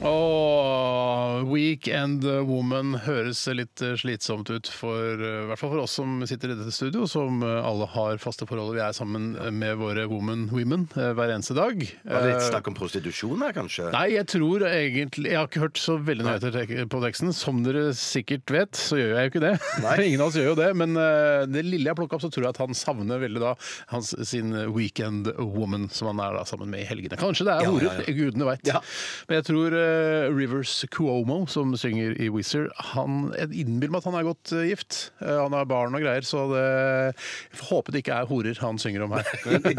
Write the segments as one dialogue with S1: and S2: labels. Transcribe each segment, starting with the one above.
S1: Åh, Weekend Woman høres litt eh, slitsomt ut, for, eh, i hvert fall for oss som sitter i dette studio, som eh, alle har faste forhold. Vi er sammen eh, med våre woman women eh, hver eneste dag.
S2: Var det litt
S1: Eh,
S2: snakk om prostitusjon her, kanskje?
S1: Nei, jeg tror egentlig Jeg har ikke hørt så veldig nøyaktig tek- på teksten. Som dere sikkert vet, så gjør jeg jo ikke det. Ingen av oss gjør jo det. Men eh, det lille jeg har plukka opp, så tror jeg at han savner veldig da hans, sin weekend woman, som han er da sammen med i helgene. Kanskje det er
S2: Ja,
S1: horer,
S2: ja, ja.
S1: gudene veit.
S2: Ja.
S1: Men jeg tror eh, Rivers Cuomo, som synger i Wizard, han jeg innbiller meg at han er godt eh, gift. Eh, han har barn og greier, så det, jeg håper det ikke er horer han synger om her.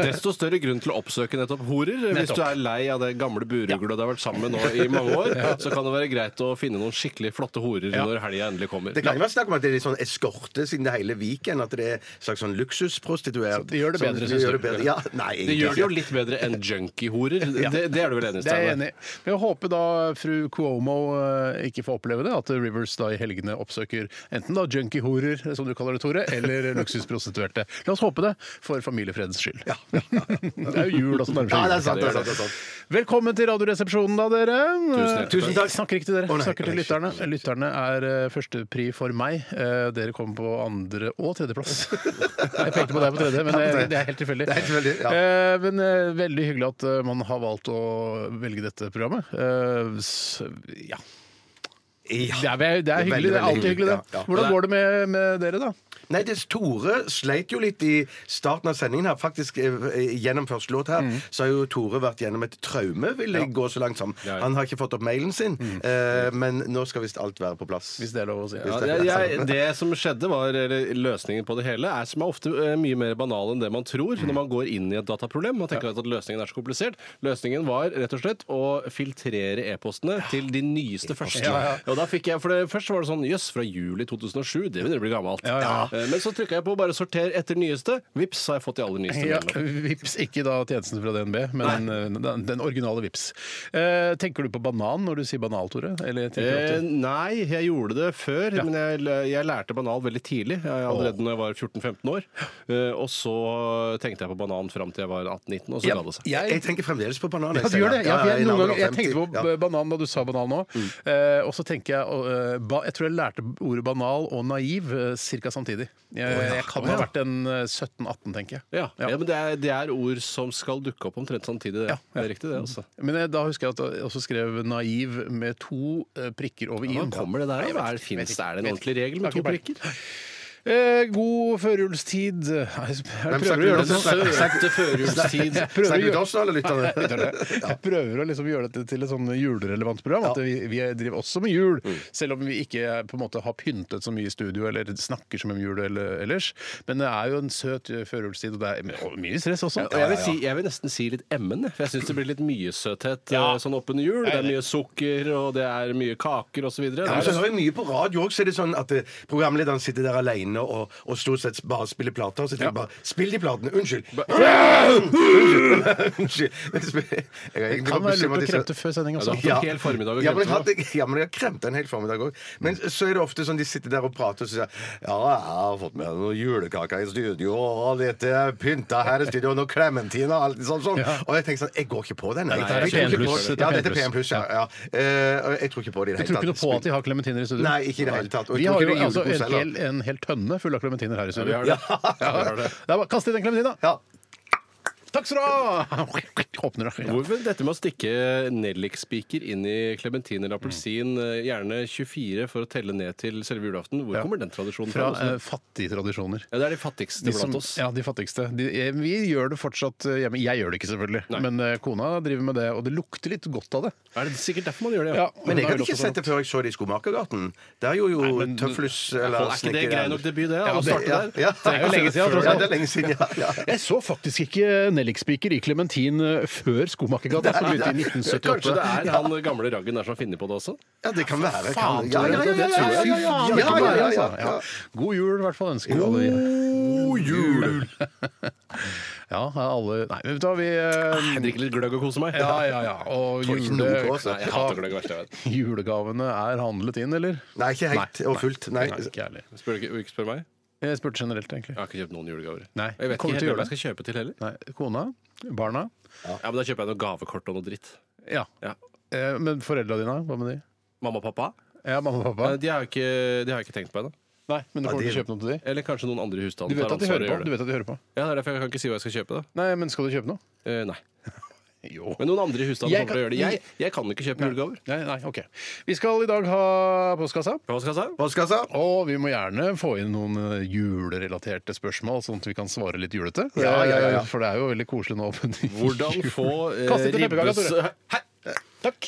S3: Desto større grunn til å oppsøke nettopp horer. Hvis
S1: Nettopp.
S3: du er lei av det gamle buruglet du har vært sammen med nå i mange år, så kan det være greit å finne noen skikkelig flotte horer
S1: Ja.
S3: når helga endelig kommer.
S2: Det kan jo være snakk om at det er litt sånn eskorte siden det er hele Viken. At det er en slags sånn luksusprostituert.
S1: Så det gjør det
S2: Som-
S1: bedre, synes
S2: gjør
S1: du?
S2: det bedre. Ja, nei,
S3: Det gjør det jo
S2: egentlig ikke.
S3: litt bedre enn junkie-horer. Det, det er du vel enig i?
S1: Det er jeg
S3: Steinar?
S1: enig i. Men jeg håper da fru Cuomo eh, ikke får oppleve det, at Rivers da i helgene oppsøker enten da junkie-horer, som du kaller det, Tore, eller luksusprostituerte. La oss håpe det, for familiefredens skyld. det er jo jul også, nærmer
S2: Ja, det er
S1: seg
S2: sant. Det
S1: jul.
S2: er sant, det er sant.
S1: Velkommen til Radioresepsjonen, da, dere.
S3: Tusen takk.
S2: Tusen takk.
S1: Jeg snakker ikke til dere,
S2: Å, nei.
S1: snakker til
S2: Nei, shit,
S1: lytterne.
S2: shit, shit.
S1: Lytterne er eh, førstepri for meg. Eh, Dere kommer på andre- og tredjeplass. Jeg pekte på deg på tredje, men det, det er helt tilfeldig.
S2: Det er helt tilfeldig, ja.
S1: Eh, Men eh, veldig hyggelig at eh, man har valgt å velge dette programmet. Eh, s- Ja. Det
S2: Ja.
S1: er, det
S2: veldig,
S1: er hyggelig. Det er
S2: veldig
S1: alltid hyggelig, det.
S2: hyggelig, ja, ja.
S1: Hvordan går det med, med dere, da?
S2: Nei, det Tore sleit jo litt i starten av sendingen her. Faktisk eh, gjennom første låt her
S1: Mm.
S2: så har jo Tore vært gjennom et traume, vil jeg gå så langt som.
S3: Ja, ja.
S2: Han har ikke fått opp mailen sin, eh, men nå skal visst alt være på plass.
S1: Mm. Hvis det er lov å si.
S3: Ja,
S2: det
S3: jeg,
S2: er
S3: jeg, det som skjedde var, eller løsningen på det hele er som er ofte eh, mye mer banal enn det man tror når man går inn i et dataproblem. Man tenker at løsningen er så komplisert. Løsningen var rett og slett å filtrere e-postene til de nyeste første. Og da fikk jeg, for det, Først var det sånn jøss, fra juli 2007, det begynner å bli gammelt.
S1: Ja, ja.
S3: Eh, Men så trykka jeg på bare sorter etter nyeste. Vips, har jeg fått de aller nyeste.
S1: Ja,
S3: mailene.
S1: vips, ikke da tjenesten fra DNB, men eh, den, den originale vips. Eh, tenker du på banan når du sier banal, Tore? Eller
S3: Eh,
S1: tenker du at du-
S3: nei, jeg gjorde det før, men jeg, jeg lærte banal veldig tidlig. eh, Allerede når jeg var 14-15 år. Eh, og så tenkte jeg på banan fram til jeg var 18-19, og så ga det seg.
S2: Jeg, tenker fremdeles på banan. jeg,
S1: ja, du gjør det.
S2: Steinar.
S1: Ja, for jeg,
S2: i
S1: noen
S2: navnet
S1: ganger, jeg
S2: av
S1: tenkte
S2: 50.
S1: på eh,
S2: Ja.
S1: b- banan da du sa banan nå.
S3: Mm.
S1: Eh, og så tenker jeg eh, ba, Jeg tror jeg lærte ordet banal og naiv eh, cirka samtidig. Jeg, jeg kan ha vært en eh, 17-18, tenker jeg.
S3: Ja, ja. men det er, det er ord som skal dukke opp omtrent samtidig. Det,
S1: Ja, ja.
S3: det er riktig, det. altså.
S1: Men jeg, da husker jeg at jeg også skrev naiv med to eh, prikker over i-en.
S3: Hvordan kommer det der?
S1: Nei, jeg
S3: da?
S1: vet
S3: Er,
S1: ikke,
S3: finnes,
S1: vet ikke,
S3: det- er det en
S1: vet
S3: ordentlig
S1: ikke.
S3: regel med
S1: Jeg
S3: to
S1: har ikke
S3: prikker?
S1: Eh, god førjulstid. Nei, Jeg jeg prøver å gjøre det
S2: snakker
S1: så
S2: du om?
S3: Søte førjulstid.
S1: prøver å
S2: Snakker du
S1: gjøre-
S2: til oss nå, eller lytterne?
S1: Jeg prøver å liksom gjøre dette til et sånn julerelevant program. At vi, vi driver også med jul,
S2: Mm.
S1: selv om vi ikke eh, på en måte har pyntet så mye i studio eller snakker så mye om jul eller, ellers. Men det er jo en søt eh, førjulstid, og det er og mye stress også.
S3: Og Jeg vil, si, jeg vil nesten si litt emmen, jeg, for jeg syns det blir litt mye søthet
S1: Ja.
S3: eh, sånn oppunder jul. Det er mye sukker, og det er mye kaker osv.
S2: Ja, men så hører jeg mye på radio òg, så er det sånn at eh, programlederen sitter der alene og, og stort sett bare spiller plater. Så tenker jeg bare Spill de platene! Unnskyld! Unnskyld! Unnskyld.
S1: Det kan være lurt å kremte før sending også.
S3: Ja, En hel formiddag å
S2: ja, men jeg
S3: kremte,
S2: hadde- ja, men jeg har kremt en hel formiddag òg. Men så er det ofte sånn de sitter der og prater og så sier jeg, Ja, jeg har fått med noen julekaker i studio, og dette er pynta her i studio, og noe klementin og alt sånn. sånn. Og jeg tenker sånn Jeg går ikke på den. jeg.
S1: dette er
S2: Jeg tror ikke på-
S1: P1+, dette
S2: Ja,
S1: er
S2: dette er
S1: P1+,
S2: P1 pluss. Ja, ja. Eh, og Jeg tror ikke på det i det
S1: Jeg tror ikke noe på at de har klementiner i studio.
S2: Nei, ikke i det hele tatt. Og
S1: Vi
S2: jeg tror
S1: har jo
S2: ikke det er
S1: altså en
S2: julekos heller.
S1: hel, en hel tønne full av klementiner her i studio.
S3: Ja, vi har det.
S1: Ja.
S3: Vi har det.
S1: Det er bare- Kast i den klementinen!
S2: Ja.
S1: Takk skal du ha! Åpner det. Ja.
S3: Hvorfor dette med å stikke nellikspiker inn i klementin eller
S1: Mm.
S3: appelsin, eh, gjerne 24 for å telle ned til selve julaften, hvor
S1: Ja.
S3: kommer den tradisjonen
S1: Fra
S3: fra?
S1: eh, fattige tradisjoner.
S3: ja, det er de fattigste
S1: De som,
S3: blant oss.
S1: ja, de fattigste. De, eh, vi gjør det fortsatt eh, hjemme. Jeg gjør det ikke, selvfølgelig.
S3: Nei.
S1: Men eh, kona driver med det, og det lukter litt godt av det.
S3: Er det sikkert derfor man gjør det?
S1: Ja,
S2: Men jeg
S1: hun har
S2: hadde
S1: jo
S2: ikke
S1: luktet
S2: sett det før jeg så det i Skomakergaten. Der gjorde jo Tøflus eller
S3: Er ikke det grei nok debut, det?
S1: Ja,
S3: å
S1: altså det-
S3: starte
S2: Ja,
S3: der?
S2: ja.
S1: Det er jo lenge siden, tross
S2: Ja,
S1: alt.
S2: det er lenge siden, ja. ja.
S1: Jeg så faktisk ikke nellikspiker i Klementin før Skomakergata, som begynte i 1978.
S3: Kanskje det er han gamle raggen der som har funnet på det også?
S2: ja det kan være. kan-
S1: Faen,
S2: ja, ja, ja, ja, ja, ja, ja, ja, ja, ja, ja, ja.
S4: Oh,
S1: God jul, i hvert fall, ønsker vi alle.
S2: God jul!
S1: Ja, alle Nei, men vet du hva, vi eh,
S3: Jeg drikker litt gløgg og koser meg.
S1: Ja, ja, ja. Og
S4: Får ikke noe
S1: jule-
S4: kås,
S3: Nei, jeg hater gløgg verst jeg vet.
S1: julegavene er handlet inn, eller?
S4: Nei, ikke helt og fullt. Nei.
S1: Nei, ikke ærlig.
S3: Spør du ikke, ikke spør meg?
S1: Jeg spurte generelt, egentlig.
S3: Jeg har ikke kjøpt noen julegaver.
S1: Nei,
S3: Og jeg vet
S1: kom
S3: ikke
S1: til
S3: helt hvem
S1: jula.
S3: jeg skal kjøpe til heller.
S1: Nei, kona? Barna?
S3: Ja, Men da kjøper jeg noe gavekort og noe dritt.
S1: Ja.
S3: Ja.
S1: Eh, Men foreldra dine, hva med de?
S3: Mamma og pappa?
S1: Ja, mamma og
S3: Eh,
S1: pappa?
S3: De har jeg ikke, de har jeg ikke tenkt på ennå.
S1: Nei, men du
S4: Ja,
S1: kommer
S4: de-
S1: til å kjøpe noe til de?
S3: Eller kanskje noen andre i husstanden
S1: Du vet at de hører på? Du vet at de hører på.
S3: Ja, det er derfor jeg kan ikke si hva jeg skal kjøpe. da.
S1: Nei, men skal du kjøpe noe?
S3: Eh, nei.
S1: Jo.
S3: Men noen andre i husstanden
S1: Jeg
S3: kommer
S1: kan-
S3: til å gjøre det. Jeg, jeg kan ikke kjøpe julegaver.
S1: Nei, nei, ok. Vi skal i dag ha postkassa.
S3: Postkassa?
S4: Postkassa?
S1: Og vi må gjerne få inn noen eh, julerelaterte spørsmål, sånn at vi kan svare litt julete.
S4: Ja, ja, ja, ja.
S1: Eh, For det er jo veldig koselig nå.
S3: Hvordan få eh,
S1: Kast litt pepperkake,
S3: ribbes...
S1: Tore. Eh,
S3: Hæ?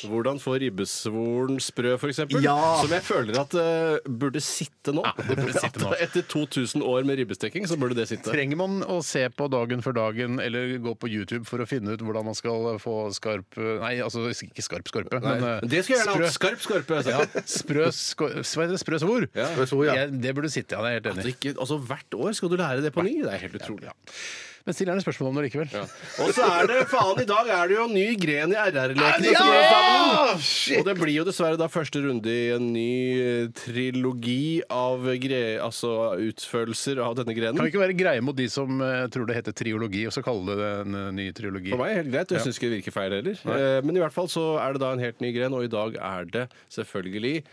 S3: Hvordan få ribbesvoren sprø, f.eks.?
S4: Ja.
S3: Som jeg føler at eh, burde sitte nå.
S1: det burde sitte nå.
S3: At Etter 2000 år med ribbestekking, så burde det sitte.
S1: Trenger man å se på dagen før dagen eller gå på YouTube for å finne ut hvordan man skal få skarp Nei, altså ikke skarp skorpe,
S3: Nei.
S1: men eh,
S3: Men det skulle jeg gjerne
S1: sprø-
S3: hatt. Skarp skorpe. altså.
S1: Sprø, sko, hva heter det? sprø svor?
S3: Ja.
S4: Jeg tror, ja.
S1: Jeg- Det burde sitte, ja. Det er jeg helt
S3: At
S1: enig i.
S3: ikke, altså, hvert år skal du lære det på ny. Det er helt utrolig.
S1: Men still gjerne spørsmål om det likevel.
S3: Ja. Og så er det faen, i dag er det jo en ny gren i RR-leken.
S4: Shit!
S3: Og det blir jo dessverre da første runde i en ny eh, trilogi av gre altså utførelser av denne grenen.
S1: Kan vi ikke være greie mot de som eh, tror det heter triologi, og så kalle det en eh, ny triologi?
S3: For meg er det helt greit, og jeg syns ikke det virker feil heller. Eh, Men i hvert fall så er det da en helt ny gren, og i dag er det selvfølgelig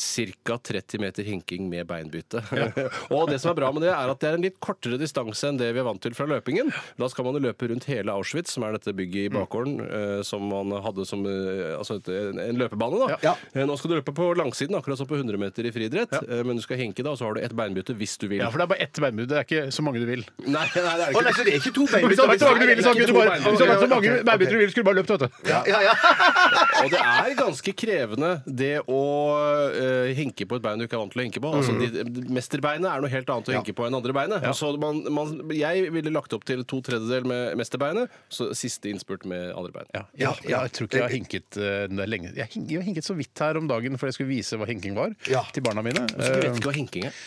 S3: Ca. 30 meter hinking med beinbytte. og det som er bra med det, er at det er en litt kortere distanse enn det vi er vant til fra løpingen. Da skal man jo løpe rundt hele Auschwitz, som er dette bygget i bakgården eh, som man hadde som eh, altså et, en, en løpebane. da.
S4: Ja.
S3: Eh, Nå skal du løpe på langsiden, akkurat som på 100 meter i friidrett, eh, men du skal hinke da, og så har du ett beinbytte hvis du vil.
S1: Ja, for det er bare ett beinbud. Det er ikke så mange du vil.
S3: Nei, nei, det er
S4: Å,
S3: ikke
S4: nei, så det er ikke to bein?
S1: Hvis du hadde vært så mange du ville, så
S3: Ikke
S1: kunne du
S3: to
S1: bare,
S3: bein.
S1: hvis du hadde vært så
S4: Ok,
S1: mange
S4: ok.
S1: beinbiter du ville, skulle du bare løpt, vet du.
S4: Ja, ja, ja.
S3: Og det er ganske krevende det å eh, hinke på et bein du ikke er vant til å hinke på.
S1: Mm.
S3: Altså, de, mesterbeinet er noe helt annet å hinke på enn andre beinet. Så man, man, jeg ville lagt opp til to tredjedel med mesterbeinet, så siste innspurt med andre bein.
S1: Ja, ja, jeg tror ikke jeg har hinket eh, den der lenge. Jeg, hink, jeg har hinket så vidt her om dagen for jeg skulle vise hva hinking var
S4: Ja.
S1: til barna mine.
S3: Så du
S1: Eh,
S3: vet ikke hva hinking er?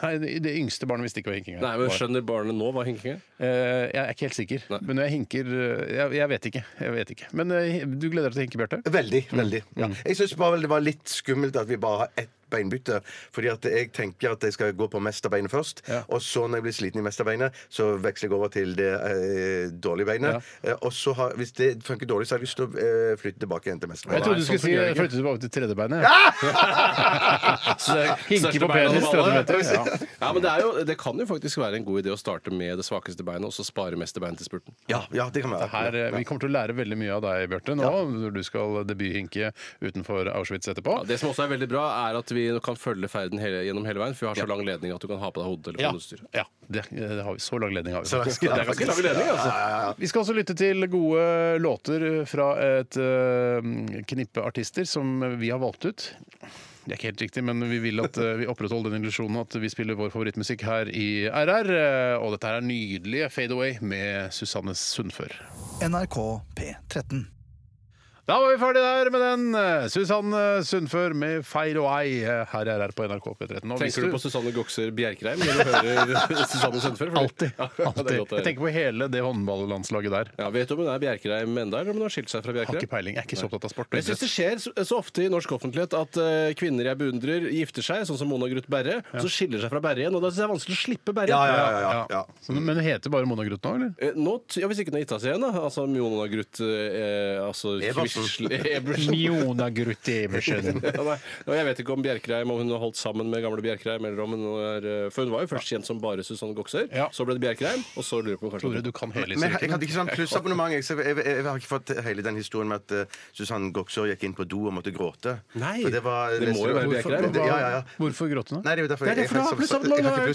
S1: Nei, det, det yngste barnet visste ikke hva hinking
S3: Nei, men
S1: var.
S3: Skjønner barnet nå hva hinking er?
S1: Eh, jeg er ikke helt sikker.
S3: Nei.
S1: Men når jeg hinker eh, jeg, jeg vet ikke. Jeg vet ikke. Men eh, du gleder deg til å hinke, Bjarte?
S4: Veldig. veldig ja. Jeg syns bare vel det var litt skummelt at vi bare har ett beinbytte. Fordi at jeg tenker at jeg skal gå på mesterbeinet først.
S1: Ja.
S4: Og så når jeg blir sliten i mesterbeinet, så veksler jeg over til det eh, dårlige beinet. Eh, og så har, hvis det funker dårlig, så har jeg lyst til å eh, flytte tilbake igjen til
S1: Jeg
S4: mesterbeinet.
S3: sånn
S1: trodde du skulle si
S3: fungerer det ikke.
S1: flytte tilbake til tredjebeinet. Ja! Hinke
S3: Største
S1: på
S3: bein av dem
S1: penis,
S3: alle.
S1: 30 meter. Ja.
S3: Ja, men det, er jo, det kan jo faktisk være en god idé å starte med det svakeste beinet, og så spare mesterbeinet til spurten.
S4: Ja, ja, det kan være.
S1: Her, eh, vi kommer til å lære veldig mye av deg, Bjarte, nå når du skal debuthinke utenfor Auschwitz etterpå.
S3: Ja, det som også er veldig bra, er at vi kan følge ferden hele, gjennom hele veien, for vi har så lang ledning at du kan ha på deg hodetelefonutstyr.
S1: Ja, det, det har vi. Så lang ledning har vi.
S4: Så langt-
S3: Det er ganske lang ledning, altså.
S1: Vi skal også lytte til gode låter fra et eh, knippe artister som vi har valgt ut. Det er ikke helt riktig, men vi vil at eh, vi opprettholder den illusjonen at vi spiller vår favorittmusikk her i RR. eh, Og dette her er nydelige Fade Away med Susanne Sundfør.
S5: NRK P13.
S1: Da var vi ferdig der med den. eh, Susanne Sundfør med Fade Away eh, her i RR på NRK P13. Og hvis
S3: Tenker du på Susanne Gokser Bjerkreim når du hører Susanne Sundfør?
S1: Alltid.
S3: Ja, det
S1: alltid.
S3: er godt å
S1: Jeg
S3: høre.
S1: tenker på hele det håndballandslaget der.
S3: Ja, vet du om hun er Bjerkreim enda, eller om hun har skilt seg fra
S1: Har
S3: Bjerkreim?
S1: ikke peiling. Jeg er ikke så opptatt av sport. og
S3: Men Jeg synes
S1: idrett.
S3: Det skjer så så ofte i norsk offentlighet at eh, kvinner jeg beundrer, gifter seg, sånn som Mona Gruth Berre, og så skiller seg fra Berre igjen. Og da synes jeg det er vanskelig å slippe Berre.
S4: Ja, ja, ja, ja, ja.
S1: Ja. Så- Men det heter bare Mona Gruth nå, eller?
S3: Eh, Nå, t- ja, Hvis ikke hun har gitt seg igjen, da. Altså Mona Gruth eh, altså,
S4: Eversen.
S3: Quisle- Eversen.
S1: Mjona Gruth Eversen.
S3: Ja, nei. Og jeg vet ikke om Bjerkreim Om hun har holdt sammen med gamle Bjerkreim. Eller om hun er, eh, for hun var jo først kjent som bare Susanne Gokser.
S1: Ja.
S3: Så ble det Bjerkreim, og så lurer jeg på om kanskje
S1: Tore, du kan hele
S4: Men jeg
S1: historikken.
S4: hadde ikke sånn plussabonnement. Jeg, så jeg, jeg, jeg har ikke fått hele den historien med at eh, Susann Goksør gikk inn på do og måtte gråte.
S3: Nei,
S4: For det, var,
S3: det må jo være
S4: Hvorfor-
S3: Bjerkreim.
S4: Ja, ja, ja.
S1: Hvorfor gråte nå?
S4: Nei, det er jo derfor
S3: Det er derfor du har plussabonnement,
S4: Jeg har
S3: da.
S4: ikke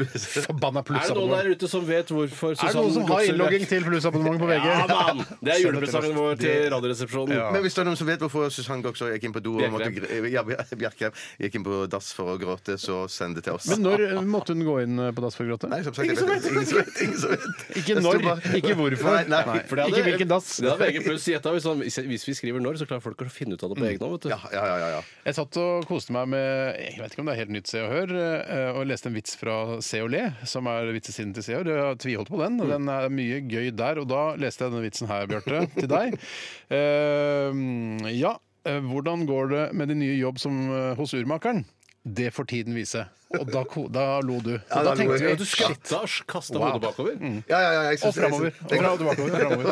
S4: Jeg har ikke
S1: Forbanna
S3: Er det noen der ute som vet hvorfor
S1: Er det
S3: Susanne
S1: noen som har
S3: Gokser
S1: innlogging til plussabonnement på VG?
S3: Ja, mann! Det er julepresangen vår til Radioresepsjonen.
S1: Ja.
S4: Men hvis det er noen som vet hvorfor Susanne Goksøy gikk inn på do og måtte,
S3: Bjerkreim.
S4: gr- ja, Bjerkreim gikk inn på dass for å gråte, så send det til oss.
S1: Men når eh, måtte hun gå inn på dass for å gråte?
S4: Nei, som sagt, jeg vet ikke. Ingen som vet! Ingen som vet.
S1: Ikke
S4: Det sto
S1: når,
S4: bare-
S1: ikke hvorfor.
S4: Nei, nei.
S1: For det hadde- Ikke hvilken dass.
S3: Det hadde VG pluss gjetta. Hvis, han- hvis vi skriver når, så klarer folk å finne ut av det på egen hånd. vet du.
S4: Ja, ja, ja, ja, ja.
S1: Jeg satt og koste meg med jeg vet ikke om det er helt nytt Se og Hør, eh, og leste en vits fra Se og Le, som er vitsesiden til Se og Hør. Jeg har tviholdt på den, og den er mye gøy der. Og da leste jeg denne vitsen her, Bjarte, til deg. Eh, ja, eh, hvordan går det med din nye jobb som, eh, hos urmakeren? Det får tiden vise. Og da, ko- da lo du. Og da
S4: da lo jeg.
S1: tenkte
S4: Ja,
S1: vi
S3: Du skatta, kasta
S1: Wow.
S3: hodet bakover.
S2: Mm.
S4: ja, ja, ja jeg
S1: Og
S4: synes-
S1: framover.
S4: jeg
S1: Og
S4: synes-
S1: fra- og tilbakeover. Framover.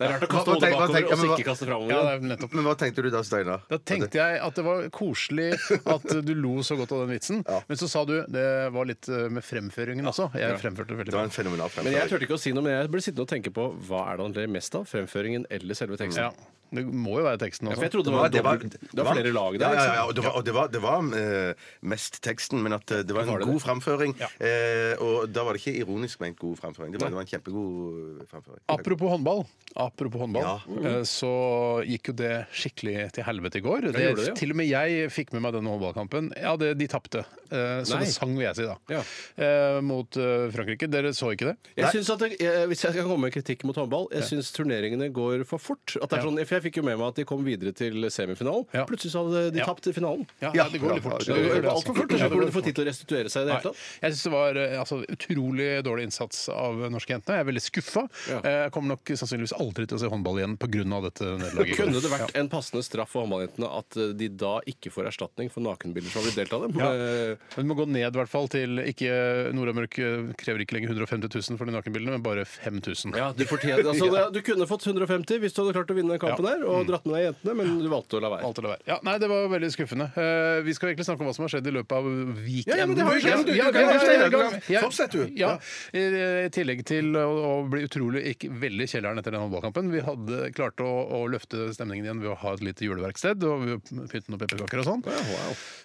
S3: Det er rart å
S4: Hva-
S3: kaste
S4: hva
S3: hodet
S4: tenk- hva
S3: bakover og
S4: tenk-
S3: så
S4: men hva-
S3: ikke kaste framover.
S1: Ja,
S3: da.
S1: det er nettopp.
S4: Men hva tenkte du da, Steinar?
S1: Da tenkte jeg at det var koselig at du lo så godt av den vitsen. Men så sa du det var litt eh, med fremføringen også. Jeg fremførte det veldig
S4: Det var
S1: bra.
S4: en fenomenal
S3: Men jeg
S4: fremføring.
S3: turte ikke å si noe, men jeg ble sittende og tenke på hva er det han ler mest av? Fremføringen eller selve teksten?
S1: Ja. Det må jo være teksten
S3: For
S1: også.
S3: jeg trodde det
S4: Ja,
S3: var, dobbelt- det var flere lag der.
S4: Ja, ja,
S3: liksom.
S4: ja, og det var, og det var, det var eh, mest teksten, men at eh, det var en
S3: Var det
S4: god
S3: det?
S4: framføring.
S1: Ja.
S4: Eh, og da var det ikke ironisk ment god framføring. Det var, det var en kjempegod framføring.
S1: Apropos håndball, apropos håndball
S4: Ja.
S1: eh, så gikk jo det skikkelig til helvete i går. Det,
S3: gjorde det, ja.
S1: Til og med jeg fikk med meg denne håndballkampen. Ja, det, de tapte. Eh, Så
S3: Nei.
S1: det sang, vil jeg si, da.
S3: Ja.
S1: Eh, Mot eh, Frankrike. Dere så ikke det?
S3: Jeg synes at det, jeg, hvis jeg skal komme med kritikk mot håndball, jeg syns turneringene går for fort. At det er sånn, for jeg fikk jo med meg at de kom videre til semifinalen.
S1: Ja.
S3: Plutselig så hadde de
S1: Ja.
S3: tapt i finalen.
S1: Ja,
S4: Ja,
S1: det går litt
S4: bra.
S1: fort.
S3: Det går
S1: altså.
S3: altfor fort. og
S1: Ja,
S3: Så
S1: det
S3: burde
S1: går
S3: de få tid til å restituere seg i det hele
S1: Nei.
S3: tatt.
S1: Jeg syns det var eh, altså, utrolig dårlig innsats av norske jentene. Jeg er veldig skuffa.
S3: Ja.
S1: Jeg kommer nok sannsynligvis aldri til å se håndball igjen pga. dette nederlaget. i går.
S3: Kunne det vært en passende straff for håndballjentene at eh, de da ikke får erstatning for nakenbilder som har blitt delt av dem?
S1: Ja.
S3: Eh,
S1: Men Du må gå ned i hvert fall til ikke Nord-Amerika krever ikke lenger 150 000 for de nakenbildene, men bare 5000.
S3: Ja, Du fortjener altså, det- Du kunne fått 150 hvis du hadde klart å vinne den kampen her og dratt med deg jentene, men du valgte å la være.
S1: Alt eller vær. Ja, nei, det var veldig skuffende. Eh, vi skal egentlig snakke om hva som har skjedd i løpet av weekenden.
S3: Ja, ja, men det har jo skjedd, du. Du
S1: Ja,
S3: kan
S1: ja,
S3: jo
S1: ja, ja,
S3: fortelle,
S1: ja,
S4: du kan-
S1: ja.
S4: fortsett, du.
S1: Ja, i, I tillegg til å, å bli utrolig ikke, veldig i kjelleren etter den håndballkampen. Vi hadde klart å, å løfte stemningen igjen ved å ha et lite juleverksted og vi pynte noen pepperkaker og sånn.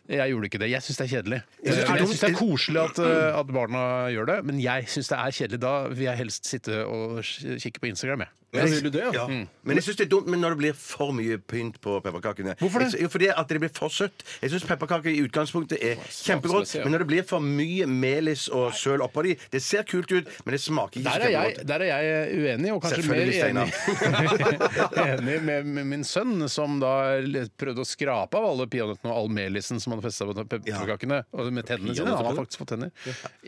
S1: Jeg gjorde ikke det. Jeg syns det er kjedelig. Jeg,
S4: det er dumt.
S1: syns det er koselig at, eh, at barna gjør det, men jeg syns det er kjedelig. Da vil jeg helst sitte og kikke på Instagram, jeg.
S3: Ja, vil du det, ja?
S4: Ja. Men jeg syns det er dumt men når det blir for mye pynt på pepperkakene.
S1: Hvorfor det?
S4: Jeg sy- Jo, fordi at det blir for søtt. Jeg syns pepperkaker i utgangspunktet er kjempegodt,
S3: smaksmessig, ja.
S4: men når det blir for mye melis og søl oppå de Det ser kult ut, men det smaker ikke
S1: Der
S4: så
S1: er,
S4: kjempegodt.
S1: jeg, der er jeg uenig, og kanskje mer
S4: Selvfølgelig,
S1: enig, enig med, med min sønn, som da prøvde å skrape av alle peanøttene og all melisen som hadde festet seg på pepperkakene. Og med tennene sine. Han har faktisk fått tenner.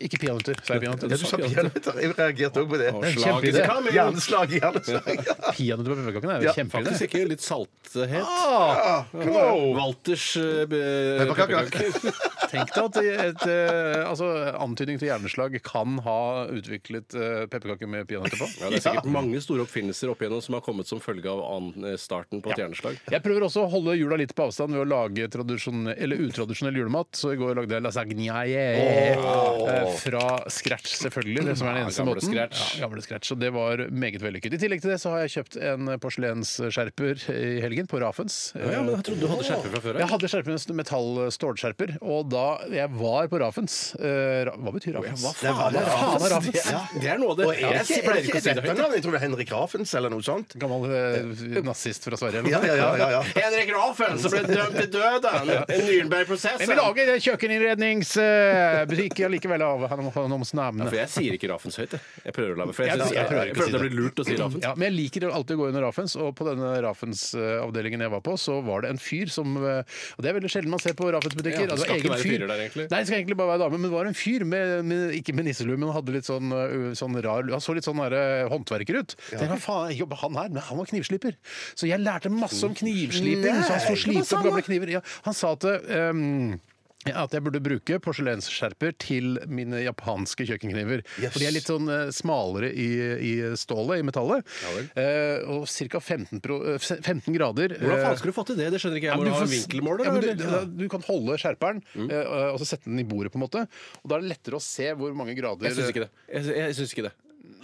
S1: Ikke peanøtter. sa jeg
S4: Ja,
S1: peanøtter.
S4: du sa peanøtter. Jeg reagerte òg på det.
S1: Kjempeidé.
S3: Slaget kan jo-
S4: Hjerneslag, hjerneslag.
S1: Peanøtter på pepperkakene er jo
S3: Faktisk
S1: kjempeidé.
S3: ikke litt salthet.
S4: Wow.
S3: Ah, Walters eh, be-
S4: Pepperkaker.
S1: Tenk deg at et, eh, altså, antydning til hjerneslag kan ha utviklet eh, pepperkaker med peanøtter på.
S3: Ja, det er sikkert mange store oppfinnelser opp igjennom som har kommet som følge av an- eh, starten på et hjerneslag.
S1: Jeg prøver også å holde jula litt på avstand ved å lage tradisjonell, eller utradisjonell julemat. Så i går lagde jeg lasagne eh, fra scratch, selvfølgelig. Det som er den eneste
S3: gamle
S1: måten.
S3: scratch.
S1: Ja, gamle scratch. Og det var meget vellykket. I tillegg til det så har jeg kjøpt en porselensskjerper i helgen på Rafens.
S3: Ja, men jeg trodde du hadde skjerpet fra før
S1: Jeg hadde skjerpende metallstålskjerper, eh, og da jeg var på Rafens eh, Ra- Hva betyr Rafens?
S3: Hva
S4: Det var
S3: faen er
S1: Rafens?
S3: Rafens? Det
S4: Ja.
S3: er- Det er noe av det.
S4: Og er det
S3: Jeg
S4: ikke- er
S3: pleier
S4: det
S3: ikke
S4: ikke
S3: å si det høyt.
S4: etternavn? Jeg tror det er Henrik Rafens eller noe sånt.
S1: Gammel eh, nazist fra Sverige? eller noe?
S4: Ja, ja, ja, ja, ja.
S3: Henrik Raffen som ble dømt til døden.
S1: Men
S3: En
S1: vi
S3: Nürnberg-prosess.
S1: lager en kjøkkeninnredningsbutikk allikevel av hans navn.
S3: For jeg sier ikke Raffens høyt. jeg. Jeg prøver å la være. For jeg,
S1: Ja,
S3: synes,
S1: jeg
S3: jeg,
S1: prøver
S3: jeg,
S1: ikke å si
S3: føler det
S1: det.
S3: blir lurt å si Raffens.
S1: Ja, men jeg liker alltid å gå under Rafens, og på denne Rafens-avdelingen jeg var på, så var det en fyr som eh, Og det er veldig sjelden man ser på Rafens-butikker.
S3: Ja, det
S1: altså,
S3: skal ikke
S1: egen
S3: være
S1: fyr.
S3: fyrer der, egentlig.
S1: Nei, det skal egentlig bare være dame, men det var en fyr med, med ikke med nisselue, men han hadde litt sånn, ø, sånn rar Han så litt sånn der, ø, håndverker ut. Ja. Tenk, hva faen jobber han her? Men han var knivsliper. Så jeg lærte masse om knivsliping. så han skulle slipe opp gamle kniver. Ja, han sa at ehm, at jeg burde bruke porselensskjerper til mine japanske kjøkkenkniver.
S4: Yes.
S1: For de er litt sånn eh, smalere i, i stålet, i metallet. Eh, og ca. 15, pro, eh, 15 grader.
S3: Hvordan
S1: eh,
S3: faen skulle du fått til det? Det skjønner ikke jeg.
S1: ja,
S3: Må
S1: men
S3: du ha en
S1: får-
S3: vinkelmåler?
S1: Ja, men
S3: eller? Mm.
S1: du, da- du kan holde skjerperen eh, og så sette den i bordet, på en måte. Og da er det lettere å se hvor mange grader
S3: Jeg syns ikke det. Jeg, sy- jeg syns ikke det.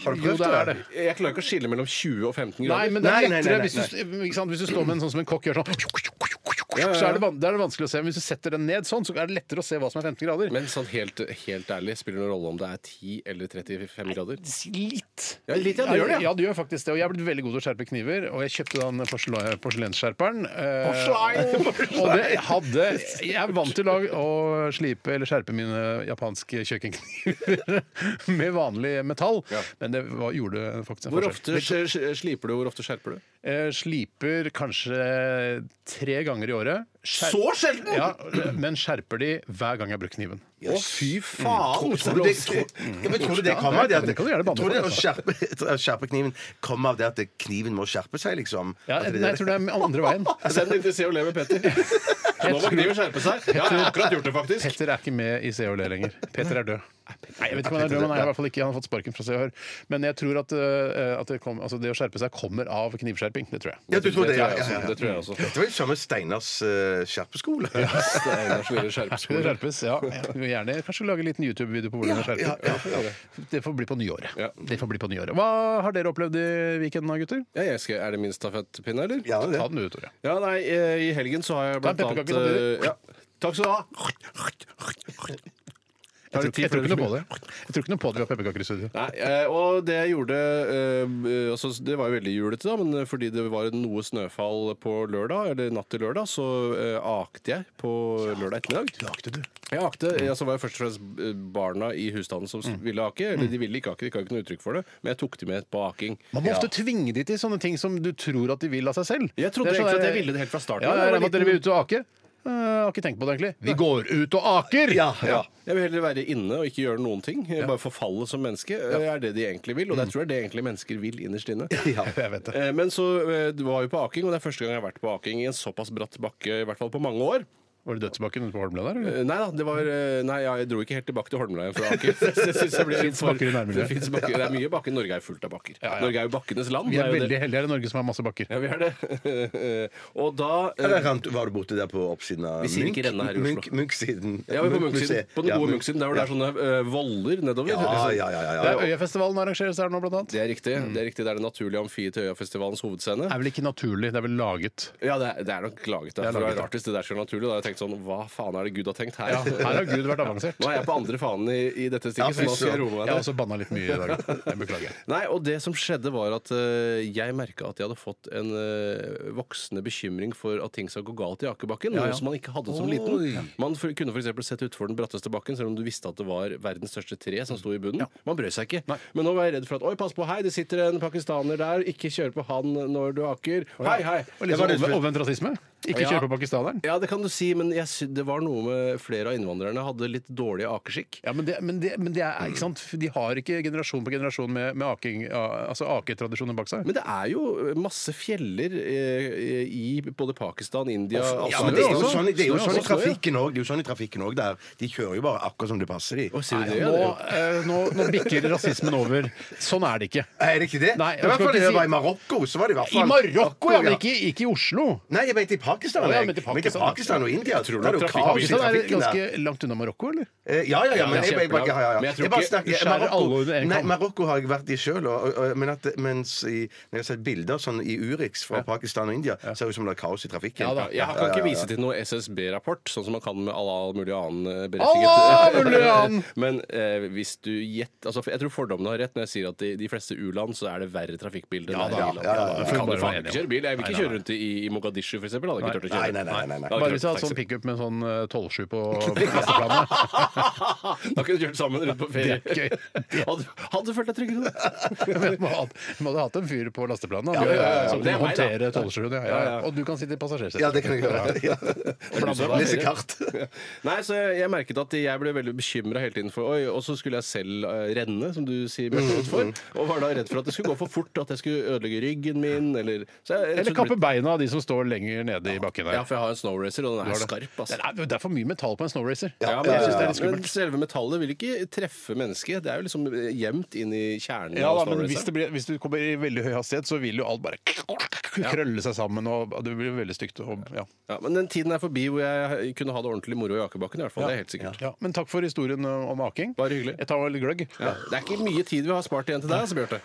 S4: Har du
S1: Jo,
S4: prøvd
S1: det er det.
S3: Jeg klarer ikke å skille mellom 20 og 15
S1: Nei,
S3: grader.
S1: men det er
S4: Nei, nei, nei,
S1: lettere
S4: nei,
S1: hvis du, ikke sant? hvis du står med en sånn som en kokk gjør sånn så er det, van- da er det vanskelig å se. Men hvis du setter den ned sånn, så er det lettere å se hva som er 15 grader.
S3: Men sånn helt, helt ærlig, spiller det noen rolle om det er 10 eller 35 grader?
S1: Litt.
S3: Ja, litt, ja,
S1: Ja,
S3: det gjør det,
S1: ja, det gjør faktisk det. Og jeg er blitt veldig god til å skjerpe kniver, og jeg kjøpte den porselen- porselensskjerperen. eh, og det hadde Jeg er vant til å lage- å slipe eller skjerpe mine japanske kjøkkenkniver med vanlig metall, men det var, gjorde faktisk en
S3: Hvor
S1: forskjell.
S3: ofte sk- sk- sliper du, og hvor ofte skjerper du?
S1: Eh, Sliper kanskje tre ganger i året. Skjer-
S3: sjelden!
S1: Ja, men skjerper de hver gang jeg bruker kniven.
S3: Å, fy faen!
S4: Mm. Tror du det, tror, ja, men tror du det kommer av det at
S1: Det kan du gjerne banne
S4: tror du det
S1: for,
S4: å skjerpe, å skjerpe kniven kommer av det at kniven må skjerpe seg, liksom?
S1: Ja,
S4: At det-
S1: nei, Altså, jeg tror det er andre veien.
S3: Send den til Se og Le med Petter. Nå må kniven skjerpe seg. Ja, jeg har akkurat gjort det, faktisk.
S1: Petter er ikke med i Se og Le lenger. Petter er død. Nei, jeg vet ikke om han er død, men han, er i hvert fall ikke, han har fått sparken fra Se og Hør. Men jeg tror at, eh, at det, kom, altså det å skjerpe seg kommer av knivskjerping. Det tror jeg.
S4: Ja, du tror det, ja, ja, ja.
S3: Det tror jeg også.
S4: Det var jo samme Steinars eh, skjerpeskole.
S3: Steinar Svire skjerpeskole.
S1: Skulle det skjerpes? Ja. Jeg vil gjerne kanskje lage en liten YouTube-video på hvordan det
S4: ja, ja,
S1: skjerper. Det får bli på nyåret.
S3: Ja.
S1: Det får bli på nyåret. Hva har dere opplevd i weekenden da, gutter?
S3: Ja, jeg skal, er det min stafettpinne, eller?
S4: Ja, det
S1: Ta
S4: er det.
S1: den du, Tore.
S3: Ja, nei, eh, i helgen så har jeg
S1: Ta en
S3: blant annet
S1: pepperkake samtidig.
S3: eh, ja. Takk skal du ha!
S1: Jeg tror, jeg tror ikke noe på
S3: det.
S1: det. Jeg tror ikke noe på det vi har pepperkaker i studio.
S3: Nei, eh, og det jeg gjorde eh, eh, altså, Det var jo veldig julete, da, men fordi det var noe snøfall på lørdag, eller natt til lørdag, så eh, akte jeg på lørdag ettermiddag.
S1: Lagde du?
S3: Jeg akte, ja, så var jeg først og fremst eh, barna i husstanden som s-
S1: Mm.
S3: ville ake. Eller de ville ikke ake, de ga ikke noe uttrykk for det, men jeg tok de med på aking.
S1: Man må ofte tvinge de til sånne ting som du tror at de vil av seg selv.
S3: Jeg trodde
S1: Det er sånn
S3: egentlig at jeg
S1: der-
S3: ville det helt fra starten.
S1: Ja,
S3: Jeg
S1: jeg
S3: var
S1: regner med at
S3: liten.
S1: dere vil ut og ake. Eh, Jeg har ikke tenkt på det, egentlig. Vi går ut og aker!
S4: Ja, ja.
S3: Jeg vil heller være inne og ikke gjøre noen ting. eh, Bare forfalle som menneske. eh, er det de egentlig vil, og
S1: Mm.
S3: det tror jeg det egentlig mennesker vil innerst inne.
S1: Jeg vet det.
S3: Eh, Men så eh, du var jo på aking, og det er første gang jeg har vært på aking i en såpass bratt bakke, i hvert fall på mange år.
S1: Var det dødsbakken ute på Holmlia der?
S3: Eh,
S1: Eller?
S3: Nei da, det var eh, Nei, ja, jeg dro ikke helt tilbake til Holmlia fra Aker. Det, synes jeg blir litt
S1: Finnes
S3: for-
S1: bakker i nærmiljøet.
S3: det, finnes bakker. det er mye bakker. Norge er jo fullt av bakker.
S1: Ja, ja.
S3: Norge er jo bakkenes land.
S1: Vi
S3: det
S1: er
S3: jo
S1: veldig
S3: det.
S1: heldige. Det er Norge som har masse bakker.
S3: Ja, vi er det. og da eh,
S4: Eller rant, var du borte der på oppsiden av
S3: Vi sier ikke renne her i Oslo.
S4: Munch- Munch-siden?
S3: ja, vi er på Munch-siden.
S4: Munch-museet.
S3: På den
S4: Ja,
S3: gode
S4: Munch-
S3: Munch-siden, der hvor det er sånne eh, voller nedover.
S4: Ja, ja, ja, ja,
S1: Det
S4: ja.
S1: er Øyafestivalen arrangeres her nå, blant annet.
S3: Det er riktig. Det er riktig, det er det naturlige amfiet til Øyafestivalens hovedscene.
S1: Det Mm. er vel ikke naturlig, det er vel laget.
S3: Ja, det er, det er nok laget. Da.
S1: Det er
S3: For Det
S1: laget,
S3: er
S1: ja.
S3: rart hvis det der skal være naturlig. Da har jeg tenkt sånn Hva faen er det Gud har tenkt her?
S1: Ja, her har Gud vært avansert.
S3: Nå er jeg på andre fanen i, i dette
S4: Ja,
S3: stikket, så nå skal jeg
S4: fy søren.
S3: roe meg
S1: Jeg
S3: ned.
S1: har også banna litt mye i dag. Jeg beklager.
S3: Nei, og det som skjedde var at eh, jeg merka at jeg hadde fått en eh, voksende bekymring for at ting skal gå galt i akebakken.
S1: Ja, ja.
S3: Noe som man ikke hadde som liten. Man f kunne f.eks. sett utfor den bratteste bakken, selv om du visste at det var verdens største tre som sto i bunnen. Man brød seg ikke. Men nå var jeg redd for at oi, pass på, hei, det sitter en pakistaner der, ikke kør på han når du aker. Hei, hei.
S1: Og litt
S3: Jeg var
S1: sånn
S3: redd for-
S1: omvendt- omvendt rasisme. Ikke
S3: Ja.
S1: kjør på pakistaneren.
S3: Ja, det kan du si, men jeg sy det var noe med flere av innvandrerne hadde litt dårlig akeskikk.
S1: Ja, men det, men, det, men det er ikke sant. De har ikke generasjon på generasjon med, med aking, altså aketradisjoner bak seg.
S3: Men det er jo eh, masse fjeller eh, i både Pakistan, India
S4: Ja,
S3: Assam
S4: men det er jo
S3: også.
S4: sånn, det er jo
S3: Snø
S4: sånn i
S3: også, snø, ja.
S4: trafikken òg. Det er jo sånn i trafikken også, der. De kjører jo bare akkurat som det passer de.
S3: Å, sier du det, ja,
S1: Nå,
S3: det er jo-
S1: eh, nå, nå bikker rasismen over. Sånn er det ikke.
S4: Er det ikke det?
S1: Nei, jeg
S4: det var I hvert
S1: skal
S4: fall
S1: ikke
S4: det
S1: si-
S4: var i Marokko. så var det i hvert
S1: I
S4: fall
S1: Marokko, ja, men
S4: Akkurat,
S1: ikke, ikke i Oslo.
S4: Nei, jeg mente i
S1: Å,
S4: Pakistan.
S1: ja,
S4: jeg.
S1: men til
S4: Men til
S1: Pakistan,
S4: Pakistan og India. Tror
S3: nok trafikken-
S1: Pakistan er ganske langt unna Marokko, eller?
S4: Eh, Ja, ja, ja.
S3: Ja,
S4: Men jeg, jeg, bare- ja, ja, ja.
S3: Men jeg tror
S4: Jeg bare
S3: ikke-
S4: snakker-
S1: du skjærer alle under en
S4: Marokko, nei,
S1: kam.
S4: Marokko har jeg vært i sjøl, men at, mens i, når jeg har sett bilder sånn i Urix fra Pakistan og India, ser det ut som det er kaos i trafikken.
S3: Ja, da. Jeg kan ikke vise til noe SSB-rapport, sånn som man kan med all, all mulig annen eh, berettiget
S1: Alla mulig annen!
S3: Men eh, hvis du gjett altså, Jeg tror fordommene har rett når jeg sier at i de fleste u-land så er det verre trafikkbilde. enn det er
S4: da,
S3: i land.
S4: ja, ja, ja.
S3: Jeg
S1: Får
S3: Kan
S1: bare
S3: du faen
S1: være enig
S3: ikke
S1: om.
S3: kjøre bil? Jeg vil
S1: Nei,
S3: ikke
S1: nei,
S3: kjøre rundt i, i Mogadishu, for eksempel. Hadde jeg ikke tørt å
S4: Nei,
S3: kjøre.
S4: nei, nei, nei, nei.
S3: Da hadde
S1: Bare
S3: jeg
S1: hvis du hadde
S3: ikke tatt
S1: sånn
S3: taxi.
S1: pickup med sånn eh, tollsky på lasteplanet.
S3: Da kunne du kjørt sammen rundt på ferie.
S1: Det er gøy.
S3: Hadde, hadde du følt deg tryggere da?
S1: Men Man hadde man hadde hatt en fyr på lasteplanet da,
S3: Ja, ja, ja, ja.
S1: som kunne
S3: Det er meg, da.
S1: håndtere tollskyene. Ja, ja.
S3: Ja, ja.
S1: Og du kan sitte i
S4: Ja, det
S1: passasjersetet.
S4: kan jeg gjøre. Ja. Lese kart.
S3: Nei, så jeg, jeg merket at jeg ble veldig bekymra hele tiden for Oi, og så skulle jeg selv eh, renne, som du sier,
S1: Mm,
S3: Bjarte, utfor. Og var da redd for at det skulle gå for fort, at jeg skulle ødelegge ryggen min, eller så jeg,
S1: Eller kappe beina av de som står lenger nede i bakken
S3: Ja,
S1: der.
S3: for jeg har en snowracer, og den
S1: Du
S3: er
S1: har det.
S3: skarp,
S1: Det
S3: altså.
S1: er, det er for mye metall på en snowracer.
S3: Ja, men jeg synes det er
S1: skummelt.
S3: litt skummelt. Men selve metallet vil ikke treffe mennesket. Det er jo liksom eh, gjemt inn i kjernen
S1: Ja, da,
S3: av
S1: men hvis,
S3: snowraceren.
S1: det blir, hvis du kommer i veldig høy hastighet, så vil jo alt bare krølle seg sammen. Og Det blir veldig stygt. Og, ja.
S3: Ja, men den tiden er forbi hvor jeg kunne ha det ordentlig moro i akebakken, i hvert fall. Det er helt sikkert.
S1: Ja, men takk for historien eh, om aking.
S3: Bare hyggelig.
S1: Jeg tar vel litt gløgg.
S3: Ja. Det er ikke mye tid vi har spart igjen til deg, altså, Bjarte.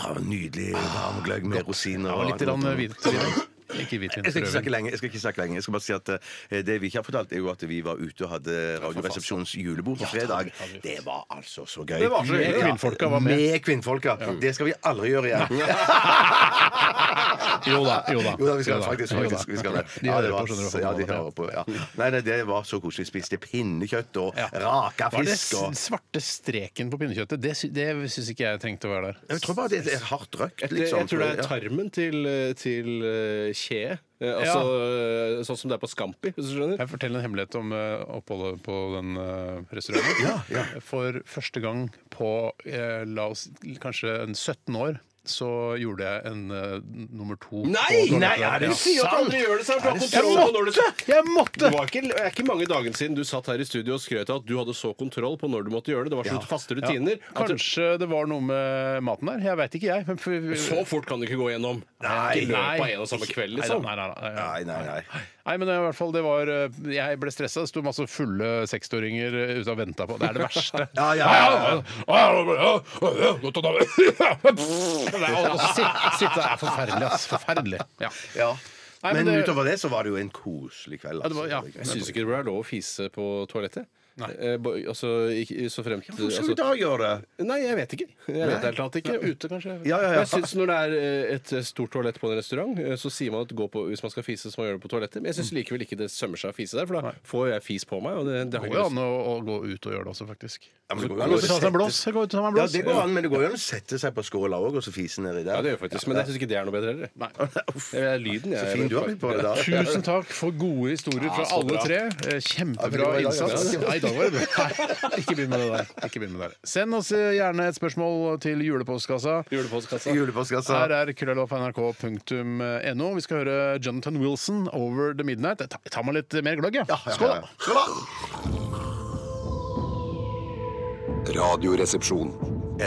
S4: Ah, nydelig varm gløgg med rosiner.
S1: Og litt grann hvit eh, vin. Ikke
S4: Jeg skal ikke snakke
S1: hvitvinsprøven.
S4: lenge. Jeg skal ikke snakke lenge. Jeg skal bare si at eh, Det vi ikke har fortalt, er jo at vi var ute og hadde Radioresepsjonens julebord på fredag. Det var altså så gøy.
S3: Det var så gøy.
S4: Ja,
S1: Kvinnfolka var med.
S4: Med kvinnfolka. Det skal vi aldri gjøre igjen.
S1: Jo da, jo da.
S4: Jo da, vi skal
S1: Jo da.
S4: faktisk,
S1: Jo da.
S4: faktisk vi skal det.
S1: De
S4: Ja,
S1: hører
S4: det var,
S1: på, skjønner du.
S4: ja, de hører på. Ja. Nei, nei, det var så koselig. Spiste pinnekjøtt og
S1: Ja.
S4: raka
S1: Var det
S4: fisk og
S1: den svarte streken på pinnekjøttet? Det, sy det syns ikke jeg trengte å være der.
S4: Jeg tror bare det er hardt røkt,
S3: Jeg,
S4: liksom.
S3: jeg tror det er tarmen til, til eh, kje. Eh, Altså, eh, Sånn som det er på Scampi, hvis du skjønner.
S1: Jeg forteller en hemmelighet om eh, oppholdet på den eh, restauranten. For første gang på eh, la oss, kanskje en 17 år så gjorde jeg en eh, nummer to. på toalettdagen. Ja.
S3: gjør det, så
S4: Er det
S1: sant?
S3: når du skal
S1: Jeg måtte!
S3: Det var ikke, er ikke mange dagene siden du satt her i studio og skrøt av at du hadde så kontroll på når du måtte gjøre det. Det var så faste
S1: Ja.
S3: rutiner. at du-
S1: Kanskje det var noe med maten der? Jeg veit ikke, jeg. Men for,
S3: Så fort kan du ikke gå gjennom. Ikke i løpet av en og samme kveld, liksom.
S1: Nei, nei, nei, nei.
S4: Nei, nei, nei.
S1: Nei, men i hvert fall, det var eh, Jeg ble stressa. Det sto masse fulle 60-åringer ute og venta på. Det er det verste.
S4: Ja, ja, ja,
S1: Og sitte- sitte- Det er forferdelig, ass. Forferdelig. Ja.
S4: Ja.
S1: Nei, men
S4: men
S1: det-
S4: utover det så var det jo en koselig kveld. altså.
S1: det var- ja.
S4: Det var gøy.
S3: Jeg syns ikke det burde være lov å fise på toalettet.
S1: Nei.
S3: Eh, bo- altså, ikke- så fremt
S4: Hvordan skal vi
S3: altså-
S4: da gjøre det?
S3: Nei, jeg vet ikke. Jeg vet helt klart ikke.
S1: Ute, kanskje?
S4: Ja, ja,
S3: Jeg
S4: ja.
S3: synes Når det er eh, et stort toalett på en restaurant, eh, så sier man at gå på, hvis man skal fise, så må man gjøre det på toalettet. Men jeg syns likevel ikke det sømmer seg å fise der, for da får jeg fis på meg. Og det, det
S1: Det
S3: har
S1: går
S3: jeg
S1: jo
S3: ikke
S1: an
S3: lyst
S1: å, å gå ut og gjøre det også, faktisk.
S4: Ja, men det går jo
S1: Gå
S4: an
S1: ut
S4: å
S1: og ta seg en blås. Gå ut og ta meg en
S4: Ja,
S1: blås.
S4: det går an, men det går jo an å sette seg på skåla òg, og så fise nedi der.
S3: Ja, det gjør jeg faktisk, men jeg syns ikke det er noe bedre heller.
S1: Nei.
S3: Det er lyden jeg
S4: Så fin du har blitt på det da.
S1: Tusen takk for gode historier fra
S3: så
S1: alle
S3: bra.
S1: tre. Eh, Kjempebra
S4: Ja, det var i dag,
S1: innsats.
S4: ja.
S1: Nei, i dag var det bra. Nei, Ikke begynn med det der. Ikke begynn med det der. Send oss eh, gjerne et spørsmål til julepostkassa.
S3: Julepostkassa.
S4: Julepostkassa.
S1: Her er krølloff.nrk.no. Vi skal høre Jonathan Wilson, 'Over the Midnight'. Ta, ta meg litt mer gløgg, jeg.
S4: Ja, ja,
S1: Skål,
S4: ja.
S1: da.
S4: Skål, da!
S6: Radioresepsjon.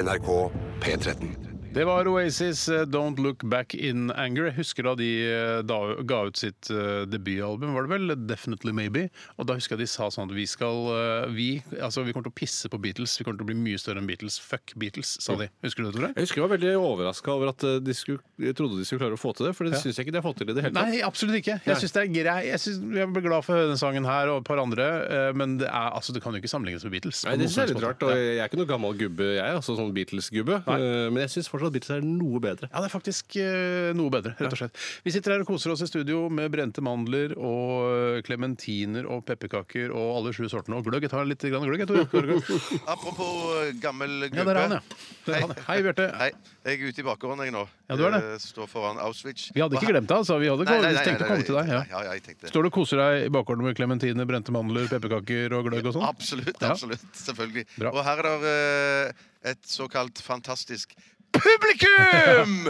S6: NRK P13.
S1: Det var Oasis' eh, 'Don't Look Back In Anger'. Jeg husker da de eh, da, ga ut sitt eh, debutalbum, var det vel? 'Definitely Maybe'. Og da husker jeg de sa sånn at vi skal eh, Vi, altså, vi kommer til å pisse på Beatles. Vi kommer til å bli mye større enn Beatles. Fuck Beatles, sa de. Husker du det, Tore?
S3: Jeg husker jeg var veldig overraska over at eh, de skulle, jeg trodde de skulle klare å få til det, for det synes syns jeg ikke de har fått til i det hele tatt.
S1: Nei, absolutt ikke. Jeg synes det er grei. Jeg, synes, jeg ble glad for å høre denne sangen her og et par andre, eh, men det, er, altså, det kan jo ikke sammenlignes med Beatles.
S3: Nei,
S1: på
S3: det
S1: noen
S3: synes jeg er
S1: som helst
S3: litt rart,
S1: måte.
S3: og Jeg er ikke noe gammel gubbe, jeg, altså sånn Beatles-gubbe. eh, Men jeg syns fortsatt Beatles er noe bedre.
S1: Ja, det er faktisk eh, noe bedre, rett og slett. Vi sitter her og koser oss i studio med brente mandler og eh, klementiner og pepperkaker og alle sju sortene. Og gløgg. Jeg tar litt grann gløgg, jeg, Tore. Tore Gløgg.
S2: Apropos eh, gammel
S1: Ja,
S2: gubbe.
S1: der er han, ja. Der er han, ja. Hei, Bjarte.
S2: Hei, jeg er ute i bakgården jeg nå.
S1: Ja, du er det.
S2: Eh, Står foran Auschwitz.
S1: Vi hadde ikke glemt deg, altså. Vi hadde
S2: Nei, nei, nei,
S1: tenkt
S2: nei,
S1: å komme
S2: nei,
S1: til deg.
S2: nei,
S1: Ja.
S2: ja, jeg tenkte
S1: Står du og koser deg i bakgården med klementiner, brente mandler, pepperkaker og gløgg og sånn?
S2: Absolutt,
S1: Ja.
S2: absolutt. Selvfølgelig.
S1: Bra.
S2: Og her er det eh, et såkalt fantastisk publikum!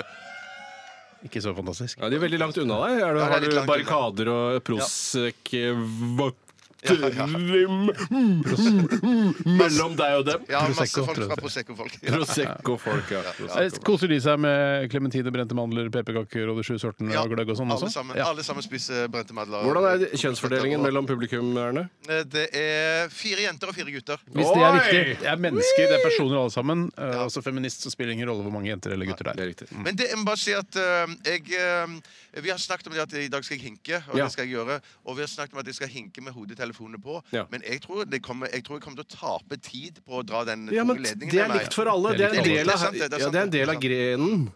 S1: Ikke så fantastisk.
S3: Ja, de er veldig langt unna deg. Er du,
S2: Ja, det er
S3: har
S2: litt
S3: du
S2: langt
S3: barrikader og Prosec
S2: Ja, ja. Mm.
S3: mellom deg og dem?
S2: Ja, masse
S1: Prosecco,
S2: folk
S1: tror jeg
S2: fra
S1: det
S2: Prosecco-folk. Ja.
S1: er.
S3: Prosecco-folk, ja.
S1: Eh,
S3: Prosecco-folk.
S1: Koser de seg med klementiner, brente mandler, pepperkaker og de sju sortene
S2: Ja,
S1: og gløgg og sånn også?
S2: alle sammen,
S1: Ja.
S2: alle sammen spiser brente madler.
S3: Hvordan er kjønnsfordelingen mellom publikummerne?
S2: Eh, Det er fire jenter og fire gutter.
S1: Hvis det er
S3: Oi!
S1: viktig. Det er mennesker, det er personer alle sammen. Eh, Også feminist, så spiller det ingen rolle hvor mange jenter eller gutter det er.
S3: Det er riktig.
S2: Men det, jeg må bare si at øhm, jeg, øhm, Vi har snakket om det at i dag skal jeg hinke, og
S3: Ja.
S2: det skal jeg gjøre. Og vi har snakket om at jeg skal hinke med hodetelefonene på.
S3: Ja.
S2: Men jeg tror, det kommer, jeg tror jeg kommer til å tape tid på å dra den
S3: Ja,
S2: tunge
S3: men
S2: ledningen.
S3: Det er
S2: med meg.
S3: likt for alle. Det er en
S2: likt.
S3: del
S2: Det er
S3: av,
S2: sant, det, det er
S3: ja,
S2: sant, Mm.
S3: det er en del av grenen.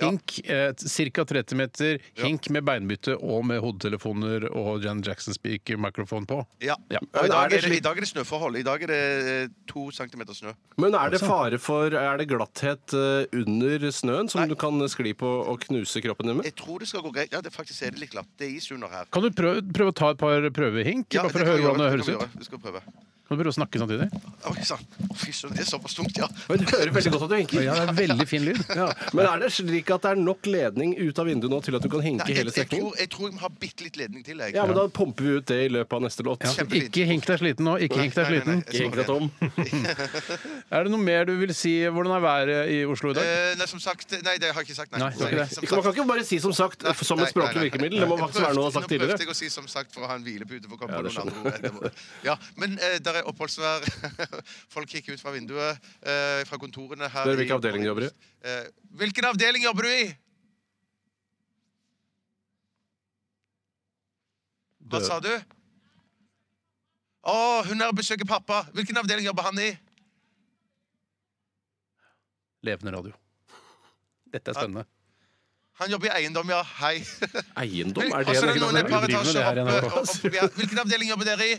S2: Ja.
S1: Hink, eh, ca. 30 meter. Hink med beinbytte og med hodetelefoner og Jan Jackson-speaker mikrofon på.
S2: Ja.
S1: Ja.
S2: Og i
S3: Er
S2: dag
S3: det
S2: er det,
S3: slik-
S2: i dag er det snøforhold. I dag er det eh, to centimeter snø.
S3: Men er det fare for Er det glatthet eh, under snøen som du kan skli på og knuse kroppen din med?
S2: Jeg tror det skal gå greit. Ja, det faktisk er det litt glatt. Det er is under her.
S1: Kan du prøve, prøve å ta et par prøvehink?
S2: Ja,
S1: bare for å
S2: kan
S1: høre
S2: vi gjøre.
S1: hvordan det høres
S2: kan vi
S1: ut?
S2: gjøre. Vi skal prøve.
S1: Kan du prøve å snakke samtidig?
S2: Oi sann. Å, Fy søren, det er såpass tungt, ja.
S3: Men Du hører veldig godt at du hinker.
S1: Ja, det er veldig fin lyd.
S3: Ja. Men er det slik at det er nok ledning ut av vinduet nå til at du kan hinke
S2: Nei, jeg,
S3: hele
S2: jeg,
S3: strekningen?
S2: tror, jeg tror jeg må ha bitte litt ledning til, jeg.
S3: Ja, men da pumper vi ut det i løpet av neste låt.
S2: Kjempefint.
S1: Ikke hink deg sliten nå. Ikke hink deg
S2: Nei, nei, nei,
S1: sliten.
S2: jeg skal det.
S3: Ikke om.
S1: Er det noe mer du vil si? Hvordan er været i Oslo i dag?
S2: Eh, nei, som sagt Nei, det har jeg ikke sagt. Nei,
S1: Nei, det var ikke det.
S2: som
S3: Ikke- Man kan
S2: sagt-
S3: ikke bare si som sagt som et
S2: Nei, nei, nei.
S3: språklig virkemiddel. Det må
S2: Jeg
S3: faktisk være noe å ha sagt
S2: prøvde- Nå prøvde
S3: tidligere.
S2: jeg å si som sagt for å ha en hvilepute for å komme
S3: Ja,
S2: på
S3: det
S2: noen andre ord etterpå. Ja, men eh, der er oppholdsvær. Folk kikker ut fra vinduet, eh, fra kontorene her.
S3: Dere, hvilken
S2: i-
S3: avdeling jobber du i?
S2: Eh, hvilken avdeling jobber du i? Hva sa du? Å, hun er og besøker pappa. Hvilken avdeling jobber han i?
S1: Levende radio. Dette er spennende.
S2: Han jobber i eiendom, ja. Hei.
S3: Eiendom? Er
S2: Og
S3: det
S2: så er altså, det
S3: en
S2: noen
S3: egen
S2: et par
S1: Udrivende, det
S2: etasjer
S1: her i
S2: oppe.
S1: NRK.
S2: oppe vi er- Hvilken avdeling jobber dere i?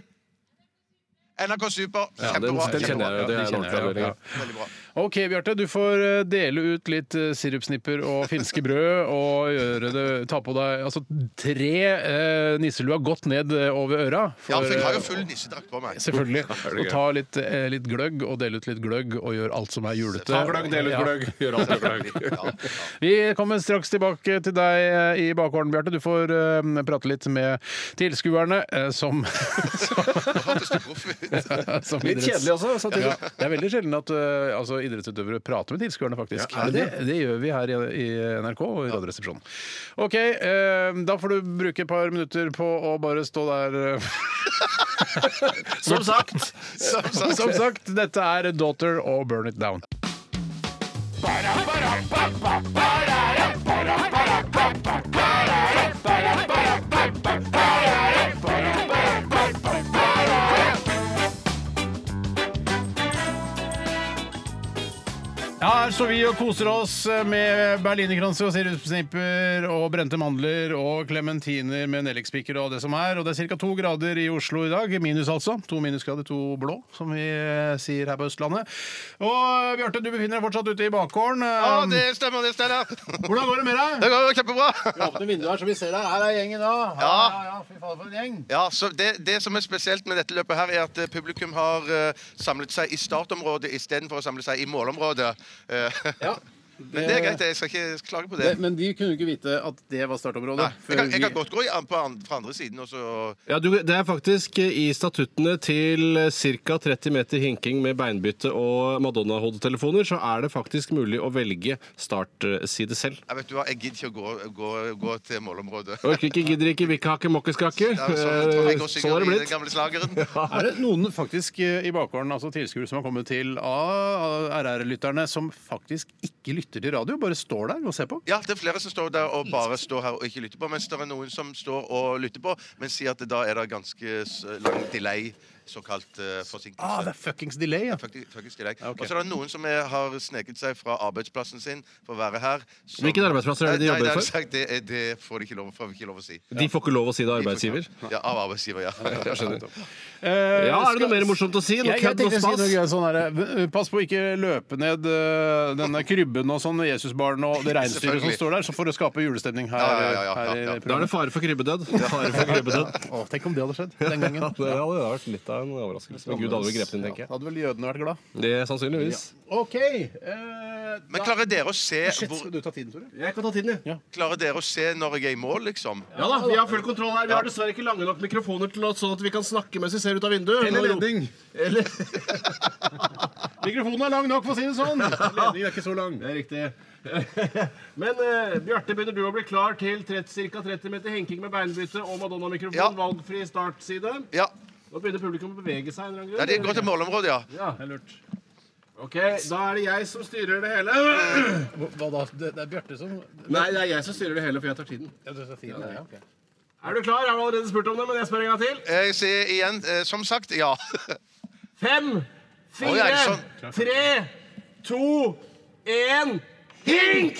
S2: NRK Super.
S3: Ja, den,
S2: Kjempebra.
S3: den kjenner jeg jo. Det
S1: Ja, den
S3: er en
S1: kjenner jeg
S3: ordentlig
S1: jo,
S3: avdeling.
S1: ja.
S3: ja.
S2: Veldig bra.
S1: OK, Bjarte. Du får eh, dele ut litt eh, sirupsnipper og finske brød og gjøre det Ta på deg altså tre eh, nisselua godt ned eh, over øra.
S2: Ja, for jeg har jo
S1: eh,
S2: full nissedrakt på meg.
S1: Selvfølgelig. Og ta litt, eh, litt gløgg, og dele ut litt gløgg, og gjør alt som er julete.
S3: Ta gløgg, del ut
S1: Ja.
S3: gløgg, gjør alt med gløgg.
S1: Vi kommer straks tilbake til deg eh, i bakgården, Bjarte. Du får eh, prate litt med tilskuerne eh, som,
S2: Nå hørtes du proff ut.
S1: som
S3: Litt
S1: idretts-
S3: kjedelig også, samtidig.
S1: Ja, det er veldig sjelden at eh, altså, idrettsutøvere prater med tilskuerne, faktisk.
S3: Ja, er
S1: Men
S3: det
S1: det, det gjør vi her i, i NRK og i Radioresepsjonen. OK, eh, da får du bruke et par minutter på å bare stå der eh,
S3: Som sagt!
S2: Som sagt.
S1: Som sagt, dette er Daughter og Burn It Down. Her står vi og koser oss med berlinerkranser og sirupsnipper og brente mandler og klementiner med nellikspiker og det som er. Og det er ca. to grader i Oslo i dag. Minus altså. To minusgrader, to blå, som vi eh, sier her på Østlandet. Og eh, Bjarte, du befinner deg fortsatt ute i bakgården.
S2: Ja,
S1: Eh,
S2: det stemmer, det stemmer. Det
S1: Hvordan går det med deg?
S2: går jo kjempebra.
S1: Åpne vinduet her, så vi ser deg. Her er gjengen, da.
S2: Ja.
S1: ja, fy faen for en gjeng.
S2: Ja, så det, det som er spesielt med dette løpet, her er at eh, publikum har eh, samlet seg i startområdet istedenfor å samle seg i målområdet. Eh, Men det er greit, jeg skal ikke klage på det.
S1: Men de kunne jo ikke vite at det var startområdet.
S2: Nei, jeg, kan, jeg kan
S1: før vi-
S2: godt gå i, an- på an, fra andre siden og så
S3: Ja, du, Det er faktisk i statuttene til ca. 30 meter hinking med beinbytte og Madonna-hodetelefoner, så er det faktisk mulig å velge startside selv.
S2: Jeg vet du hva, jeg gidder ikke å gå, gå, gå til målområdet.
S3: Orker ikke, gidder ikke, vil ikke hake mokkeskake.
S2: Det er sånn, jeg tror jeg går
S3: Eh, Sånn
S2: synger
S3: er det
S2: i den
S3: blitt.
S2: gamle slageren.
S1: Er det noen faktisk eh, i bakgården, altså tilskuere som har kommet til av av RR-lytterne, som faktisk ikke lytter til radio, bare står der og ser på?
S2: Ja, det er flere som står der og bare står her og ikke lytter på, mens det er noen som står og lytter på, men sier at da er det ganske s- lang delay, såkalt eh,
S1: Ah,
S2: forsinkelse.
S1: det er fuckings delay, ja.
S2: Faktisk- faktisk delay. Og så er det noen som er, har sneket seg fra arbeidsplassen sin for å være her. som-
S3: Hvilken arbeidsplass er det
S2: Nei,
S3: de jobber
S2: nei,
S3: for?
S2: Sagt, det, er- det får de ikke lov, får vi ikke lov å si.
S3: De får ikke lov å si det av arbeidsgiver.
S2: Ja, av arbeidsgiver, ja.
S3: Ja, er det noe mer morsomt å si? Noe
S1: Eh, Jeg, jeg
S3: kødd og
S1: tenkte å si noe
S3: stas?
S1: gøy, sånn her, Pass på å ikke løpe ned eh, denne krybben og sånn Jesusbarn og det reinsdyret som
S2: Selvfølgelig.
S1: står der, så for å skape julestemning her.
S2: Ja, ja, ja, ja,
S1: her i
S2: ja, ja.
S3: Da er det fare for krybbedød. Fare for krybbedød.
S1: Å, tenk om det hadde skjedd den gangen.
S3: Ja, det hadde vært litt av en overraskelse. Men Gud hadde vel grepet inn, tenker jeg.
S1: Hadde vel jødene vært glad.
S3: Det er Sannsynligvis.
S1: OK. eh,
S2: Men eh,
S1: da-
S2: klarer dere å se,
S1: Shit,
S2: hvor,
S1: skal du ta tiden, Tore?
S3: Jeg kan ta tiden, jeg.
S2: klarer dere å se når jeg er i mål, liksom?
S3: Ja da, vi har full kontroll her. Vi har dessverre ikke lange nok mikrofoner til at, sånn at vi kan snakke mens vi ser ut av vinduet.
S1: Eller
S3: Nå-
S1: ledning.
S3: Eller...
S1: Mikrofonen er lang nok, for å si det sånn. Ledningen er ikke så lang.
S3: Det er riktig. Men eh, Bjarte, begynner du å bli klar til ca. 30 meter henking med beinbytte og Madonna-mikrofon,
S2: Ja.
S3: valgfri startside?
S2: Ja.
S3: Nå begynner publikum å bevege seg. en eller annen grunn.
S2: ja det går til målområdet, ja.
S3: Ja, det er lurt. Ok, Da er det jeg som styrer det hele.
S1: Hva da? Det, det er Bjarte som
S3: Nei, det er jeg som styrer det hele, for jeg tar tiden.
S1: ja, du sa tiden, ja, ok.
S3: Er du klar? Jeg har allerede spurt om det, men jeg spør en gang til.
S2: Jeg sier igjen, eh, som sagt, ja.
S3: Fem,
S2: Å,
S3: fire,
S2: ja, ikke
S3: tre, to, én Hink!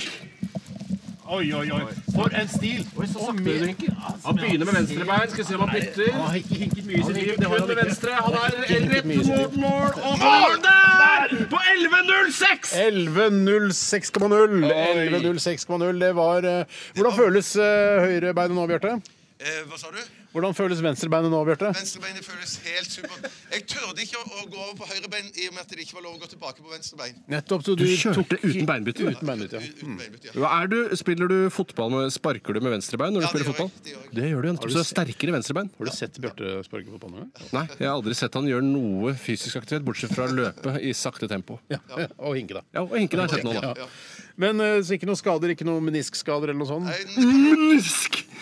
S1: Oi, oi, oi. For en stil!
S3: Oi, så sakte du hinker. Han begynner med venstrebein. Skal vi se om han bytter.
S1: Han har ikke hinket mye i sitt liv.
S3: Kun
S1: Det har han
S3: med
S1: ikke.
S3: venstre. Han er rett
S1: mye i sitt
S3: mot mål, og mål der! På 11.06!
S1: 11.06,0. 11.06,0, det var eh, Hvordan føles eh, høyrebeinet nå, Bjarte?
S2: Eh, hva sa du?
S1: Hvordan føles venstrebeinet nå, Bjarte?
S2: Venstrebeinet føles helt supert. Jeg turde ikke å, å gå over på høyrebein i og med at det ikke var lov å gå tilbake på venstrebein.
S1: Nettopp, så du, tok
S3: uten beinbytte.
S1: uten beinbytte. Ja.
S2: Uten beinbytte, ja.
S3: Er du, spiller du fotball med, Sparker du med venstrebein når du
S2: Ja, det
S3: spiller
S2: gjør jeg.
S3: fotball?
S2: Det gjør jeg.
S3: Det gjør du, ja. Så det er sterkere venstrebein?
S1: Har du sett Bjarte sparke fotball noen gang?
S3: Nei, jeg har aldri sett han gjøre noe fysisk aktivitet, bortsett fra å løpe i sakte tempo.
S1: Ja. ja. Og hinke, da.
S3: Ja, og Hinken har jeg sett nå, da.
S1: Men eh, så ikke noen skader? Ikke noen meniskskader eller noe sånt?
S2: Nei,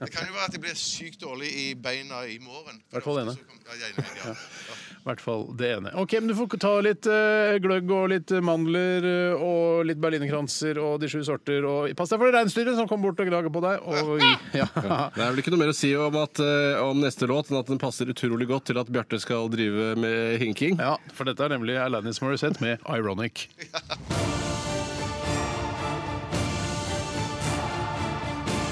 S2: Det kan jo være at jeg blir sykt dårlig i beina i morgen.
S1: hvert fall ene.
S2: Så kom- Ja, jeg er enig, ja.
S1: I hvert fall det ene. Ok, men Du får ta litt eh, gløgg og litt mandler eh, og litt berlinerkranser og de sju sorter. Og pass deg for det reinsdyret som kommer bort og gnager på deg. Og, ja.
S3: Det er vel ikke noe mer å si om, at, eh, om neste låt enn at den passer utrolig godt til at Bjarte skal drive med hinking.
S1: ja, for dette er nemlig Alanis Morissette med 'Ironic'.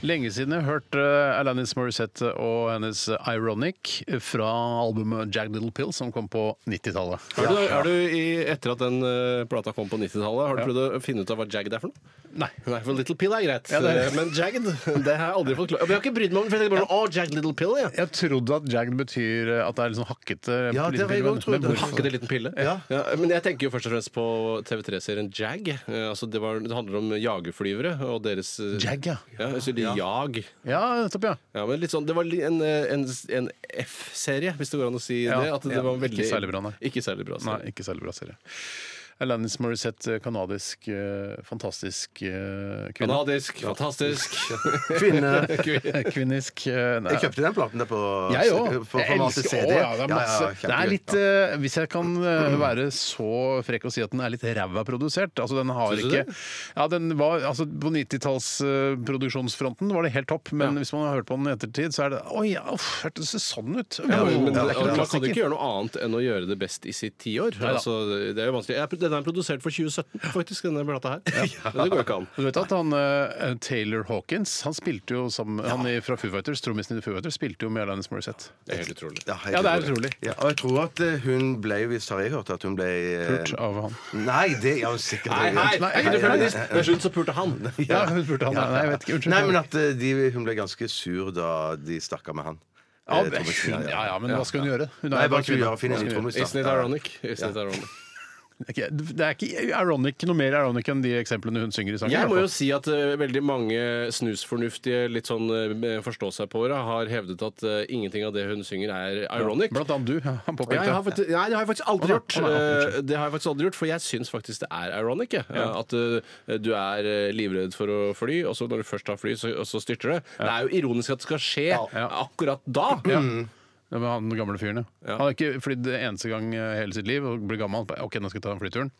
S1: Lenge siden jeg har hørt eh, Alanis Morissette og hennes 'Ironic' fra albumet 'Jagged Little Pill', som kom på 90-tallet.
S3: Har du, har du i, etter at den eh, plata kom på 90-tallet, har du prøvd å finne ut av hva jagged er for noe?
S1: Nei.
S3: Nei, for Little Pill er greit,
S1: Ja, det er-
S3: eh, men jagged det har jeg aldri fått klart. Jeg har ikke brydd meg om det, for jeg tenkte bare sånn, å, jagged little pill, ja.
S1: Jeg trodde at jagged betyr at det er litt sånn hakkete.
S4: Ja, det har jeg
S1: liten
S4: også
S1: pille, men-
S4: trodd.
S1: men hvorfor-
S3: Hakkete liten pille.
S4: Ja.
S3: men jeg tenker jo først og fremst på TV3-serien Jag. Eh, altså det, var, det handler om jagerflyvere og deres eh,
S1: Jag, ja.
S3: ja. Så de jag.
S1: Ja, nettopp, ja.
S3: Ja, men litt sånn, Det var li- en, eh, en, en F-serie, hvis det går an å si
S1: Ja,
S3: det. At det
S1: ja.
S3: var veldig,
S1: Ikke særlig bra, nei.
S3: Ikke særlig bra, så.
S1: Nei, ikke særlig bra serie. Alanis Morissette, kanadisk, eh, fantastisk eh, kvinne.
S3: Kanadisk, fantastisk.
S4: Kvinne.
S1: Kvinnisk eh, nei.
S4: Jeg kjøpte den platen der på
S1: Jeg òg.
S4: på formatet
S1: Å,
S4: CD.
S1: ja, det er masse. det er
S4: kjempegøy.
S1: litt, eh, hvis jeg kan eh, være så frekk å si at den er litt ræva produsert. Altså, den har
S3: Synes du
S1: ikke ja, den var, altså, På 90-tallsproduksjonsfronten var det helt topp, men hvis man har hørt på den i ettertid, så er det Oi, ja, uff, hørtes det sånn ut?
S3: Ja, men, men,
S1: Ja,
S3: og man kan jo
S1: klassiker.
S3: ikke gjøre noe annet enn å gjøre det best i sitt tiår.
S1: da.
S3: Altså, det er jo vanskelig. Jeg- Den er produsert for 2017, faktisk, denne plata her. Men det går jo ikke an.
S1: Du vet at han, eh, Taylor Hawkins han spilte jo sammen, han i- fra Foo Fighters, trommisen i Foo Fighters spilte jo med Alanis Morissette.
S3: Det er helt utrolig.
S4: Ja, helt
S1: Ja, det er utrolig.
S4: Ja, og jeg tror at eh, hun ble, hvis har jeg hørt, at hun ble eh,
S1: Pult av han.
S4: Nei, det er hun sikkert.
S3: Nei, nei,
S1: Nei,
S3: er ikke du
S1: nei,
S3: feminist? Til slutt så pulte han.
S1: Ja, hun spurte han. Nei, jeg vet ikke. Unnskyld.
S4: Nei, men at eh, de, hun ble ganske sur da de stakk av med han.
S1: ja,
S4: Eh,
S1: men-
S4: trommisen, ja, ja.
S1: ja, ja, men hva skal hun gjøre? Hun er
S4: Nei,
S1: jo
S4: bare skulle
S1: kvinne.
S4: gjøre finne en ny trommis, da.
S3: Isn't it ironic? Isn't it ironic?
S1: Ok, Det er ikke ironic, noe mer ironic enn de eksemplene hun synger i sangen. i hvert
S3: Jeg må
S1: fall.
S3: jo si at eh, veldig mange snusfornuftige, litt sånn eh, forstå-seg-på-åra, har hevdet at eh, ingenting av det hun synger, er ironic.
S1: Blant annet du. Han
S3: Og Jeg har
S1: påpekte.
S3: faktisk, nei, det har jeg faktisk
S1: Å, nei.
S3: aldri gjort.
S1: Å, nei, å,
S3: Eh, Det har jeg faktisk aldri gjort, For jeg syns faktisk det er ironic. jeg. At eh, du er eh, livredd for å fly, og så når du først tar fly, så, og så styrter det. Det er jo ironisk at det skal skje
S1: Ja.
S3: akkurat da.
S1: Det var han den gamle fyren, ja.
S3: Ja.
S1: Han har ikke flydd eneste gang eh, hele sitt liv og blir gammel. Bare, Ok, nå skal jeg ta den flyturen.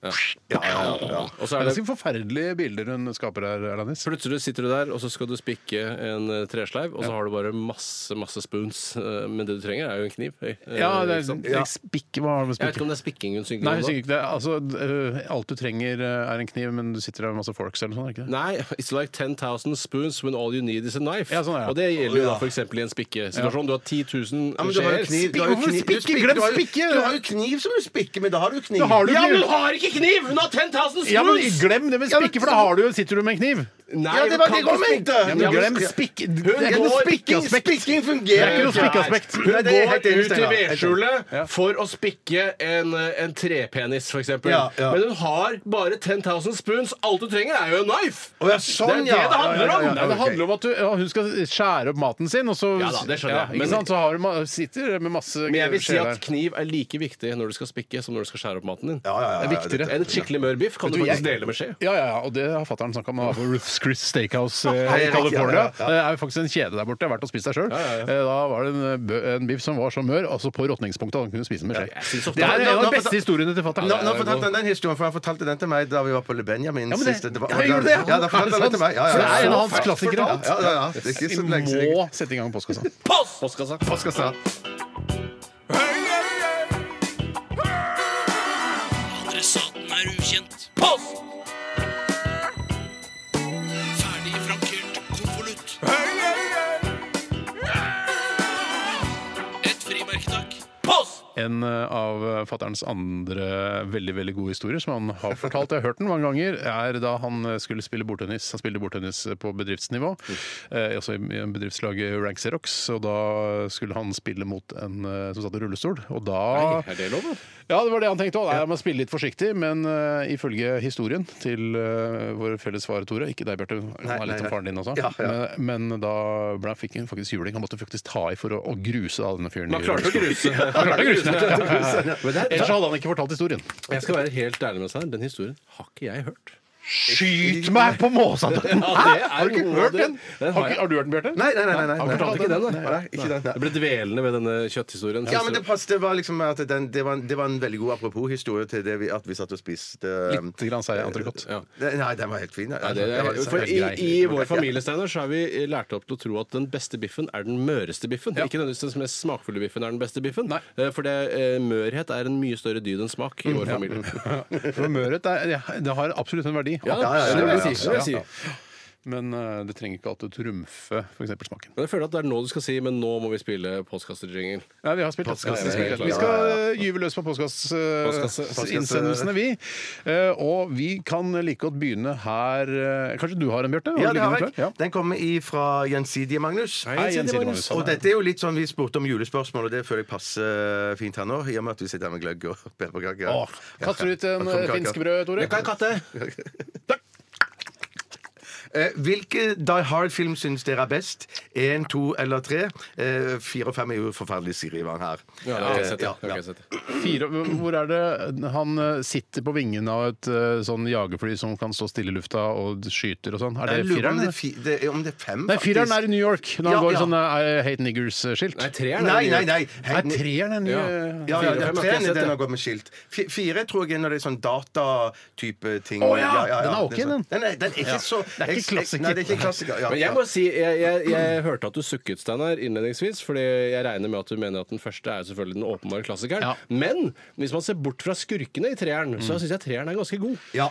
S3: Og så
S1: Det er
S3: er det
S1: ganske forferdelige bilder hun skaper her, Erlandis.
S3: Plutselig sitter du der, og så skal du spikke en eh, tresleiv, og så har du bare masse masse spoons. eh, Men det du trenger, er jo en kniv. eh,
S1: Ja, det er
S3: liksom.
S1: det er spikk... Hva har det med
S3: Jeg vet
S1: spikk
S3: ikke om det er spikking hun synger
S1: Nei,
S3: om.
S1: hun
S3: da.
S1: synger ikke det. Altså, øh, alt du trenger, øh, er en kniv, men du sitter der med masse forks eller noe sånt? er det ikke det?
S3: Nei, it's like 10,000 spoons when all you need is a knife.
S1: Ja, sånn er det.
S3: Og det gjelder jo da f.eks. i en spikkesituasjon. Du har 10 000
S4: Ja, men du
S3: skjeer.
S4: har jo kniv. Du har jo
S1: Hvorfor
S4: kniv-
S1: spikke?
S4: du spikker-
S1: Glem
S4: du har jo-
S1: spikke!
S4: Du har jo kniv som du spikker med. Da har du jo kniv.
S1: har du
S3: Ja, men
S1: kniv.
S3: hun har ikke kniv! Hun har 10,000 spoons!
S1: Ja, men Glem det med spikke, for da har du, jo- sitter du med en kniv!
S3: Nei,
S4: Ja, det var
S3: hun kan
S4: det hun
S3: ikke spikke.
S4: mente.
S1: Ja,
S4: Ja,
S1: men
S4: men
S1: glem
S4: skal-
S1: spikke... Det er ikke
S4: Hun
S1: noe
S4: går-
S1: spikkeaspekt!
S4: Spikking
S1: Det
S4: fungerer
S1: er ikke noe spikkeaspekt.
S3: Hun
S4: Nei, det er helt
S3: går ut
S4: enig,
S3: i
S4: Steinar. Helt enig.
S3: vedskjulet for å spikke en, en trepenis, f.eks.
S4: Ja, ja.
S3: Men hun har bare 10,000 spoons. Alt du trenger, er jo en knife!
S4: Å ja, sånn,
S3: det er det det
S4: ja.
S3: handler om!
S4: Ja, ja, ja,
S1: Nei, det handler om at du, ja, hun skal skjære opp maten sin, og så
S3: Ja da, det skjønner
S1: ikke
S3: jeg. Men-
S1: sant? Så har du, ma- sitter med masse
S3: Men jeg vil si
S1: skjeer
S3: at
S1: der.
S3: kniv er like viktig når du skal spikke, som når du skal skjære opp maten din.
S4: Ja, ja, ja, ja,
S3: det er viktigere.
S4: dette-
S3: En skikkelig mør biff kan du
S1: du, jeg-
S3: faktisk dele med skje.
S1: Ja, ja, ja, og det har fatter'n snakka om da han var på Ruth's Chris Steakhouse eh,
S4: Hei,
S1: i
S4: Erik,
S1: California.
S4: ja, ja, ja.
S1: Det er jo faktisk en kjede der borte. Jeg har vært og spist der sjøl. Da var det en, eh, bø- en biff som var så mør, altså på råtningspunktet, han kunne spise den med
S3: Ja, jeg synes
S1: skje.
S3: ofte-
S1: Det er en av
S4: Nå- nå-
S1: de beste historiene til
S4: Nå, nå
S1: fatter'n.
S4: fortalte han den historien, for han fortalte den til meg da vi var på Le Benjamin
S1: Ja, men det-
S4: sist. var-
S1: Ja, jeg gjorde det, ja.
S4: Ja, da fortalte han den til meg. Ja, ja,
S1: Så det er en av
S4: ja.
S1: hans klassikere.
S4: Ja, ja, ja, ja. Det er ikke
S1: Vi
S4: så lenge
S1: må sette i gang postkassa.
S3: Postkassa.
S4: siden.
S7: Adressaten er ukjent. Post! Ferdig frankert konvolutt. Et frimerke, takk. Post!
S1: En eh, av fatterns andre veldig veldig gode historier som han har fortalt, jeg har hørt den mange ganger, er da han eh, skulle spille bordtennis. Han spilte bordtennis på bedriftsnivå, eh, også i i bedriftslaget Rank Xerox. Og da skulle han spille mot en eh, som satt i rullestol, og da
S3: Er det lov, da?
S1: ja, det var det han tenkte òg. Jeg må spille litt forsiktig, men eh, ifølge historien til eh, vår felles far Tore Ikke deg, Bjarte. Han er
S4: nei,
S1: litt som
S4: nei.
S1: faren din også.
S4: Ja, ja.
S1: Men, men da ble han, fikk han faktisk juling. Han måtte faktisk ta i for å, å gruse da, denne fyren.
S3: Man
S1: i
S3: klarte å
S1: rullestolen.
S3: gruse.
S1: Han klarte å gruse den. Ja, ja, ja.
S3: Men det er-
S1: Ellers hadde han ikke fortalt historien.
S3: Jeg skal være helt ærlig med seg. Den historien har ikke jeg hørt.
S1: Skyt meg på måsatøtten!
S3: Ja,
S1: Hæ?
S3: det er
S1: Har du ikke
S3: noe av
S1: hørt
S3: det.
S1: den? Har,
S3: Den har jeg.
S1: ikke, har du hørt den, Bjarte?
S4: Nei, nei, nei. nei, nei,
S3: Han fortalte ikke den, nei.
S4: Nei, ikke den, nei.
S3: Det ble dvelende ved denne kjøtthistorien.
S4: Ja, men det, pass, det var liksom at den, det, var en, det var en veldig god apropos-historie til det vi, at vi satt og spiste eh,
S1: Litt grann sier jeg entrecôte.
S3: Ja.
S4: det- Nei, den var helt fin.
S3: Nei, det,
S4: Den var
S3: er,
S4: liksom
S3: for
S4: helt
S3: i,
S4: grei.
S3: I vår familie Steiner, så er vi lært opp til å tro at den beste biffen er den møreste biffen. Ikke nødvendigvis den mest smakfulle biffen er den beste biffen.
S1: Nei.
S3: Eh, For det, eh, mørhet er en mye større dyd enn smak i vår familie.
S1: For Mørhet er, det har absolutt en verdi.
S3: Ja,
S4: ja, ja,
S1: Absolutt.
S4: ja, ja, ja.
S3: Det vil jeg
S1: Men eh, det trenger ikke alltid å trumfe f.eks. smaken.
S3: Men jeg føler at det er nå du skal si, men nå må vi spille postkasterjingel.
S1: Nei, vi har spilt.
S4: Postkasse.
S1: Vi,
S3: Ja, ja, ja.
S1: vi skal eh, gyve løs på
S3: Postkasse.
S1: postkassinnsendelsene, vi. Eh, og vi kan like godt begynne her eh, Kanskje du har en, Bjarte?
S4: Ja, det har
S1: liggende
S4: jeg.
S1: klar? Ja.
S4: Den kommer ifra Gjensidige Magnus.
S1: Hei, Gjensidige Magnus.
S4: Og dette er jo litt sånn vi spurte om julespørsmål, og det føler jeg passer eh, fint her nå, i og med at vi sitter her med gløgg og pepperkaker.
S1: Å, kaster du ut en
S4: Ja,
S1: eh, finske brød, Tore?
S4: Eh, Hvilke Die Hard-film syns dere er best? Én, to eller tre? Eh, Fire og fem er jo forferdelig Sirivang her.
S3: Ja, det har jeg sett,
S4: Eh,
S3: ja.
S4: ja,
S3: Det har
S4: ja.
S3: jeg sett.
S1: Fire, hvor er det han eh, sitter på vingen av et eh, sånn jagerfly som kan stå stille i lufta og skyter og sånn? Er det
S4: Jeg lurer på
S1: fireren?
S4: om det er, fi det er, om det er fem,
S1: Nei, fireren er i New York, når han
S4: Ja,
S1: går
S4: ja.
S1: sånn eh, Hate Niggers-skilt.
S3: Nei, treeren er
S4: Nei,
S3: den nye.
S4: nei, nei.
S1: Nei, treeren er ny. eh,
S3: Ja.
S4: Ja,
S3: Fire
S4: ja,
S3: og fem
S4: ja,
S3: har ikke jeg
S4: treeren er
S3: sett,
S4: den
S3: ja.
S4: har gått med skilt. Fi- Fire tror jeg er når det er sånn datatype ting.
S1: Å, ja, den er ok,
S4: sånn-
S1: den.
S4: Den er, den er ikke så
S1: er ikke
S4: jeg- jeg-
S1: klassiker.
S4: Nei, det er ikke klassiker. Ja,
S3: Men jeg
S4: ja.
S3: må si, jeg, jeg, jeg hørte at du sukket, Steinar, innledningsvis. Fordi jeg regner med at du mener at den første er selvfølgelig den åpenbare klassikeren.
S1: Ja.
S3: Men hvis man ser bort fra skurkene i treeren, så syns jeg treeren er ganske god.
S4: Ja.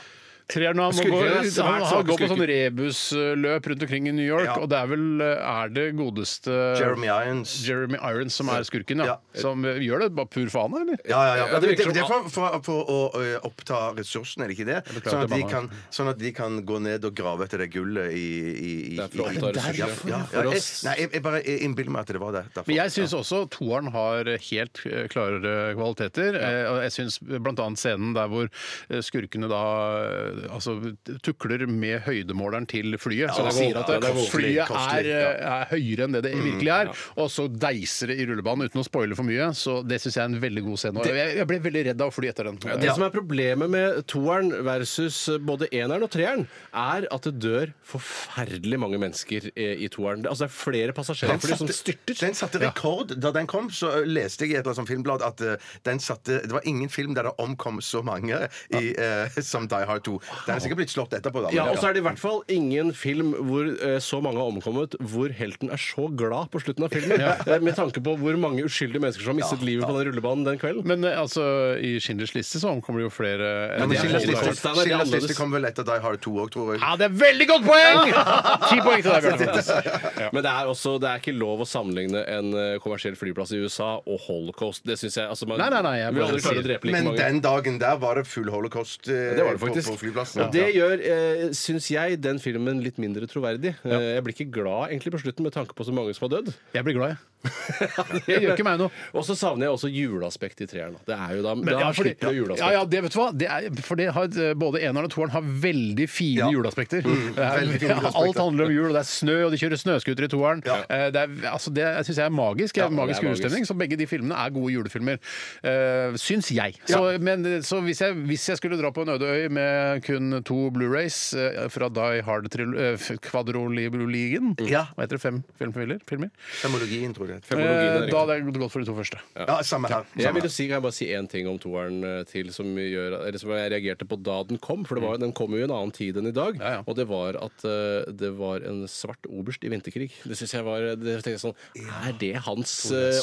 S1: Treeren han må gå,
S3: Skurker er svært
S1: han,
S3: svake
S1: han går på
S3: skurker.
S1: sånn rebusløp rundt omkring i New York,
S4: Ja.
S1: og det er vel eh, er det godeste
S4: Jeremy Irons.
S1: Jeremy Irons som er skurken, ja.
S4: Ja.
S1: Som eh, gjør det bare pur faen, eller?
S4: Ja, ja, ja.
S3: Ja, det
S4: det,
S3: virker
S4: det, det er
S3: som-
S4: for, for, for å ø, oppta ressursene, er det ikke det?
S1: beklager,
S4: Sånn at,
S1: det
S4: de
S1: banna.
S4: kan, sånn at de kan gå ned og grave etter det gullet i, i, i
S3: Det er for å
S4: i-
S3: oppta
S4: Ja, ja,
S3: ressursene.
S4: ja.
S3: For
S4: Jeg,
S3: oss.
S4: nei, jeg, jeg bare jeg innbiller meg at det var det. derfor.
S1: Men jeg syns også toeren har helt eh, klare kvaliteter. Eh, og Jeg syns bl.a. scenen der hvor eh, skurkene da eh, altså, tukler med høydemåleren til flyet. så det går
S3: det er god.
S1: at det,
S3: Ja, det er god.
S1: flyet
S4: Kostelig,
S1: er, eh, er høyere enn det det virkelig er. Og så deiser det i rullebanen uten å spoile for mye. Så det syns jeg er en veldig god scene. Og jeg, jeg ble veldig redd av å fly etter den.
S3: Det som er problemet med toeren versus både eneren og treeren, er at det dør forferdelig mange mennesker i i toeren. Altså, det er flere
S4: Den
S3: passasjerfly som
S4: satte,
S3: styrter.
S4: den satte rekord. Da den kom, så ø, leste jeg i et eller annet sånt filmblad at ø, den satte, det var ingen film der det omkom så mange i, ø, som Die Hard 2. Den er sikkert blitt slått etterpå, da. men-
S3: Ja, Og så er det i hvert fall ingen film hvor eh, så mange har omkommet, hvor helten er så glad på slutten av filmen. Eh, Med tanke på hvor mange uskyldige mennesker som har mistet livet på den rullebanen den kvelden.
S1: Men eh, altså, i Schindlers liste så omkommer det jo flere
S4: Ja,
S1: enn
S4: men
S1: de
S4: Schindlers
S1: som-
S3: Hollywood.
S4: liste,
S3: Steiner, det er
S4: Schindlers
S3: annerledes.
S4: liste kom vel etter Die Hard 2 òg, tror jeg.
S1: Ja, det er veldig godt poeng! Ti poeng til deg, Bjarte. Paas.
S3: Men det er også, det er ikke lov å sammenligne en eh, kommersiell flyplass i USA og holocaust. Det synes jeg, altså man,
S1: Nei, nei, nei, jeg
S3: Vi vil
S1: bare
S3: aldri klare å
S1: sier-
S3: drepe like
S4: Men
S3: mange.
S4: den dagen der var det full holocaust ø,
S3: Det var det
S4: på,
S3: faktisk.
S4: på flyplassen.
S3: Og det gjør, eh, syns jeg, den filmen litt mindre troverdig. Eh, jeg blir ikke glad egentlig på slutten med tanke på så mange som har dødd.
S1: Jeg blir glad, jeg. Det gjør ikke meg noe.
S3: Og så savner jeg også juleaspektet i treeren. da. Det er jo da,
S1: Men,
S3: da
S1: ja, fordi,
S3: slipper du juleaspektet.
S1: ja, ja, det vet du hva? Det er, for det har, eh, både eneren og toeren har veldig fine
S4: Ja.
S1: juleaspekter. Det er-
S4: veldig fine juleaspekter.
S1: Alt handler om jul, og det er snø, og de kjører snøscooter i toeren. Eh, Det, er- altså, det syns jeg er magisk. Det er
S3: Ja, det er
S1: magisk
S3: magisk.
S1: julestemning. Så begge de filmene er gode julefilmer. Uh, syns jeg. Så, men, så hvis, jeg, hvis jeg skulle dra på en øde øy med kun to Blu-rays eh, fra Die Hard uh, Kvadroliboligen
S4: Ja.
S1: Hva heter det? Fem filmfiller? filmer?
S4: Femologien, tror jeg. det heter.
S1: Eh, da
S3: Femologien er
S1: hadde jeg gått for de to første.
S4: Ja, samme her.
S3: Jeg
S4: Samme
S3: vil jo
S4: her.
S3: si, kan jeg bare si én ting om toeren eh, til som, gjør, eller som jeg reagerte på da den kom. For det var, den kom jo i en annen tid enn i dag.
S1: Mm. Ja, ja.
S3: Og det var at eh, det var en svart oberst i vinterkrig. Det synes jeg var det tenkte jeg sånn, Er det hans eh,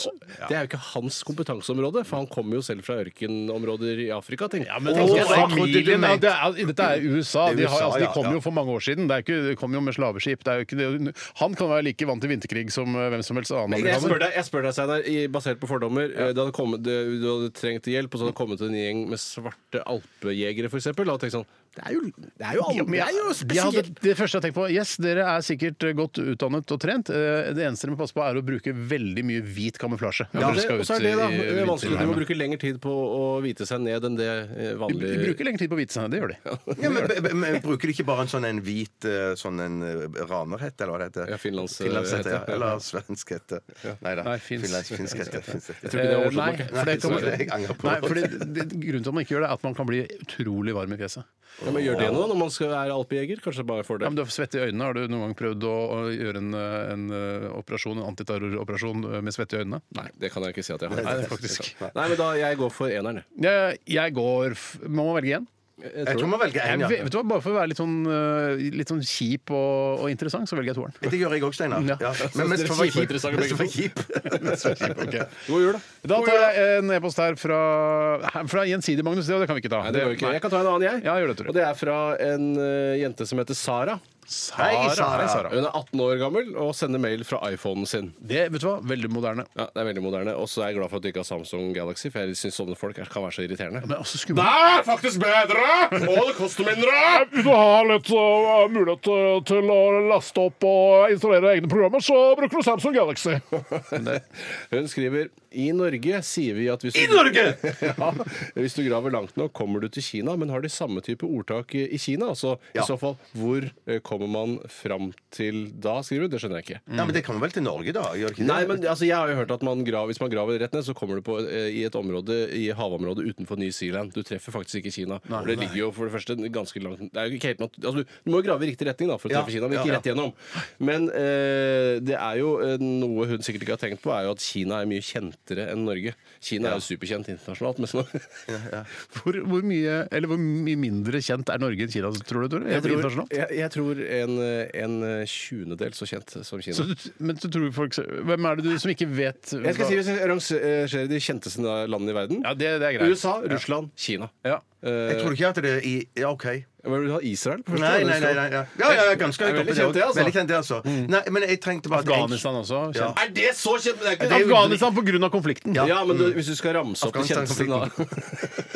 S3: Det er jo ikke hans kompetanseområde, for han kommer jo selv fra ørkenområder i Afrika. Tenk.
S1: Ja, men
S3: Og
S1: tenk,
S4: Åh,
S1: jeg,
S4: jeg trodde du
S1: familien, ja,
S4: mente-
S1: det er, Dette er USA.
S4: Det er
S1: De, har,
S4: USA,
S1: altså, de
S4: ja,
S1: kom
S4: ja.
S1: jo for mange år siden. Det er ikke, de kom jo med slaveskip. Det er jo ikke, det, han kan være like vant til vinterkrig som eh, hvem som helst annen.
S3: Jeg
S1: amerikaner.
S3: spør deg, jeg spør deg Steinar, i- basert på fordommer. eh, Det hadde kommet, det, du hadde trengt hjelp, og så hadde det kommet en gjeng med svarte alpejegere, f.eks. Og tenkt sånn Det er jo, det er jo,
S1: Ja, men
S3: al- det er
S1: jeg-
S3: jo
S1: de hadde-
S3: spesielt.
S1: Det første jeg tenkte på Yes, dere er sikkert eh, godt utdannet og trent. Eh, Det eneste dere må passe på, er å bruke veldig mye hvit kamuflasje. når
S3: Ja,
S1: dere
S3: det,
S1: skal
S3: og så
S1: ut
S3: er det da,
S1: i
S3: det er vanskelig. De må
S1: vinterheimen.
S3: bruke lengre tid på å hvite seg ned enn det eh,
S1: De
S3: vanlige
S1: bruker lengre tid på å vite seg, det gjør de.
S3: Ja,
S4: Ja, men, men, men Bruker de ikke bare en sånn en hvit eh, sånn en eh, ranerhette, eller hva det heter?
S3: Ja, finlands- eh,
S4: Finlandshette, ja.
S3: hette, ja.
S4: Eller svensk hette. Nei da.
S1: Nei, finsk.
S4: Finlands- Finsk hette. Finsk hette.
S3: tror ikke det er
S1: Eh,
S3: overslått
S1: Nei,
S3: nok.
S1: for det kommer,
S4: Sorry, jeg angrer på
S1: nei,
S4: det.
S1: fordi det, grunnen til at man ikke gjør det, er at man kan bli utrolig varm i fjeset.
S3: Ja, men gjør det nå når man skal være alpejeger? Kanskje det bare er
S1: Ja, men
S3: fordel?
S1: du har svette i øynene. Har du noen gang prøvd å, å gjøre en, eh, en eh, operasjon, en antiterroroperasjon eh, med svette i øynene?
S3: Nei, det kan jeg ikke si at jeg har.
S1: Nei, det er faktisk.
S3: Nei, men da, Jeg går for eneren. jeg.
S1: Jeg, jeg går f Må man velge én?
S4: Jeg tror man velger
S1: Jeg
S4: en,
S1: vet,
S4: ja.
S1: vet du hva, Bare for å være litt sånn, eh, litt sånn kjip og, og interessant, så velger jeg toeren.
S4: Det gjør jeg òg, Steinar.
S1: Ja.
S4: Ja. Men mens
S3: Dere
S4: for å være
S3: kjipe
S4: kjip-
S3: interessante begge
S4: mens
S3: Mm.
S4: for å være kjip
S3: God jul, da.
S1: Da tar jeg en e-post her fra, her- fra Gjensidig Magnus. Det, det kan vi ikke ta.
S3: Nei, det går jo ikke. Jeg kan ta en annen, jeg.
S1: Ja, gjør det, Tore.
S3: Og det er fra en eh, jente som heter Sara.
S1: Sara.
S4: Hei, Sara.
S1: Hei, Sara.
S3: Hun er 18 år gammel og sender mail fra iPhonen sin.
S1: Det, vet du hva, veldig moderne.
S3: Ja, Det er veldig moderne. Og så er jeg glad for at du ikke har Samsung Galaxy, for jeg syns sånne folk er- kan være så irriterende.
S1: Men også skummelt.
S3: er faktisk bedre! Og det koster mindre!
S1: Hvis du har litt uh, mulighet uh, til å laste opp og installere egne programmer, så bruker du Samsung Galaxy.
S3: Hun skriver I Norge sier vi at hvis du, I Norge! ja, hvis du graver langt nok, kommer du til Kina, men har de samme type ordtak i i Kina? Altså,
S4: Ja.
S3: I så fall, hvor eh, kommer man fram til da, skriver hun? Det skjønner jeg ikke.
S4: Ja, men det kommer vel til Norge, da? Gjør det ikke det?
S3: Nei, men altså, jeg har jo hørt at man graver, hvis man graver rett ned, så kommer du på, eh, i et område i havområdet utenfor New Zealand. Du treffer faktisk ikke Kina. For det ligger jo for det første ganske langt det er jo ikke helt, natt- altså, du, du må jo grave i riktig retning da, for å
S4: Ja,
S3: treffe Kina, men
S4: ja,
S3: ikke
S4: ja.
S3: rett gjennom. Men eh, det er jo eh, noe hun sikkert ikke har tenkt på, er jo at Kina er mye kjentere enn Norge. Kina er jo superkjent internasjonalt. Men sånn- så,
S1: Hvor, hvor, mye, eller hvor mye mindre kjent er Norge enn Kina, tror du? Tore?
S3: jeg, tror,
S1: Internasjonalt?
S3: jeg, jeg tror en, en eh, tjuendedel så kjent som Kina.
S1: Så, du- men så tror du folk, hvem er det du som ikke vet
S3: jeg skal si hvis jeg rangerer de kjenteste landene i verden.
S1: Ja, det, det er greit.
S3: USA, Russland, Kina.
S1: Ja.
S4: Jeg tror ikke at det er i Ja, OK.
S3: Hva vil du ha? Israel? på første?
S4: Nei, nei, nei. nei ja. Ja, ja, ja, ganske
S3: Det er
S4: høyt
S3: veldig
S4: oppe.
S3: kjent, det,
S4: også.
S3: altså.
S4: Veldig kjent, det, altså. Nei, men jeg tenkte bare at jeg-
S1: Afghanistan også.
S4: Ja.
S1: kjent.
S3: Er det så kjent? Men det er ikke
S4: Det er jo-
S1: Afghanistan pga. konflikten.
S3: Ja, men du, hvis du skal ramse opp de kjenteste da.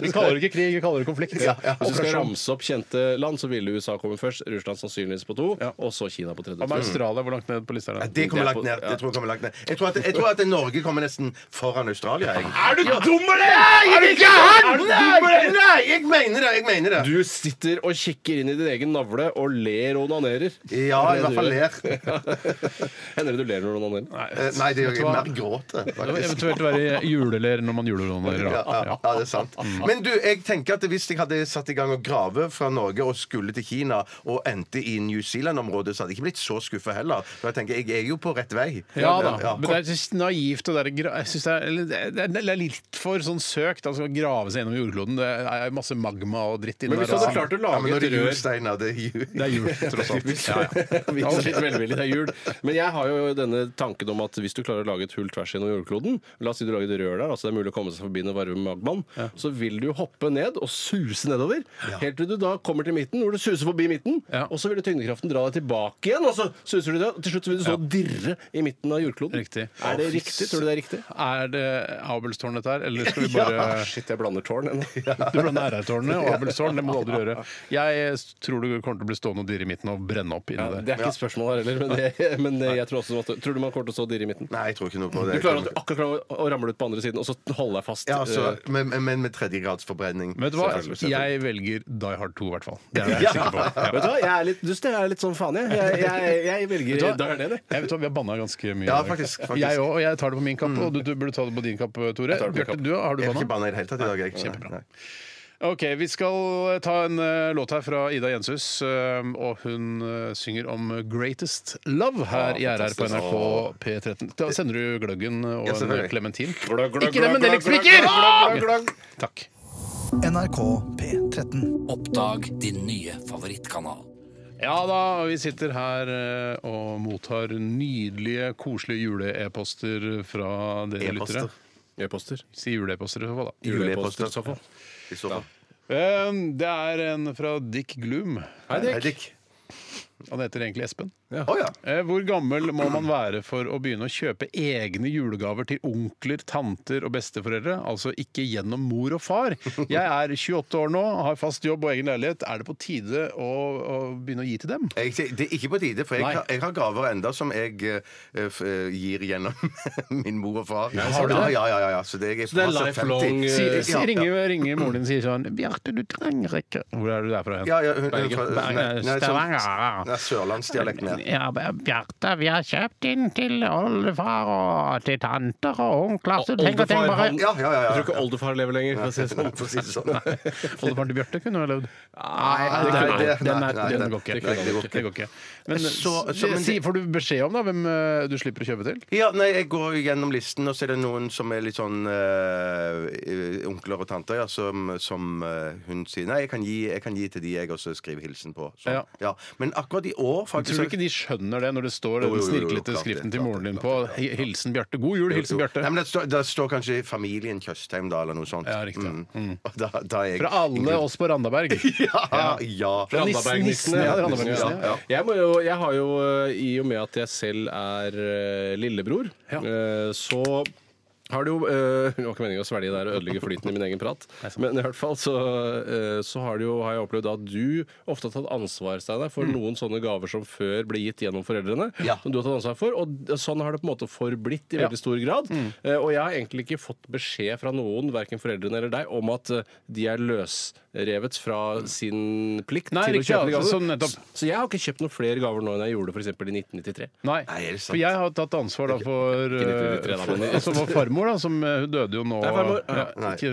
S1: Vi kaller det ikke krig, vi kaller det konflikt.
S3: Hvis du skal ramse opp kjente land, så ville USA komme først, Russland sannsynligvis på to, og så Kina på
S1: Hva
S3: tredje.
S1: med Australia? Hvor langt ned på lista er
S4: Ja,
S1: det?
S4: Det
S3: Det
S4: kommer
S3: er
S4: langt
S3: på-
S4: ned. Det tror jeg kommer langt ned. Jeg tror at, jeg tror at Norge kommer nesten foran Australia. Jeg.
S3: Er du dum, eller?!
S4: Er du gæren?! Nei, nei, jeg mener det! Jeg mener det.
S3: Du sitter og kikker inn i din egen navle og ler og onanerer.
S4: Ja, i hvert fall ler.
S3: Hender det du ler når du onanerer?
S4: Eh, Nei, det gjør
S1: Vet du
S4: jeg
S1: hva?
S4: mer gråter.
S1: Det var
S4: faktisk.
S1: Eventuelt være juleler når man juleronerer.
S4: Ja,
S1: da.
S4: ja, ja, det er sant. Men du, jeg tenker at hvis jeg hadde satt i gang å grave fra Norge og skulle til Kina og endte i New Zealand-området, så hadde jeg ikke blitt så skuffa heller. For jeg tenker, jeg er jo på rett vei.
S1: Ja da. Men det er så naivt og det er, gra- jeg synes det, er, eller det, er, det er litt for sånn søkt. Altså å grave seg gjennom jordkloden. Det er masse magma og dritt inni
S3: Men hvis du
S1: der,
S3: hadde
S1: altså.
S3: klart å
S4: Ja, men
S3: lage
S4: når
S3: et
S4: det er jul,
S3: rør
S4: Steinar, det er jul.
S1: Det er jul, tross alt. Ja, ja.
S3: Vis oss litt velvillig, det er jul. Men jeg har jo denne tanken om at hvis du klarer å lage et hull tvers gjennom jordkloden La oss si du lager et rør der, altså det er mulig å komme seg forbi den varme magmaen. Så vil du hoppe ned og suse nedover, helt til du da kommer til midten, hvor du suser forbi midten.
S1: Ja.
S3: Og så vil tyngdekraften dra deg tilbake igjen, og så suser du deg. Til slutt så vil du stå og dirre i midten av jordkloden.
S1: Riktig.
S3: Er det riktig? Tror du det er riktig?
S1: Er det Abelstårn dette her, eller skal vi bare
S3: Ah, shit, jeg blander tårn ennå.
S1: Du blander RR-tårnet og Abelstårn, det må du aldri gjøre. Jeg tror du kommer til å bli stående og dirre i midten og brenne opp inni
S3: Ja, det
S1: der.
S3: er ikke et spørsmål her heller, men, det, men eh, jeg tror også at Tror du man kommer til å stå og dirre i midten?
S4: Nei, jeg tror ikke noe på
S3: Du
S4: det.
S3: klarer at du akkurat klarer å- å ramle ut på andre siden, og så holde deg fast.
S4: ja, altså,
S3: eh,
S4: men, men med tredjegradsforbrenning.
S1: Men Vet du hva,
S4: Selvfølgelig, selvfølgelig.
S1: jeg velger Die Hard 2 i hvert fall. Det er jeg sikker på. Ja.
S3: Vet du hva, jeg er litt, du, jeg er litt sånn faen, jeg. Jeg, jeg, jeg velger
S1: Vet du hva?
S3: Da er det det.
S1: Jeg vet hva, Vi har banna ganske mye.
S4: Ja,
S1: i dag.
S4: faktisk, faktisk.
S1: Jeg òg, og jeg tar det på min kapp. Og du, du burde ta det på din kapp, eh, Tore.
S3: tar det på min
S1: Bjarte,
S3: kapp.
S1: du, har du
S4: Jeg har ikke
S1: banna?
S4: banna i det hele tatt i dag. Jeg. Kjempebra.
S1: Ok, Vi skal ta en eh, låt her fra Ida Jenshus. eh, og hun eh, synger om 'Greatest Love'
S4: Ah,
S1: her i RR på NRK P13. Da sender du gløggen og
S4: Ja,
S1: en
S4: selvfølgelig.
S1: klementin.
S3: gløgg, gløgg,
S1: Ikke det, men
S3: gløgg,
S1: det spriker!
S3: gløgg, gløgg, gløgg.
S1: Ja, Takk.
S5: NRK P13.
S7: Oppdag din nye favorittkanal.
S1: Ja da, og vi sitter her eh, og mottar nydelige, koselige jule-e-poster fra dere
S4: E-poster.
S1: lyttere. Si jule-e-poster i så fall, da.
S4: Juleposter.
S3: Juleposter, i så fall.
S4: I så fall.
S1: Eh, Det er Ehm, en fra Dick Gloom.
S3: Hei,
S4: Hei,
S3: Dick.
S4: Dick.
S1: Han heter egentlig Espen.
S4: Å ja.
S1: Eh, Hvor gammel må man være for å begynne å kjøpe egne julegaver til onkler, tanter og besteforeldre? Altså ikke gjennom mor og far. Jeg er 28 år nå, har fast jobb og egen leilighet. Er det på tide å, å begynne å gi til dem?
S4: Jeg, sier- det er ikke på tide, for jeg,
S1: Nei.
S4: har- jeg har gaver enda som jeg eh, f, eh, gir gjennom min mor og far. Ja,
S1: har du
S4: ja,
S1: det?
S4: ja, ja, ja. Så det er,
S3: Så det er lifelong, eh,
S1: Si, si,
S4: ja, ja.
S1: ringer, ringer moren din og sier sånn 'Bjarte, du trenger ikke' Hvor er du der fra? hen?
S4: Ja, ja, hun, hun,
S3: Bergen.
S4: fra-
S1: Bergen,
S4: nei, nei,
S1: Stavanger.
S4: sånn- nei, Sørlandsdialekten. ja.
S1: Ja, Bjarte, vi har kjøpt inn til oldefar og til tanter og onkler, så tenk og tenk
S3: Oldefar,
S1: bare
S3: han-
S4: Ja, ja, ja, ja.
S3: Jeg tror ikke oldefar lever lenger. For å si det sånn. Ah,
S4: For å si det sånn.
S1: Oldefaren til Bjarte kunne jo ha levd.
S4: det
S1: den
S4: kunne-
S1: er- den
S4: nei,
S1: er-
S4: nei,
S1: den
S4: nei,
S1: går ikke.
S4: det kunne-
S1: Det går ikke. Det går ikke. Men
S4: Så- så-
S1: det-
S4: men-
S1: si, får du beskjed om da hvem eh, du slipper å kjøpe til?
S4: Ja, nei, Jeg går gjennom listen, og så er det noen som er litt sånn eh, onkler og tanter ja, som, som eh, hun sier Nei, jeg kan gi, jeg kan gi til de jeg også skriver hilsen på. Sånn.
S1: Ja.
S4: Ja. Men akkurat i år, faktisk
S1: Tror du ikke de skjønner det når det står
S4: Jo, jo,
S1: den
S4: jo, jo,
S1: snirklete
S4: klart det,
S1: skriften til
S4: klart
S1: moren
S4: det,
S1: din på
S4: klart det, klart det.
S1: 'Hilsen Bjarte'? God jul, hilsen
S4: Nei,
S1: Bjarte.
S4: men det står, det står kanskje familien Tjøstheim, da, eller noe sånt. Mm.
S1: Ja, riktig, ja.
S4: Og Da, da er jeg
S1: Fra alle oss på Randaberg.
S4: Ja, ja.
S1: Fra Nissen,
S3: Randaberg-nissen,
S1: ja,
S3: ja.
S1: Randaberg-nissen,
S3: Ja, ja. Jeg, må jo, jeg har jo, eh, i og med at jeg selv er eh, lillebror,
S1: Ja.
S3: eh, så har det jo eh, Det var ikke meningen å svelge der og ødelegge flyten i min egen prat, men i hvert fall så, eh, så har, det jo, har jeg opplevd at du ofte har tatt ansvar Steinar, for
S1: Mm.
S3: noen sånne gaver som før ble gitt gjennom foreldrene.
S4: Ja.
S3: Som du har tatt ansvar for, og sånn har det på en måte forblitt i
S1: Ja. Mm.
S3: veldig stor grad. Eh, Og jeg har egentlig ikke fått beskjed fra noen, verken foreldrene eller deg, om at eh, de er løsrevet fra sin plikt
S1: Nei,
S3: til
S1: riktig,
S3: å kjøpe de
S1: altså,
S3: gavene.
S1: sånn nettopp.
S3: så jeg har ikke kjøpt noen flere gaver nå enn jeg gjorde for eksempel i 1993.
S1: Nei,
S4: Nei, er det sant?
S1: for jeg har tatt ansvar da for
S3: Ikke 1993 da, men-
S1: eh, Som var farmor, da, som eh, hun døde jo nå
S3: Det er farmor, ja.
S1: Ja,
S4: Nei,
S1: Ikke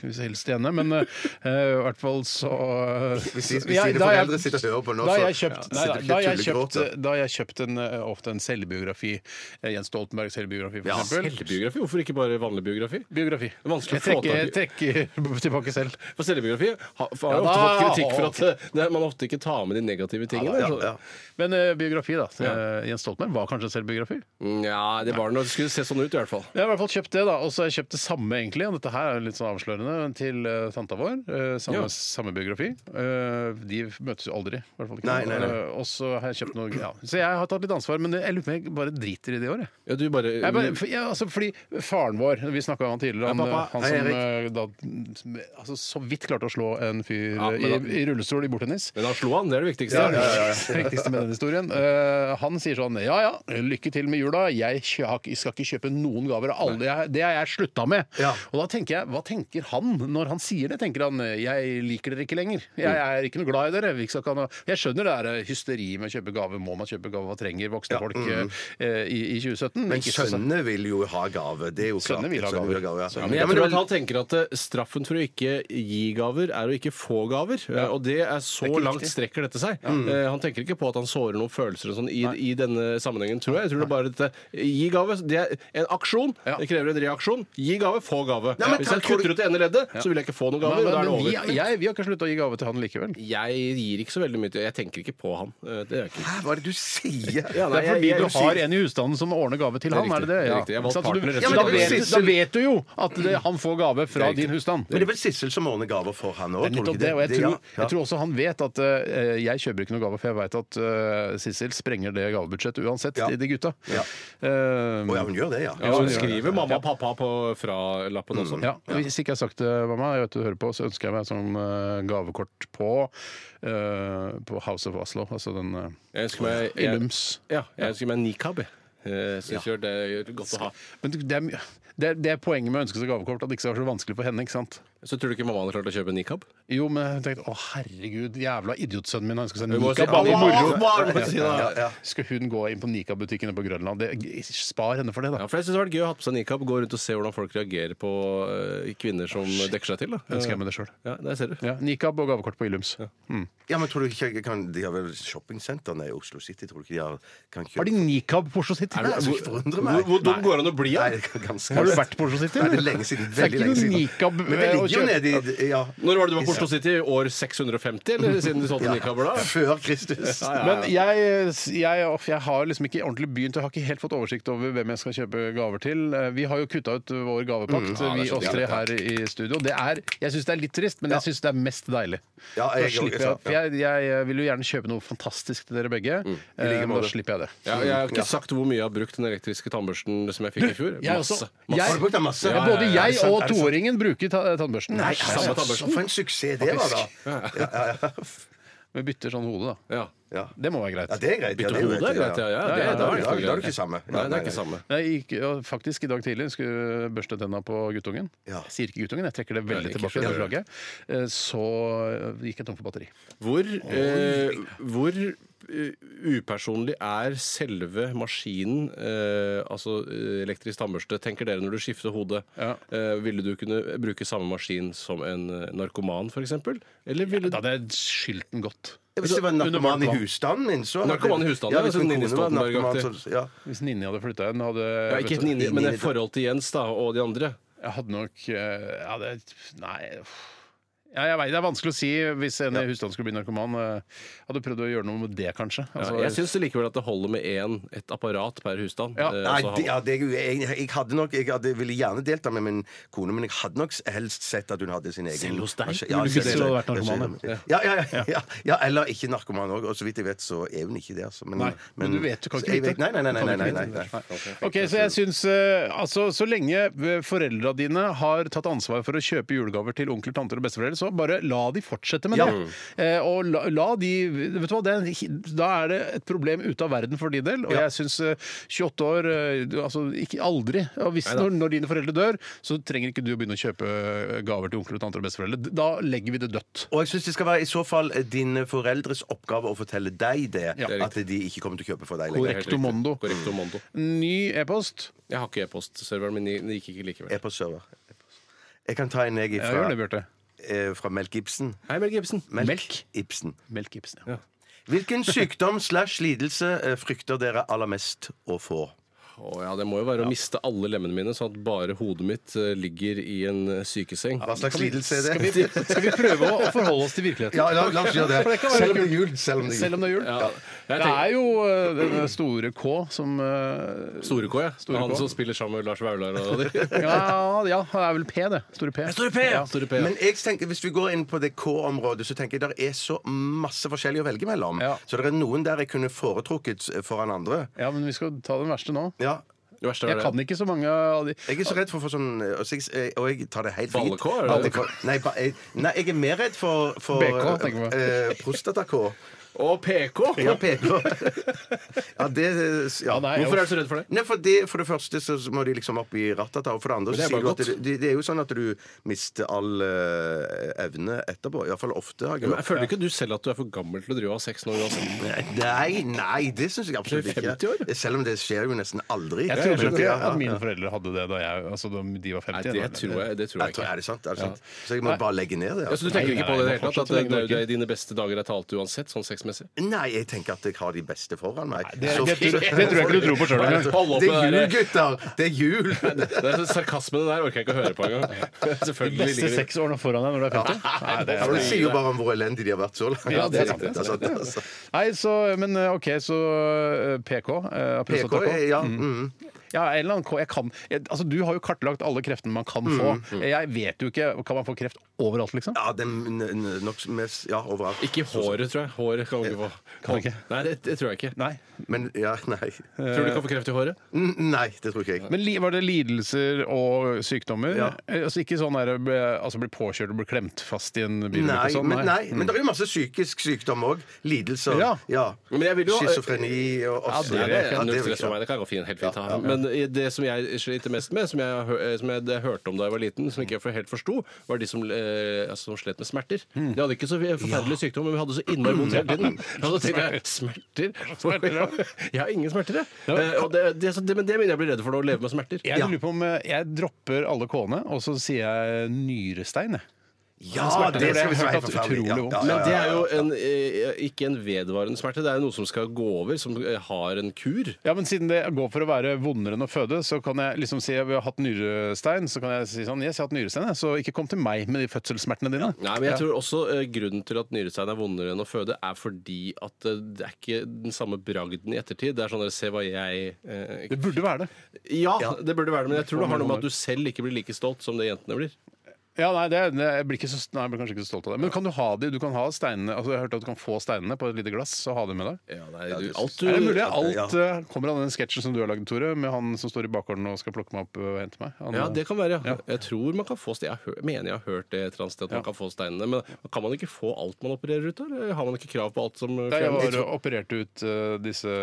S1: helst helst igjen, men eh, i hvert fall så eh,
S4: Hvis de- hvis
S1: Ja,
S4: dine
S1: da har jeg-
S4: foreldre sitter og hører på nå,
S1: da har
S4: så-
S1: jeg kjøpt,
S4: ja,
S1: nei,
S4: sitter
S1: da,
S4: ikke
S1: da har jeg
S4: tullegråt,
S1: kjøpt, da har jeg kjøpt en, eh, ofte en selvbiografi. eh, Jens Stoltenbergs selvbiografi, for
S4: Ja,
S1: eksempel.
S3: Selvbiografi? Hvorfor ikke bare vanlig biografi?
S1: Biografi.
S3: er vanskelig
S1: Jeg
S3: å få
S1: trekker, jeg trekker tilbake selv.
S3: For selvbiografi har, har
S1: Ja,
S3: jo ofte fått
S1: da-
S3: kritikk for at eh, det, man ofte ikke tar med de negative tingene.
S4: Ja,
S3: så-
S4: ja.
S1: Men eh, biografi, da. Eh, Jens Stoltenberg var kanskje en selvbiografi?
S3: Nja, Mm, det var noe, det skulle se sånn ut i hvert fall.
S1: Jeg har i hvert fall kjøpt det, da. Og så har jeg kjøpt det samme, egentlig. og Dette her er litt sånn avslørende til eh, tanta vår. eh, samme,
S3: Ja.
S1: samme biografi. Eh, de møtes jo aldri. i hvert fall ikke.
S4: Nei, nei, nei.
S1: Eh, og så har jeg kjøpt noe ja. Så jeg har tatt litt ansvar, men jeg lurer på om jeg bare driter i det i år, jeg.
S3: Ja, du bare,
S1: Jeg bare, for, ja, altså, fordi faren vår, vi snakka om han tidligere, han, eh,
S4: Ja, pappa.
S1: han
S4: Hei,
S1: som
S4: Erik.
S1: eh, da, altså, så vidt klarte å slå en fyr eh,
S3: Ja, men
S1: i,
S3: da-
S1: i rullestol i bordtennis.
S3: Men da slo han, det er det viktigste.
S1: Det er det viktigste med den historien. Eh, han sier sånn Ja ja, lykke til med jula. Jeg kjø- har ikke- skal ikke kjøpe noen gaver. Alle, jeg, det har jeg slutta med.
S4: Ja.
S1: Og da tenker jeg, hva tenker han når han sier det? Tenker han jeg liker dere ikke lenger. Jeg
S3: Mm.
S1: er ikke noe glad i dere. Vi skal ikke ha noe Jeg skjønner det er hysteri med å kjøpe gave. Må man kjøpe gave? Hva trenger voksne folk
S3: Mm.
S1: eh, i, i 2017?
S4: Men
S1: Ikke så-
S4: sønnene vil jo ha gave. Det er jo klart.
S1: Sønnene vil ha
S4: Sønnene
S1: gaver.
S4: ja.
S3: Ja, men jeg tror at han tenker at eh, straffen for å ikke gi gaver, er å ikke få gaver. Eh, Og det er så langt strekker dette seg. Eh, Han tenker ikke på at han sårer noen følelser og sånn i, i denne sammenhengen, tror jeg. Jeg tror det er bare dette Gi gave. Det er en aksjon.
S1: Ja.
S3: Det krever en reaksjon. Gi gave, få gave.
S4: Nei, men
S3: Hvis
S4: takk
S3: jeg kutter ut det ene leddet, så vil jeg ikke få noen gaver.
S1: Nei,
S3: og
S1: men,
S3: da er det
S1: men vi,
S3: over.
S1: jeg, vi har ikke slutta å gi gave til han likevel.
S3: Jeg gir ikke så veldig mye til Jeg tenker ikke på han. Eh, Det gjør jeg ikke.
S4: Hæ, hva er det du sier?
S3: Ja, nei,
S1: det er fordi
S3: jeg- jeg-
S1: du har en i husstanden som ordner gave til
S3: Det er
S1: han, er det det?
S3: riktig, det er
S1: Ja.
S3: riktig. Jeg valgte
S1: Så du-
S3: partner, rett og
S1: ja, men
S3: slett.
S1: da, vet,
S4: Sissel-
S1: da vet du jo at det, han får gave fra din husstand.
S4: Men det er vel Sissel som ordner gaver for han òg?
S1: Det er nettopp det, og jeg tror, jeg tror også han vet at eh, jeg kjøper ikke noe gave, for jeg vet at eh, Sissel sprenger det gavebudsjettet uansett,
S4: Ja.
S1: til de gutta.
S4: Ja.
S1: Eh,
S4: Å ja, hun gjør det, ja.
S3: Ja,
S1: Ja,
S3: så
S1: det gjør jeg.
S3: skriver mamma og pappa på fra-lappen også.
S1: ja, Hvis ikke jeg har sagt det, mamma, jeg vet du hører på, så ønsker jeg meg sånn eh, gavekort på, eh, på House of Oslo, altså den eh,
S3: Jeg ønsker meg jeg,
S1: Illums.
S3: ja, jeg ønsker meg nikab. jeg. Eh, Syns jeg det er godt å ha.
S1: Men det er, mye- det, er, det er poenget med å ønske seg gavekort, at det ikke skal være så vanskelig for henne. ikke sant?
S3: Så tror du ikke mamma hadde klart å kjøpe nikab?
S1: Jo, men jeg tenkte å herregud, jævla idiotsønnen min han ønsker seg
S3: Vi må si-
S1: nikab. Han
S3: Ja,
S1: er moro.
S3: mamma, må si det.
S1: Skal hun gå inn på nikab-butikkene på Grønland? Det, spar henne for det,
S3: Ja,
S1: da.
S3: for jeg synes det hadde vært gøy å ha på seg nikab, gå rundt og se hvordan folk reagerer på eh, kvinner som dekker seg til. Da.
S1: Ønsker jeg meg det sjøl.
S3: Ja, der ser du.
S1: Ja, nikab og gavekort på Illums.
S4: Ja, men tror du ikke jeg kan, De har vel shoppingsentrene i Oslo City? Tror du ikke de har kan kjøpe
S1: Har de nikab på Oslo City?
S4: Nei, altså, ikke forundre
S3: Hvor,
S4: meg.
S3: hvor dum går det an å bli?
S4: Nei,
S3: da?
S4: det er ganske
S1: Har du vært på Oslo City?
S4: Nei,
S1: eller?
S4: det er lenge siden.
S1: Det er
S4: Veldig
S1: ikke
S4: lenge
S1: noe
S4: siden.
S1: nikab eh,
S4: Men det er Jo, nedi Ja.
S3: Når var det du var på Oslo City? År 650, eller siden du solgte nikabler da?
S4: Før Kristus.
S3: Ja, ja, ja.
S1: Men jeg, jeg, off, jeg har liksom ikke ordentlig begynt. Jeg har ikke helt fått oversikt over hvem jeg skal kjøpe gaver til. Eh, Vi har jo kutta ut vår
S4: Mm,
S1: gavepakt, vi oss tre her i studio. Det er, jeg syns det er litt trist, men jeg syns det er mest deilig.
S4: Ja, Mm,
S1: Da
S4: jeg-
S1: slipper jeg, for jeg, jeg vil jo gjerne kjøpe noe fantastisk til dere begge. eh, men da slipper jeg det.
S3: Ja, jeg har ikke sagt hvor mye jeg har brukt den elektriske tannbørsten som jeg fikk i fjor.
S1: Jeg
S3: Masse.
S1: også. Jeg-
S4: Har du brukt den masse?
S1: Ja,
S4: Ja,
S1: både
S4: ja, ja. Er det
S1: jeg
S4: sant?
S1: og
S4: Er det sant?
S1: toåringen bruker ta tannbørsten. Nei,
S3: samme tannbørsten.
S4: For en suksess det var, da. Ja, ja, ja.
S1: Vi bytter sånn hode, da.
S3: Ja.
S4: ja.
S1: Det må være greit.
S4: ja det er greit. ja,
S3: Bytte
S4: det er
S3: hode er
S4: greit,
S3: greit, ja. ja,
S1: Ja, ja,
S3: det, da er
S4: da er
S3: det
S4: det
S3: greit.
S4: ikke samme.
S3: Nei, det er ikke samme.
S1: Jeg gikk, ja, faktisk I dag tidlig skulle jeg børste tenna på guttungen.
S4: Ja.
S1: Jeg sier ikke guttungen, jeg trekker det veldig
S3: Nei, ikke
S1: tilbake.
S3: gjør
S1: det forslaget. Eh, Så eh, gikk jeg tom for batteri.
S3: Hvor, eh, hvor eh, upersonlig er selve maskinen, eh, altså eh, elektrisk tannbørste, tenker dere når du skifter hode?
S1: Ja.
S3: Eh, ville du kunne bruke samme maskin som en eh, narkoman, f.eks.? Eller ville
S1: Da hadde jeg skylt den godt.
S4: Hvis det var en
S1: Under
S4: narkoman i
S1: vann.
S4: husstanden min, så
S3: Narkoman i husstanden,
S4: ja.
S3: ja,
S4: Hvis
S3: sånn
S4: en kone
S3: Nini
S4: var narkoman,
S3: Stoltenberg-aktig.
S4: så ja.
S1: Hvis Ninni hadde flytta inn, hadde
S3: ja, Ikke et ninja, men
S4: Ninja.
S3: forhold til Jens da, og de andre.
S1: Jeg hadde nok eh, jeg hadde, Nei uff. ja, jeg vet, Det er vanskelig å si hvis en i husstanden skulle bli narkoman. eh, Hadde prøvd å gjøre noe med det, kanskje.
S3: Ja,
S1: Altså,
S3: jeg syns likevel at det holder med én, et apparat per husstand.
S1: Ja.
S3: Eh,
S4: Nei,
S3: så
S4: det,
S3: han-
S4: ja, det, er jo- jeg, jeg hadde nok Jeg hadde, ville gjerne delta med min kone, men jeg hadde nok helst sett at hun hadde sin egen
S3: Selv hos deg?
S4: Ja,
S1: Ville du ikke
S4: selv-
S1: selv hadde vært narkoman,
S4: ja. Ja, ja, ja, ja, ja, eller ikke narkoman òg. Og så vidt jeg vet, så er hun ikke det. Altså. Men,
S1: Nei, men du vet, du kan
S4: så
S1: ikke
S4: jeg
S1: vite.
S4: vet- Nei, nei, nei. nei,
S1: Du
S4: nei,
S1: kan
S4: nei,
S1: ikke
S4: nei,
S1: vite.
S4: nei.
S1: Ok, Så jeg syns eh, altså, så lenge eh, foreldra dine har tatt ansvar for å kjøpe julegaver til onkler, tanter og besteforeldre, så bare la de fortsette med det. Eh, og la, la de Vet du hva, det, er en hi- da er det et problem ute av verden for din del. Og jeg syns eh, 28 år eh, du- Altså ikke aldri. Og hvis når, når dine foreldre dør, så trenger ikke du å begynne å kjøpe eh, gaver til onkler, tanter og besteforeldre. Da legger vi det dødt.
S4: Og jeg syns det skal være i så fall dine foreldres oppgave å fortelle deg det.
S1: Ja.
S4: At de ikke kommer til å kjøpe for deg
S3: Det er
S4: lenger.
S3: helt
S1: Correcto
S3: riktig.
S1: mondo.
S3: Correcto mondo.
S1: Ny e-post.
S3: Jeg har ikke e-postserveren min, det gikk ikke likevel.
S4: Jeg er på server. Jeg kan ta en jeg
S1: Ja, gjør det,
S4: fra,
S1: Bjarte.
S4: eh, fra Melk Ibsen.
S3: Hei, Mel Gibson.
S1: Melk?
S4: Ibsen.
S1: Melk Ibsen. Ja.
S4: Hvilken sykdom slash lidelse eh, frykter dere aller mest å få?
S3: Å ja, det må jo være å miste alle lemmene mine, sånn at bare hodet mitt eh, ligger i en eh, sykeseng.
S4: Hva slags lidelse Altså, er det?
S1: Skal vi prøve å å forholde oss til virkeligheten?
S4: Ja, la, la oss gjøre
S1: For
S4: det.
S1: det kan være
S4: Selv om det
S1: kult.
S4: er jul. Selv om det er
S1: Selv
S4: jul.
S1: om det er jul.
S3: Ja. Jeg
S1: Det
S3: tenker,
S1: er jo eh, denne store K som eh,
S3: Store K, ja.
S1: Store
S3: han
S1: K.
S3: som spiller sammen med Lars Vaular og de.
S1: ja, ja, det er vel P, det. Store P.
S3: Ja, Store P, ja.
S4: Men jeg tenker, hvis vi går inn på det K-området, så tenker jeg det er så masse forskjellig å velge mellom.
S1: Ja.
S4: Så det er noen der jeg kunne foretrukket s- foran andre.
S1: Ja, men vi skal ta den verste nå.
S4: Ja.
S3: Det verste
S1: Jeg
S3: var
S1: kan
S3: det.
S1: ikke så mange av de
S4: Jeg er så redd for å få sånn Og så jeg, og jeg tar det helt fint.
S3: Ballekår, er det?
S4: Ballekår. Nei, ba, jeg, nei, jeg er mer redd for, for
S1: BK, tenker jeg på.
S4: eh, prostata-K.
S3: Og PK!
S4: Ja, PK. Ja, det ja.
S1: Ja, nei,
S3: Hvorfor er du så redd for det?
S4: Nei, for, det, for det første så må de liksom opp i rattet, og for det andre
S3: det er
S4: så sier du
S3: bare
S4: at det, det, det er jo sånn at du mister all eh, evne etterpå. Iallfall ofte. har jeg
S3: Men jeg
S4: hørt.
S3: føler ikke du selv at du er for gammel til å drive av sex nå uansett?
S4: Nei, nei, det syns jeg absolutt
S3: Du er
S4: ikke.
S3: 50 år.
S4: Selv om det skjer jo nesten aldri.
S1: Jeg trodde ikke
S4: Ja, ja,
S1: at
S4: ja.
S1: mine foreldre hadde det da jeg, altså, da de var
S3: Nei,
S1: 50.
S3: det tror jeg, det tror
S4: Jeg
S3: jeg
S4: tror,
S3: ikke.
S4: er det sant? Er det sant? Så jeg må bare legge ned det?
S3: Ja, så
S4: Altså.
S3: du tenker
S1: Nei,
S3: ikke på det i det
S1: nei,
S3: hele tatt? At
S1: fortsatt
S3: det
S1: lenge
S3: det er jo
S1: Norge.
S3: det dine beste dager er talt uansett, sånn sexmessig?
S4: Nei, jeg tenker at jeg har de beste foran meg.
S1: det,
S4: Så-
S1: det, tror- det tror jeg ikke du tror på sjøl
S3: Nei,
S1: engang.
S3: hold opp
S4: Det
S3: med
S4: er
S3: det
S4: jul,
S3: der.
S4: gutter! Det er jul!
S3: Det er så- Sarkasmen der orker jeg ikke å høre på engang.
S1: De
S3: Selvfølgelig
S1: beste
S3: ligger det-
S1: seks årene foran deg når du er 50. Nei, det
S4: Ja, men det sier jo bare om hvor elendig de har vært så langt.
S1: Ja, det er sant, det er
S4: Det er sant, altså.
S1: Nei, så, men eh, OK, så eh, PK. eh,
S4: PK,
S1: prostata-K.
S4: er- ja. Mm.
S1: Ja, en eller annen K. Jeg kan, jeg, altså, du har jo kartlagt alle kreftene man kan få. Jeg vet jo ikke Kan man få kreft overalt, liksom?
S4: Mm, Ja, det er nok mest Ja, overalt.
S3: Ikke i håret, tror jeg. Håret kan du ikke få.
S1: Kan du ikke?
S3: Nei, det, det tror jeg ikke.
S1: Nei. eh,
S4: Men ja, nei.
S3: Tror du du kan få kreft i håret?
S4: N- Nei, det tror ikke jeg.
S1: Men li, var det lidelser og sykdommer? Eh, Altså Ikke sånn der, ble, altså, bli påkjørt og bli klemt fast i en bilulykke?
S4: Nei,
S1: sånn,
S4: men, nei, men det er jo masse psykisk sykdom òg. Lidelser.
S1: Ja.
S3: Men jeg vil jo-
S4: Schizofreni og også,
S3: Ja,
S1: det
S3: det,
S1: er-
S4: ja,
S3: kan
S4: det
S3: null
S4: vil
S3: stress
S4: jeg-
S3: for meg. Det kan jeg gå fint, helt fint ha. Men i det som jeg sliter mest med, som jeg, har hø- eh, som jeg det jeg hørte om da jeg var liten, som ikke jeg helt forsto, var de som, eh, altså, som slet med smerter. De hadde ikke så forferdelig sykdom, men vi hadde så innmari vondt hele tiden. Og så tenkte jeg smerter? Jeg har ingen smerter, jeg. Eh, Og det, det, så det, men det begynner jeg å bli redd for nå, å leve med smerter.
S1: Jeg lurer på om eh, jeg dropper alle K-ene, og så sier jeg nyrestein. jeg.
S4: Ja,
S1: Smerte,
S4: det
S1: det
S4: skal
S1: har
S4: vi
S1: jeg
S4: sveife
S1: hørt at
S4: forferdelig.
S1: utrolig
S4: Ja,
S1: vondt.
S4: ja, ja,
S3: Men det
S4: ja,
S3: er
S4: ja.
S3: jo en, eh, ikke en vedvarende smerte, det er jo noe som skal gå over, som eh, har en kur.
S1: Ja, men Siden det går for å være vondere enn å føde, så kan jeg liksom si at vi har hatt nyrestein. Så kan jeg si sånn Yes, jeg har hatt nyrestein, jeg, så ikke kom til meg med de fødselssmertene dine.
S3: Nei, men jeg tror også eh, grunnen til at nyrestein er vondere enn å føde, er fordi at eh, det er ikke den samme bragden i ettertid. Det er sånn der, se hva jeg eh,
S1: Det burde være det.
S3: ja, det burde være det, men jeg tror det har noe med at du selv ikke blir like stolt som det jentene blir.
S1: Ja, nei, det, det, jeg, blir ikke så, nei, jeg blir kanskje ikke så stolt av det. Men kan du ha de? Du kan ha steinene altså, Jeg hørte at du kan få steinene på et lite glass og ha dem med deg.
S3: Ja, nei, du, alt
S1: Er det mulig?
S3: du
S1: Alt eh, kommer av den sketsjen som du har lagd, Tore, med han som står i bakgården og skal plukke meg opp eh, og hente meg. Han,
S3: ja, det kan være. Ja.
S1: Ja.
S3: Jeg tror man kan få stein. Jeg hø- mener jeg har hørt det et eller annet sted at man
S1: Ja.
S3: kan få steinene. Men kan man ikke få alt man opererer ut av? eller Har man ikke krav på alt som
S1: Da jeg var
S3: fjernes?
S1: operert ut eh, disse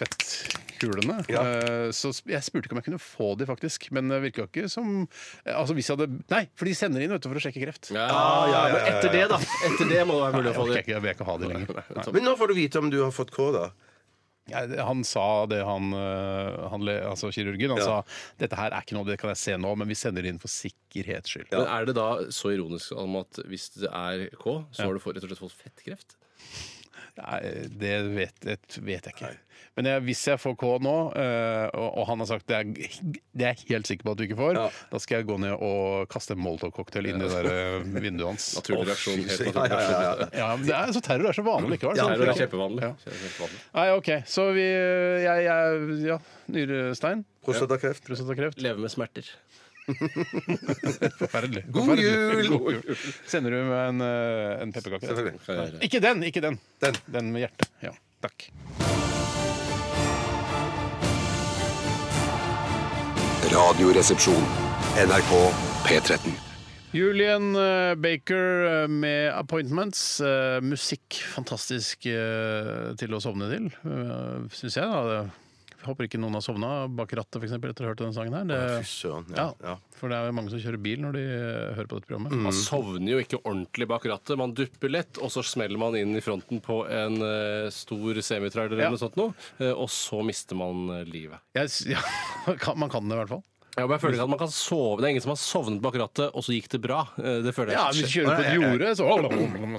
S1: fettkulene, eh, så sp- jeg spurte ikke om jeg kunne få de faktisk. Men det virka ikke som eh, Altså hvis jeg hadde Nei, for de sender inn vet du, for å sjekke kreft.
S3: Ah, Ja, Men etter det, da. Etter det må det være mulig
S1: Jeg
S3: å få
S1: orker
S3: det.
S1: ikke, jeg vil ikke ha de lenger. Nei.
S4: Men nå får du vite om du har fått K, da.
S1: Jeg- Han sa det, han, eh, han le- altså kirurgen. Han sa dette her er ikke noe, det kan jeg se nå, men vi sender det inn for sikkerhets skyld.
S3: Men er det da så ironisk om at hvis det er K, så har du fått- rett og slett fått fettkreft?
S1: Nei, det vet, det vet jeg ikke. Men jeg, hvis jeg får K nå, eh, og, og han har sagt det er, det er jeg helt sikker på at du ikke får, da skal jeg gå ned og kaste en Molotov-cocktail inn i det der eh, vinduet hans.
S3: Naturlig reaksjon. Helt
S4: Ja, ja,
S3: naturlig
S4: ja,
S3: reaksjon.
S4: ja.
S1: Ja, men det er, så terror er så vanlig likevel.
S3: Det
S1: sånn.
S3: er jo kjempevanlig.
S1: Ja.
S3: Kjempevanlig.
S1: Nei, OK. Så vi eh, jeg, jeg, Ja, nyrestein.
S4: Prostatakreft.
S1: Prostatakreft.
S3: Leve med smerter.
S1: Forferdelig.
S4: God
S1: Forferdelig.
S4: jul!
S1: God jul! Sender du meg en, eh, en pepperkake?
S4: Selvfølgelig.
S1: Ikke den! Ikke den.
S4: Den.
S1: Den med hjertet. Ja. Takk.
S6: Radioresepsjon. NRK P13.
S1: Julian eh, Baker eh, med 'Appointments'. Eh, Musikk fantastisk eh, til å sovne til, syns jeg. da Jeg Håper ikke noen har sovna bak rattet for eksempel, etter å ha hørt denne sangen. her
S4: Fy
S1: det,
S4: søren.
S1: ja,
S4: Ja. ja.
S1: For det er jo mange som kjører bil når de eh, hører på dette programmet.
S3: Man sovner jo ikke ordentlig bak rattet. Man dupper lett, og så smeller man inn i fronten på en eh, stor semitrailer eller
S1: Ja.
S3: noe sånt noe, eh, og så mister man eh, livet.
S1: Jeg, s- ja, kan, man kan det i hvert fall.
S3: Ja, men jeg føler ikke at man kan sove. Det er ingen som har sovnet bak rattet, og så gikk det bra. Eh, Det føler jeg
S1: Ja,
S3: ikke
S1: Hvis
S3: skjer.
S1: du kjører på et jorde,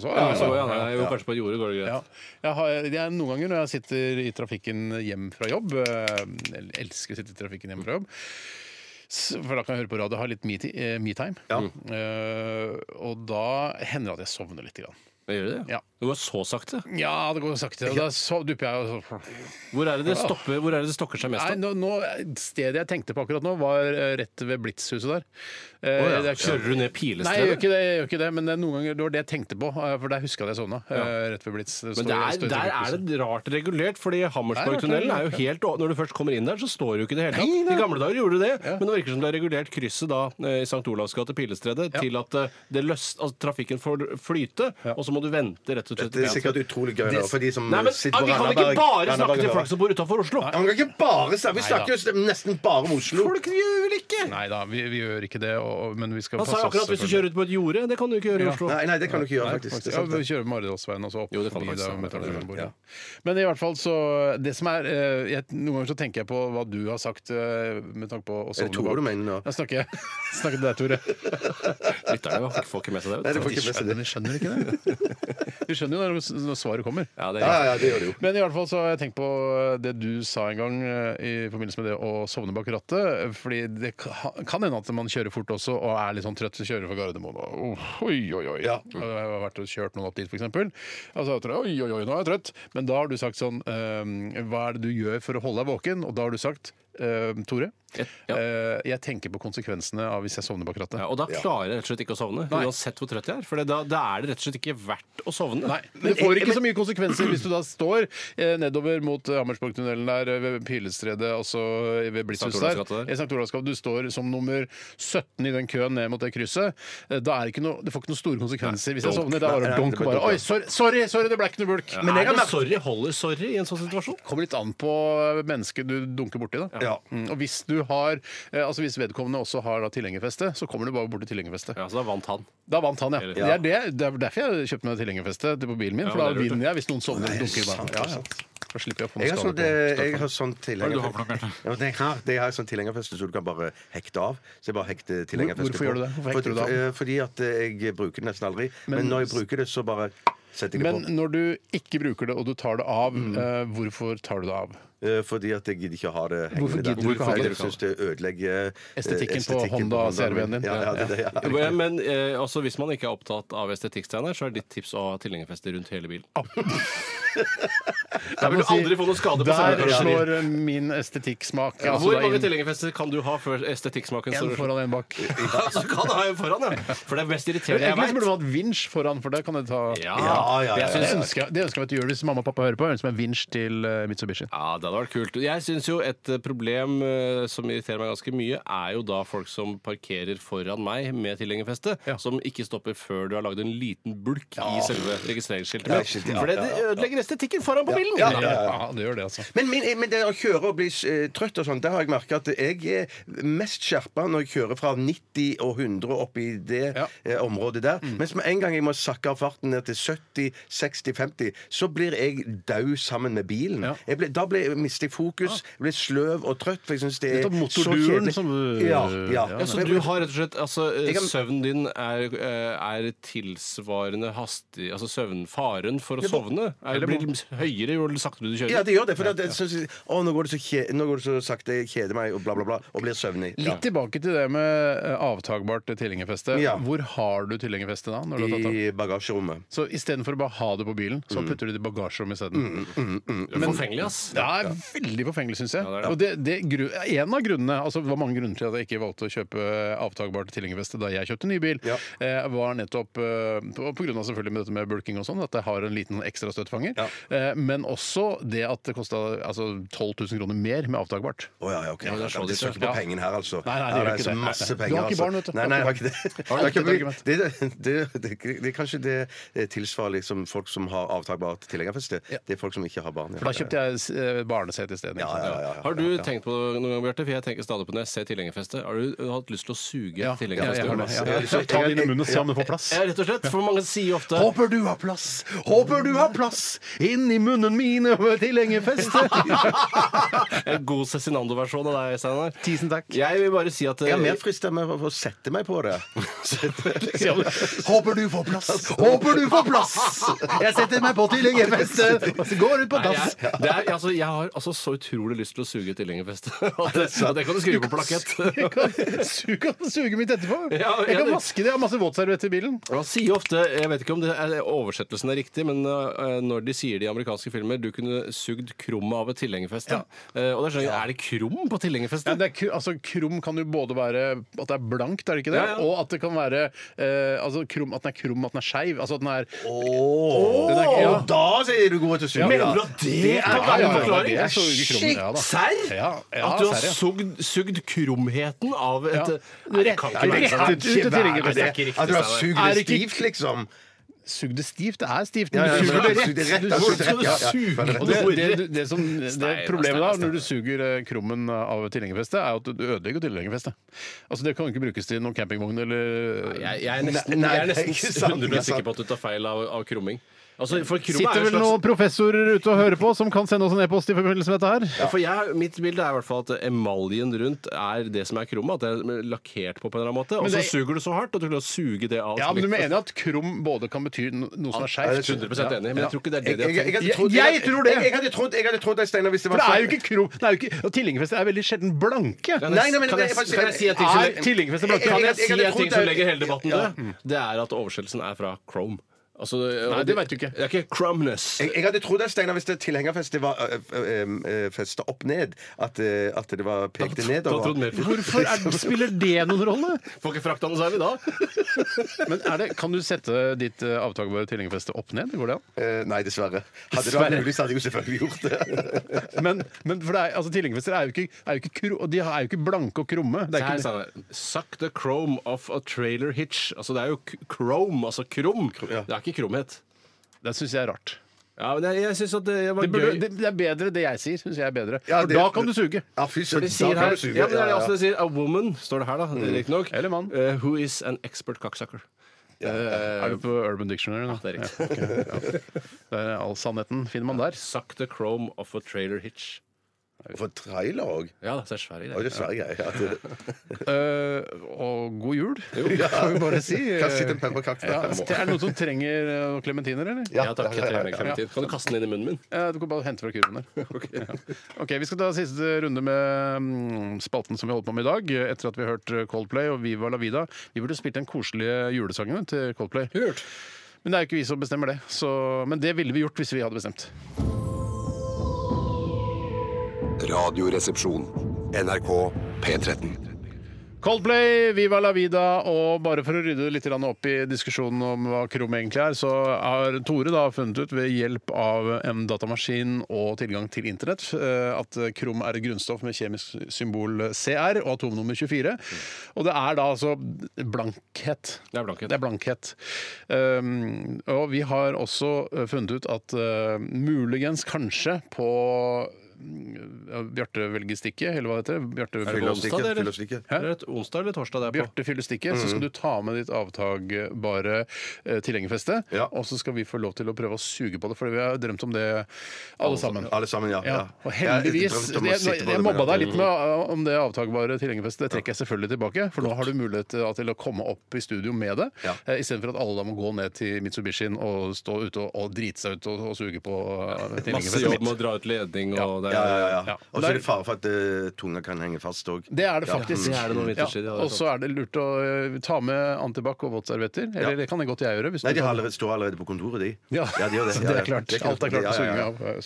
S1: så,
S3: Ja, så, ja, nei, jo, kanskje på jordet går det greit.
S1: Ja. Jeg har, jeg, er noen ganger når jeg sitter i trafikken hjem fra jobb eh, Jeg elsker å sitte i trafikken hjem fra jobb. s- For da kan jeg høre på radio og ha litt me-ti- eh, me-time. Eh, og da hender det at jeg sovner litt. Grann.
S3: Det gjør det?
S1: Ja.
S3: Det går så sakte.
S1: Ja, det går sakte. og Da sov- dupper jeg. Og så.
S3: Hvor er det det, stopper, hvor er det, det stokker seg mest?
S1: Nei, nå,
S3: da?
S1: nå, stedet jeg tenkte på akkurat nå, var eh, rett ved Blitzhuset der. Eh,
S3: Å, ja.
S1: det er ikke-
S3: Kjører du ned
S1: Nei, jeg gjør
S3: pilestredet?
S1: ikke det, jeg gjør ikke det men det er noen ganger, det var det jeg tenkte på. eh, For der huska jeg at jeg sovna. eh, Rett ved Blitz. Det
S3: Men
S1: står-
S3: der,
S1: står i
S3: der er
S1: trafikkhuset.
S3: det rart regulert, fordi
S1: Det
S3: Hammersborgtunnelen
S1: er
S3: er jo
S1: rart
S3: helt å- Når du først kommer inn der, så står det jo ikke det hele
S1: Nei,
S3: tatt.
S1: nei.
S3: I gamle dager gjorde du det, men det virker som det er regulert krysset da eh, i St. Olavs gate Pilestredet til at eh, det løs, altså, trafikken får flyte, og så må du vente rett og slett.
S4: Det er sikkert utrolig gøy å høre for de som
S3: Nei, men ah,
S4: sitter på
S3: Vi kan ikke
S4: Randaberg.
S3: bare
S4: Randaberg
S3: snakke til
S4: hører.
S3: folk som bor utafor Oslo!
S4: Ja, men Vi kan ikke bare snakke, vi snakker jo nesten bare om Oslo.
S3: Folk gjør vel ikke!
S1: Nei da, vi, vi gjør ikke det. Og, og- men vi skal
S3: Han sa jo akkurat hvis du kjører ut på et jorde. Det kan du ikke gjøre i
S1: Ja.
S3: Oslo.
S4: Nei, nei, det kan du ikke gjøre, faktisk. Det er
S1: Ja,
S4: sant,
S1: vi
S4: det.
S1: kjører Maridalsveien og så opp.
S3: Jo, det kan
S1: forbi
S3: faktisk
S1: der
S3: være.
S1: metallurgien bor, ja. Men i hvert fall så det som er, eh, jeg, Noen ganger så tenker jeg på hva du har sagt eh, med tanke på å sovne
S4: Tore
S1: bak-
S4: du mener nå?
S1: Ja, snakker jeg snakker til deg, Tore.
S3: Lytterne får ikke med seg
S4: Nei,
S3: det.
S4: det
S3: Vet
S4: får
S3: du.
S1: De
S4: ikke med seg
S1: skjønner,
S4: det.
S1: de skjønner ikke det. De skjønner jo når, når svaret kommer.
S3: Ja, det
S4: Ja,
S3: er,
S4: ja, det gjør det jo.
S1: Men i hvert fall så har jeg tenkt på det du sa en gang eh, i forbindelse med det å sovne bak rattet. Fordi det ka- kan hende at man kjører fort også og er litt sånn trøtt og kjører fra Gardermoen. Og, oh, oi, oi, oi.
S4: Ja.
S1: Og Jeg har vært og kjørt noen opp dit, f.eks. Og så har jeg trøtt, oi, oi, oi, nå er jeg trøtt. Men da har du sagt sånn eh, Hva er det du gjør for å holde deg våken? Og da har du sagt eh, Tore,
S3: Ja.
S1: eh, jeg tenker på konsekvensene av hvis jeg sovner bak rattet.
S3: ja, og da klarer jeg rett og slett ikke å sovne.
S1: Nei.
S3: Uansett hvor trøtt jeg er. For da, da er det rett og slett ikke verdt å sovne. Eh,
S1: Nei, men Det får ikke så mye konsekvenser hvis du da står eh, nedover mot eh, Hammersborgtunnelen der, eh, ved Pilestredet, altså eh, ved Blitzhuset
S3: Olavs
S1: der.
S3: gate der.
S1: I St. Olavs gate. Du står som nummer 17 i den køen ned mot det krysset. Eh, Da er det, ikke noe, det får ikke noen store konsekvenser hvis jeg sovner. Det er bare å
S4: Nei, det
S1: donk
S4: blir
S1: bare.
S4: donk, ja.
S1: Oi, sorry, sorry, sorry, det ble ikke noe bulk. Men
S3: Men
S1: det
S3: er det sorry holder sorry i en sånn situasjon?
S1: kommer litt an på eh, mennesket du dunker borti. da.
S4: Ja.
S1: Mm, og hvis du har, eh, altså hvis vedkommende også har da tilhengerfeste, så kommer du bare bort til tilhengerfestet.
S3: Ja, så da vant han.
S1: Da vant han, ja.
S3: Eller-
S1: Det, er det, det er derfor jeg kjøpte meg tilhengerfeste til på bilen min.
S3: Ja,
S1: For da
S3: det er lurt,
S1: vinner jeg hvis noen sovner og dunker i banen. Ja, ja. Da slipper jeg å få noe
S4: Jeg har sånn,
S1: skade på
S4: jeg har
S1: Stefan.
S4: sånn tilhenger...
S8: Hva er det du har for noe, Bjarte?
S4: Ja, men jeg har, jeg har sånn tilhengerfeste som du kan bare hekte av. Så jeg bare hekter tilhengerfeste
S1: Hvorfor gjør du det? Hvorfor hekter du det av?
S4: Fordi, eh, fordi at eh, jeg bruker det nesten aldri. Men,
S1: Men-
S4: når jeg bruker det, så bare setter jeg det
S1: Men når du ikke bruker det, og du tar det av,
S4: Mm.
S1: eh, hvorfor tar du det av?
S4: på. Eh, Fordi at jeg gidder ikke ha det hengende
S1: Hvorfor gidder du ikke ha det?
S4: Jeg syns det ødelegger eh,
S1: Estetikken på Honda CR-en din.
S4: Ja, ja, det, det, ja.
S3: Ja, Men eh, også hvis man ikke er opptatt av estetikk, Steinar, så er ditt tips å ha tilhengerfeste rundt hele
S1: Ah.
S3: bilen. Da vil du aldri få noen skade på
S1: Der
S3: selve
S1: slår eh, min estetikksmak.
S3: Ja,
S1: altså,
S3: Hvor
S1: det er
S3: mange
S1: inn-
S3: tilhengerfester kan du ha før estetikksmaken
S1: En
S3: står
S1: foran, en bak.
S3: Altså, kan ha en foran, ja. For det er mest irriterende jeg
S1: Egentlig så
S3: vet.
S1: burde du hatt vinsj foran, for det kan du ta
S3: Ja,
S4: Ja, ja,
S3: jeg
S4: ja,
S1: Det
S3: synes-
S1: ønsker, jeg- det ønsker jeg meg til jul hvis mamma og pappa hører på. Jeg ønsker meg vinsj til eh, Mitsubishi.
S3: Ja, det hadde vært kult. Jeg syns jo et eh, problem eh, som irriterer meg ganske mye, er jo da folk som parkerer foran meg med tilhengerfeste,
S1: Ja.
S3: som ikke stopper før du har lagd en liten bulk i selve registreringsskiltet.
S4: Ja,
S3: mitt.
S4: skiltet, ja,
S3: For det
S4: ja,
S3: det
S4: ja, ja.
S3: ødelegger estetikken foran på bilen!
S4: Ja, ja, ja.
S1: det gjør det, altså.
S4: Men, min, men det å kjøre og bli eh, trøtt og sånn, der har jeg merka at jeg er mest skjerpa når jeg kjører fra 90 og 100 og opp i det
S1: Ja.
S4: eh, området der. Mens med en gang jeg må sakke av farten ned til 70, 60, 50, så blir jeg dau sammen med bilen.
S1: Ja.
S4: Jeg blir- da blir, mister jeg fokus, blir sløv og trøtt, for jeg syns det
S1: Dette
S4: er
S1: er
S4: så
S1: motorduren
S4: kjedelig.
S1: som-
S4: ja, ja.
S1: Ja,
S3: Ja, så du har rett og slett altså, eh,
S4: Jeg kan-
S3: Søvnen din er, eh, er tilsvarende hastig Altså søvnfaren for å sovne er,
S1: Eller-
S3: blir høyere jo saktere du kjører.
S4: Ja, det gjør det. For at jeg synes- å, nå går det så, kje, nå går det så sakte, jeg kjeder meg, og bla, bla, bla, og blir søvnig. Ja.
S1: Litt tilbake til det med eh, avtagbart tilhengerfeste.
S4: Ja.
S1: Hvor har du tilhengerfeste da? Når du har tatt av?
S4: I Mm. bagasjerommet.
S1: Så istedenfor å bare ha det på bilen, så putter du det i bagasjerommet isteden.
S4: Mm,
S3: Det er Forfengelig, ass.
S1: Ja, det er veldig forfengelig, syns jeg. Og det, det, gru- en av grunnene altså Det var mange grunner til at jeg ikke valgte å kjøpe eh, avtagbart tilhengerveste da jeg kjøpte ny bil,
S4: Ja.
S1: eh, var nettopp eh, på, på grunn av selvfølgelig med dette med bulking og sånn, at jeg har en liten ekstra støtfanger. Eh, men også det at det kosta altså, 12 000 kroner mer med avtagbart.
S4: Å ja, ja, ok.
S3: men det
S4: det
S3: er så dyrt,
S4: står ikke på
S1: ja.
S4: pengene her, altså.
S1: Nei, nei, det
S4: Ja,
S1: gjør
S4: er
S1: ikke
S4: så
S1: det.
S4: Masse
S1: Nei, nei.
S4: penger,
S1: Du har ikke
S4: altså.
S1: barn, vet du.
S4: Nei, nei, jeg har ikke det.
S1: Har du ikke
S4: Det er
S1: et
S4: ikke- det, det, det, det, det er kanskje det eh, tilsvarer liksom folk som har avtakbart tilhengerfeste. Det er folk som ikke har barn.
S1: For da kjøpte jeg eh, barnesete isteden.
S4: ja, ja, ja, ja, ja.
S3: Har du tenkt på det noen gang, Bjarte? For jeg tenker stadig på når jeg ser tilhengerfeste. Har du hatt lyst til å suge
S1: Ja,
S3: tilhengerfeste?
S1: jeg har det, ja.
S4: Ja,
S1: Ta det inn i munnen og se om det får plass.
S3: Ja, rett og slett. For mange sier ofte
S1: Håper du har plass, håper du har plass inni munnen min og tilhengerfeste.
S3: En god Cezinando-versjon av deg, Steinar.
S1: Tusen takk.
S3: Jeg vil bare si at eh,
S4: Jeg er mer frista med å å sette meg på det. Altså.
S1: Håper du får plass! Håper du får plass! Jeg setter meg på tilhengerfestet og så går ut på
S3: Nei, jeg, det er, altså, jeg har altså så utrolig lyst til å suge tilhengerfeste. Og det, og det kan du skrive på plakett.
S1: Jeg kan su- kan suge mitt etterpå.
S3: Ja,
S1: Jeg
S3: ja,
S1: kan
S3: det-
S1: vaske det. Jeg har masse våtservietter i bilen.
S3: Man sier ofte, jeg vet ikke om det er, oversettelsen er riktig, men øh, når de sier det i amerikanske filmer 'du kunne sugd krum av et tilhengerfeste', Eh, og da skjønner jeg, er det krum på tilhengerfeste?
S1: Ja, det er, kru- altså, krum kan jo både være at det er blankt, er det ikke det?
S3: Ja, ja.
S1: Og at det kan være eh, altså, krum, at den er krum, at den er skeiv. Altså at den er Den er-
S4: Og da sier du god til å synge.
S3: Mener du
S4: da.
S3: at det
S1: ja,
S3: kan være
S1: ja,
S3: en
S1: ja,
S3: forklaring?
S1: det er så ikke krum, ja da.
S3: Serr?
S1: Ja, ja,
S3: at du har
S1: serr, ja.
S3: sugd, sugd krumheten av et
S1: Ja.
S3: Nei, det kan ikke være sant.
S1: Rettet ut til
S3: Nei, det er
S1: tilhengerfestet.
S3: ikke riktig.
S4: At du har
S3: Steinar.
S4: sugd
S1: Er det
S4: det
S1: ikke-
S4: stivt, liksom.
S1: Sug det stivt. Det er stivt.
S4: Ja, ja,
S1: men
S4: men-
S1: du
S4: sug
S1: suger det
S4: det rett,
S1: rett.
S4: da,
S1: Du
S4: sug det
S1: suger
S4: rett, ja, ja.
S1: det rett.
S4: Sug
S1: Og
S4: det
S1: det,
S3: rett.
S1: det, det, det, som, det
S3: Steiner,
S1: problemet da
S3: Steiner,
S1: når du suger eh, krummen av tilhengerfestet, er at du ødelegger jo tilhengerfestet. Altså, det kan jo ikke brukes til noen campingvogn eller
S3: Jeg, jeg er nesten,
S4: Nei, nei,
S3: jeg er
S4: det er ikke
S3: nesten
S4: sant, det er
S3: 100 sikker
S4: sant.
S3: på at du tar feil av, av krumming. Altså, for krum er
S1: Sitter
S3: jo
S1: vel
S3: en slags
S1: noen professorer ute og hører på som kan sende oss en e-post i forbindelse med dette her?
S3: Ja, for jeg, mitt bilde er i hvert fall at emaljen rundt er det som er krummet. At det er lakkert på på en eller annen måte. Og
S1: Men
S3: så
S1: det-
S3: suger du så hardt at du klarer å suge det av.
S1: Ja, men Du mener at krum både kan bety no- noe som er
S3: Jeg er
S1: skeivt?
S3: 100 enig, men jeg tror ikke det er det de har
S4: Jeg, jeg, jeg,
S3: tenkt.
S4: hadde trodd-
S1: Jeg- jeg tror det.
S4: Jeg, jeg hadde trodd, jeg hadde trodd deg, Steinar, hvis det
S1: For
S4: var
S1: det er jo ikke krum det er jo ikke, og Tilhengerfester er veldig sjelden blanke.
S3: Kan
S4: Nei, nei,
S3: jeg,
S4: men
S3: kan
S4: det-
S3: jeg,
S4: jeg-
S3: kan jeg si en ting som,
S1: Er tilhengerfester blanke?
S3: kan
S4: jeg-
S3: jeg si
S4: hadde
S3: en ting
S4: trodd
S3: som
S4: det-
S3: legger hele debatten død? Det er at oversettelsen er fra Chrome. Altså,
S1: Nei, det vet du ikke.
S3: Det er ikke crumness.
S4: Jeg, jeg hadde trodd at Steinar, hvis det tilhengerfestet var øh, øh, øh, festet opp ned, at, øh, at det var pekte
S3: Da
S4: nedover.
S3: trodde mer på-
S1: Hvorfor er, spiller det noen rolle?
S3: Får ikke frakta noe særlig da.
S1: Men er det, Kan du sette ditt eh, avtagbare tilhengerfeste opp ned? Går det an?
S4: Eh, nei, dessverre. Hadde det vært mulig, så hadde jeg jo selvfølgelig gjort det.
S1: Men, men for det er, altså, tilhengerfester er jo ikke, er jo ikke kru, og de er jo ikke blanke og krumme. Det
S3: Det
S1: er
S3: her
S1: ikke,
S3: sa han, Suck the chrome off a trailer hitch. Altså, det er jo k- chrome, altså krum. Det er ikke krumhet.
S1: det syns jeg er rart.
S3: Ja, men jeg, jeg synes at det var
S1: Det, burde,
S3: gøy.
S1: det, det er bedre det jeg sier. Synes jeg er bedre.
S4: Ja,
S1: For
S4: det-
S1: da kan du suge.
S4: Ja, fy
S3: For
S4: søren.
S3: de sier
S4: da kan
S3: her
S4: du suge.
S3: ja, men det er
S4: Ja, ja,
S3: altså det sier A woman, står det her, da. Riktignok.
S1: Eller mann.
S3: eh, who is an expert cocksucker.
S1: Er du på Urban Dictionary nå?
S3: det er riktig.
S1: Ja, ok, ja. Der er all sannheten finner man der.
S3: Suck the chrome of a trailer hitch.
S4: For trailer òg?
S3: Ja, det er svære
S4: Oi,
S3: greier.
S4: det er svære greier. Ja, det-
S1: Eh, og god jul, får vi bare si.
S4: Kast litt en pepperkake der.
S1: Ja, er det noen som trenger eh, klementiner, eller?
S3: Ja, takk. Jeg trenger en klementin. Kan du kaste den inn i munnen min?
S1: Eh, Du kan bare hente fra kurven der. Ja. ok, Vi skal ta siste runde med mm, spalten som vi holder på med i dag. Etter at vi har hørt eh, Coldplay og Viva la vida. Vi burde spilt den koselige julesangen til Coldplay. Men det er jo ikke vi som bestemmer det. Så, men det ville vi gjort hvis vi hadde bestemt.
S6: Radioresepsjon. NRK P13.
S1: Coldplay, Viva la vida, og bare for å rydde litt grann opp i diskusjonen om hva krom egentlig er, så har Tore da funnet ut ved hjelp av en datamaskin og tilgang til internett eh, at krom er et grunnstoff med kjemisk symbol CR og atomnummer 24. Og det er da altså blankhet.
S3: Det er blankhet.
S1: Det er blankhet. Um, og vi har også eh, funnet ut at eh, muligens kanskje på mm, ja, Bjarte velger stikket, eller hva heter det? Bjarte
S3: Er det
S1: velger-
S3: onsdag, det, eller?
S4: Fyllestikke.
S3: Er det et onsdag eller torsdag det er på?
S1: Bjarte fyller stikket,
S4: Mm.
S1: så skal du ta med ditt avtagbare eh, tilhengerfeste.
S4: Ja.
S1: Og så skal vi få lov til å prøve å suge på det, for vi har drømt om det alle sammen.
S4: Alle sammen, ja.
S1: Ja,
S4: ja.
S1: og heldigvis
S4: Jeg
S1: Jeg,
S4: drømte om å
S1: jeg,
S4: sitte på det,
S1: mobba
S4: men-
S1: deg litt med uh, om det avtagbare tilhengerfestet. Det trekker jeg selvfølgelig tilbake, for nå har du mulighet til- til å komme opp i studio med det,
S4: Ja.
S1: eh, istedenfor at alle da må gå ned til Mitsubishien og stå ute og, og drite seg ut og, og suge på uh,
S3: Masse jobb
S1: tilhengerfestet
S3: med å
S1: mitt.
S3: dra ut ledning og det er-
S4: Ja, ja, ja.
S1: Ja.
S4: Og så er det fare for at eh, tunga kan henge fast òg.
S1: Det er det faktisk.
S3: det er det noen vinterstid, ja, det er
S1: og så er det lurt å eh, ta med antibac og våtservietter. Eller det kan det godt jeg gjøre. Hvis
S4: Nei, de
S1: du
S4: har
S1: kan-
S4: allerede, står allerede på kontoret, de.
S1: Ja,
S4: de gjør
S1: så
S4: Ja,
S1: det
S4: ja.
S1: er klart.
S4: Det
S1: Alt er klart på
S4: Ja, ja,
S1: suging
S4: ja.
S1: av eh,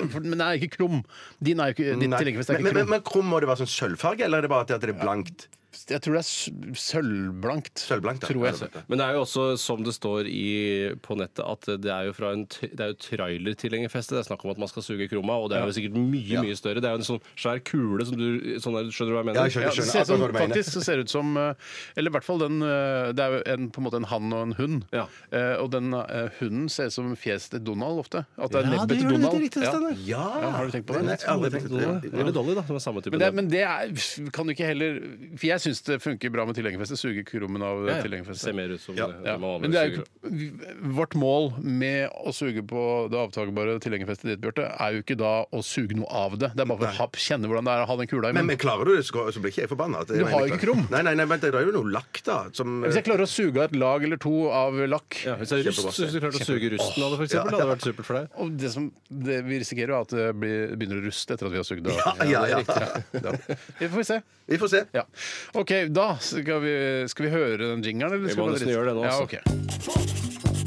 S1: suge- for- Men det er ikke krum. Din er jo ikke, ditt
S4: Nei.
S1: tilhengerfest er
S4: Men-
S1: ikke
S4: men-
S1: krum.
S4: Men krom må det være sånn sølvfarge, eller er det bare at det er blankt?
S1: Jeg tror det er sø- sølvblankt.
S4: Sølvblankt, ja.
S1: tror
S4: Ja,
S1: jeg.
S4: det
S3: Men det er jo også, som det står i, på nettet, at det er jo fra en t- det er jo trailertilhengerfeste. Det er snakk om at man skal suge kroma, og det er jo sikkert mye mye større. Det er jo en sånn svær kule som du sånn der, Skjønner du hva jeg mener?
S4: Ja, jeg skjønner,
S1: Ja, det ser
S4: akkurat
S1: som,
S4: hva du mener.
S1: faktisk så ser det ut som eh, Eller i hvert fall den eh, Det er jo en, på en måte en hann og en hund.
S3: Ja.
S1: Eh, Og den eh, hunden ser ut som fjeset til Donald ofte. At det er
S3: Ja, det
S1: nebbet til
S3: gjør det, det er
S1: Donald.
S3: riktig, Steinar.
S4: Ja!
S1: Ja, har du tenkt på det?
S4: Nei, jeg har aldri tenkt på det.
S3: Eller Dolly, da, som er samme type.
S1: Men det, men det er, kan du ikke heller For jeg syns det funker bra med tilhengerfeste. Suge krummen av
S3: Ja,
S1: ja,
S3: ja.
S1: tilhengerfestet.
S3: Ser mer ut som
S4: Ja.
S3: det-
S1: Ja,
S3: det man vanligvis
S1: men det er jo
S3: suger.
S1: ikke, vi- vårt mål med å suge på det avtagbare tilhengerfestet ditt, Bjarte, er jo ikke da å suge noe av det. Det er bare for å ha- kjenne hvordan det er å ha den kula i
S4: Men,
S1: munnen.
S4: men klarer du det, så så blir ikke jeg forbanna. Du
S1: har jo ikke krom.
S4: sånn- Nei, nei, nei, men det er jo noe lakk, da. Som,
S1: Hvis jeg klarer å suge av et lag eller to av lakk
S3: ja, Hvis det er rust,
S4: Kjempebra.
S3: så hvis du klarte å suge rusten av det, for eksempel, hadde det vært supert for deg.
S1: Og det som det vi risikerer, er at det blir, begynner å ruste etter at vi har sugd av.
S4: ja, ja.
S1: Ja. Vi får se.
S4: Vi får se.
S1: Ja. OK, da skal vi, skal vi høre den jingeren, eller?
S3: Vi
S1: skal
S3: må
S1: bare
S3: nesten
S1: drite?
S3: gjøre det nå,
S1: Ja,
S3: altså.
S1: ok.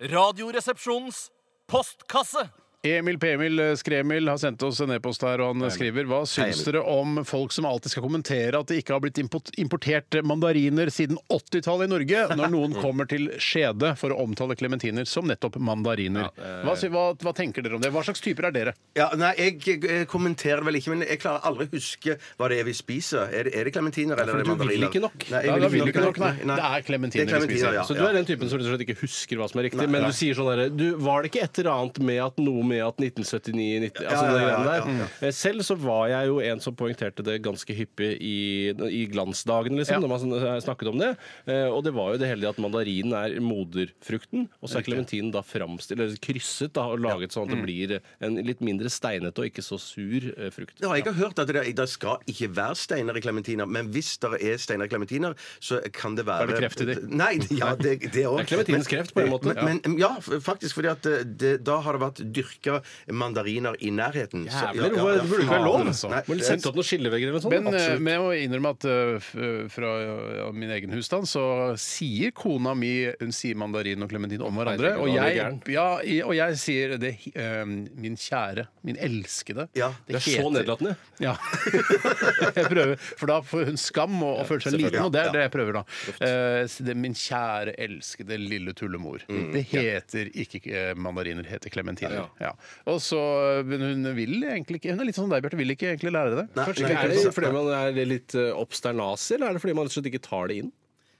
S8: Radioresepsjonens postkasse.
S1: Emil Pemil eh, Skremil har sendt oss en e-post her, og han eh, skriver Hva syns dere om folk som alltid skal kommentere at det ikke har blitt import- importert mandariner siden 80-tallet i Norge, når noen kommer til Skjede for å omtale klementiner som nettopp mandariner? Hva, sy- hva, hva tenker dere om det? Hva slags typer er dere?
S4: Ja, nei, jeg, eh, kommenterer vel ikke, men jeg klarer aldri å huske hva det er vi spiser. Er det, er det klementiner eller er det
S3: du vil
S4: mandariner?
S3: ikke nok.
S4: Nei, jeg
S1: Ja, da vil du
S4: ikke
S1: ikke nok, nei. Det er clementiner vi
S4: clementiner,
S1: spiser.
S4: ja,
S3: Så du
S4: ja.
S3: er den typen som rett og slett ikke husker hva som er riktig, men du sier sånn derre Du, var det ikke et eller annet med at noe med at 1979 90, Altså
S4: Ja, ja, ja,
S3: det greiene der.
S4: ja,
S3: Eh, Selv så var jeg jo en som poengterte det ganske hyppig i, i glansdagene, liksom, når man sn- snakket om det. Eh, Og det var jo det heldige at mandarinen er moderfrukten, og så er klementinen da framstilt, eller krysset da, og laget sånn at
S4: Mm.
S3: det blir en litt mindre steinete og ikke så sur eh, frukt.
S4: Ja, jeg har hørt at det, det skal ikke være steiner i klementiner, men hvis det er steiner i klementiner, så kan det være
S1: Da er det kreft i de.
S4: Nei, ja, det, det òg.
S3: Det er klementinens kreft, på en måte.
S4: Men, men, ja, faktisk, fordi at eh, det, da har det vært dyrka mandariner i nærheten. Så-
S3: Jævler, hvorfor- det burde jo ikke være lov!
S1: faen, altså.
S3: Må
S4: eh,
S3: vel sette opp noen skillevegger eller noe sånt.
S1: Men, eh,
S3: Oh, Absolutt.
S1: men jeg må innrømme at eh, f- fra ja, min egen husstand så sier kona mi hun sier mandarin og klementin om hverandre.
S3: Nei,
S1: Og
S3: da er du
S1: jeg, ja, i- og jeg sier det eh, min kjære, min elskede.
S4: Ja,
S3: Det er så
S1: heter-
S3: nedlatende.
S1: Ja. jeg prøver, for da får hun skam og, og føler seg liten, og det er det jeg prøver da. Eh, så det er min kjære, elskede lille tullemor. Det heter ikke eh, mandariner, det heter klementiner. Mm, Ja. Og så, Men hun vil egentlig ikke Hun er litt sånn deg, Bjarte, vil ikke egentlig lære det.
S4: Nei,
S3: Kanskje
S4: nei,
S3: ikke. Er
S4: ikke
S3: det
S4: sant.
S3: fordi man er litt eh, obsternasig, eller er det fordi man rett og slett ikke tar det inn?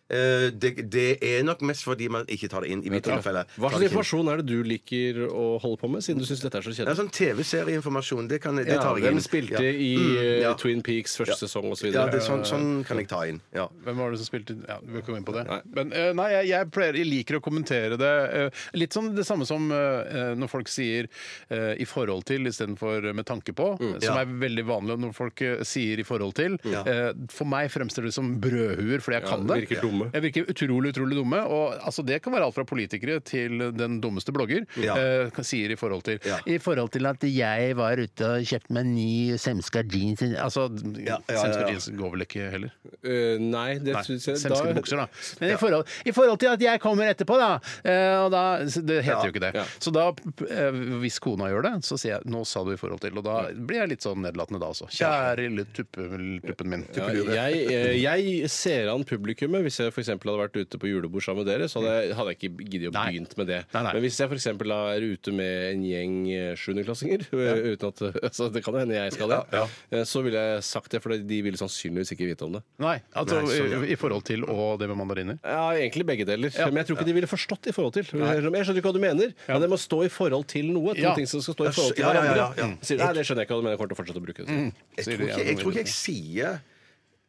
S4: Eh, det, det er nok mest fordi man ikke tar det inn i mitt tilfelle.
S3: Hva slags
S4: Tar det ikke inn.
S3: informasjon er det du liker å holde på med, siden du syns dette er så
S4: Det er
S3: kjedelig?
S4: sånn TV-serieinformasjon. Det, kan, det
S3: Ja,
S4: tar jeg inn.
S3: Hvem spilte
S4: Ja. Mm,
S3: i eh,
S4: ja.
S3: Twin Peaks første sesong osv.?
S4: Ja, det er sånn, sånn kan jeg ta inn. Ja.
S1: Hvem var det som spilte ja, Vi bør ikke gå inn på det.
S3: Nei.
S1: Men eh, nei, jeg, jeg, pleier, jeg liker å kommentere det. eh, litt sånn det samme som eh, når folk sier eh, 'i forhold til' istedenfor 'med tanke på', som
S4: Mm, Ja.
S1: er veldig vanlig når folk eh, sier 'i forhold til'.
S4: Ja.
S1: Eh, for meg fremstår det som brødhuer fordi jeg
S3: Ja,
S1: kan det.
S3: virker dumme.
S1: Jeg virker utrolig, utrolig dumme. Og altså, det kan være alt fra politikere til den dummeste blogger.
S4: Ja.
S1: eh, kan- sier i forhold til.
S4: Ja.
S1: I forhold til at jeg var ute og kjøpte meg ny Semska jeans Altså,
S4: ja, ja,
S1: Semska
S4: ja.
S1: jeans går vel ikke heller?
S3: Eh, nei, det
S1: Nei,
S3: syns jeg
S1: Semskede bukser, da. Men i forhold, i forhold til at jeg kommer etterpå, da eh, og da så Det heter
S4: Ja,
S1: jo ikke det.
S3: ja.
S1: Så da, eh, hvis kona gjør det, så sier jeg 'nå sa du i forhold til', og da blir jeg litt sånn nedlatende da også. Kjære lille tuppe, tuppen min.
S3: Ja, jeg, eh, jeg ser an publikummet. Hvis jeg for eksempel hadde vært ute på julebord sammen med dere, så hadde jeg, hadde jeg ikke giddet å
S1: Nei.
S3: begynt med det.
S1: Nei, nei.
S3: Men hvis jeg for eksempel da er ute med en gjeng eh, sjuendeklassinger, eh, uten at så det kan hende jeg skal det, eh, så ville jeg sagt det, for de ville sannsynligvis ikke vite om det.
S1: Nei, altså
S4: Nei, sånn, ja.
S1: i, i forhold til og det med mandariner.
S3: Ja, egentlig begge deler. Men jeg tror ikke de ville forstått i forhold til. Jeg skjønner ikke hva du mener, men det må stå i forhold til noe. To
S1: Ja.
S3: ting som skal stå i forhold til
S4: Ja, ja, ja,
S3: hverandre.
S4: ja, ja.
S3: Mm. Sier, nei, det skjønner jeg ikke hva du mener. Jeg kommer til å fortsette å bruke
S1: Mm.
S3: det.
S4: Jeg tror
S1: Sier de,
S4: ikke
S1: ja,
S4: jeg,
S1: nå
S4: tror ikke
S1: vil
S4: jeg sier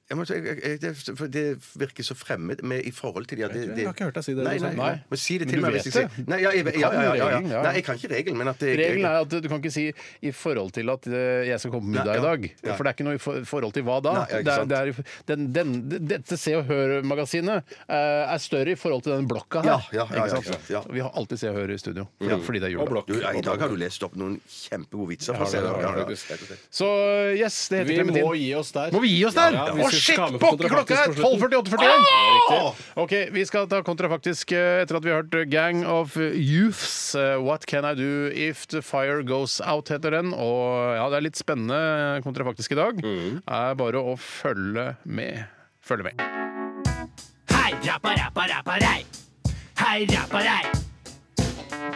S4: jeg må, si- jeg, jeg, det, for det virker så fremmed med, i forhold til ja, det, det.
S3: Jeg har ikke hørt deg si det,
S4: Nei, nei,
S3: liksom.
S4: nei.
S1: Nei.
S4: Men si det
S1: Men
S4: til
S1: du
S4: meg
S1: vet
S4: hvis jeg sier
S1: det.
S4: Nei, ja, jeg,
S1: Du
S4: ja,
S1: kan
S4: ja, ja, ja,
S1: regelen, ja.
S4: ja. nei, jeg kan ikke regelen, men at jeg,
S1: Regelen er at du kan ikke si 'i forhold til at eh, jeg skal komme på middag
S4: Nei,
S1: i
S4: ja.
S1: dag'.
S4: Ja.
S1: For det er ikke noe i for- forhold til hva da.
S4: Nei, ja, ikke
S1: det er,
S4: sant.
S1: det er, den, den, dette Se og Hør-magasinet eh, er større i forhold til den blokka her.
S4: Ja, ja, ja,
S1: ikke
S4: ja,
S1: sant?
S4: ikke sant, ja. Mm.
S1: Vi har alltid Se og Hør i studio. Fordi det er
S3: Og
S1: jula.
S3: blokk.
S4: du, I dag har du lest opp noen kjempegode vitser. fra
S3: det har jeg
S4: serien.
S3: faktisk.
S4: Ja, ja, ja.
S1: Så yes, det heter
S3: Vi
S1: Clementine.
S3: må gi oss der.
S1: Må vi gi oss der?
S3: Ja, ja,
S1: Å,
S3: vi skal
S1: shit!
S3: ta med
S1: Pokker, klokka er
S3: kontrafaktisk på slutten.
S1: 12.48.41! OK, vi skal ta kontrafaktisk eh, etter at vi har hørt Gang of Youths. eh, What Can I Do If The Fire Goes Out, heter den. Og ja, det er litt spennende kontrafaktisk i dag. Er bare å følge med. Følge med.
S8: Hei, rappa, rappa, rappa, rei. Hei, rappa, rei.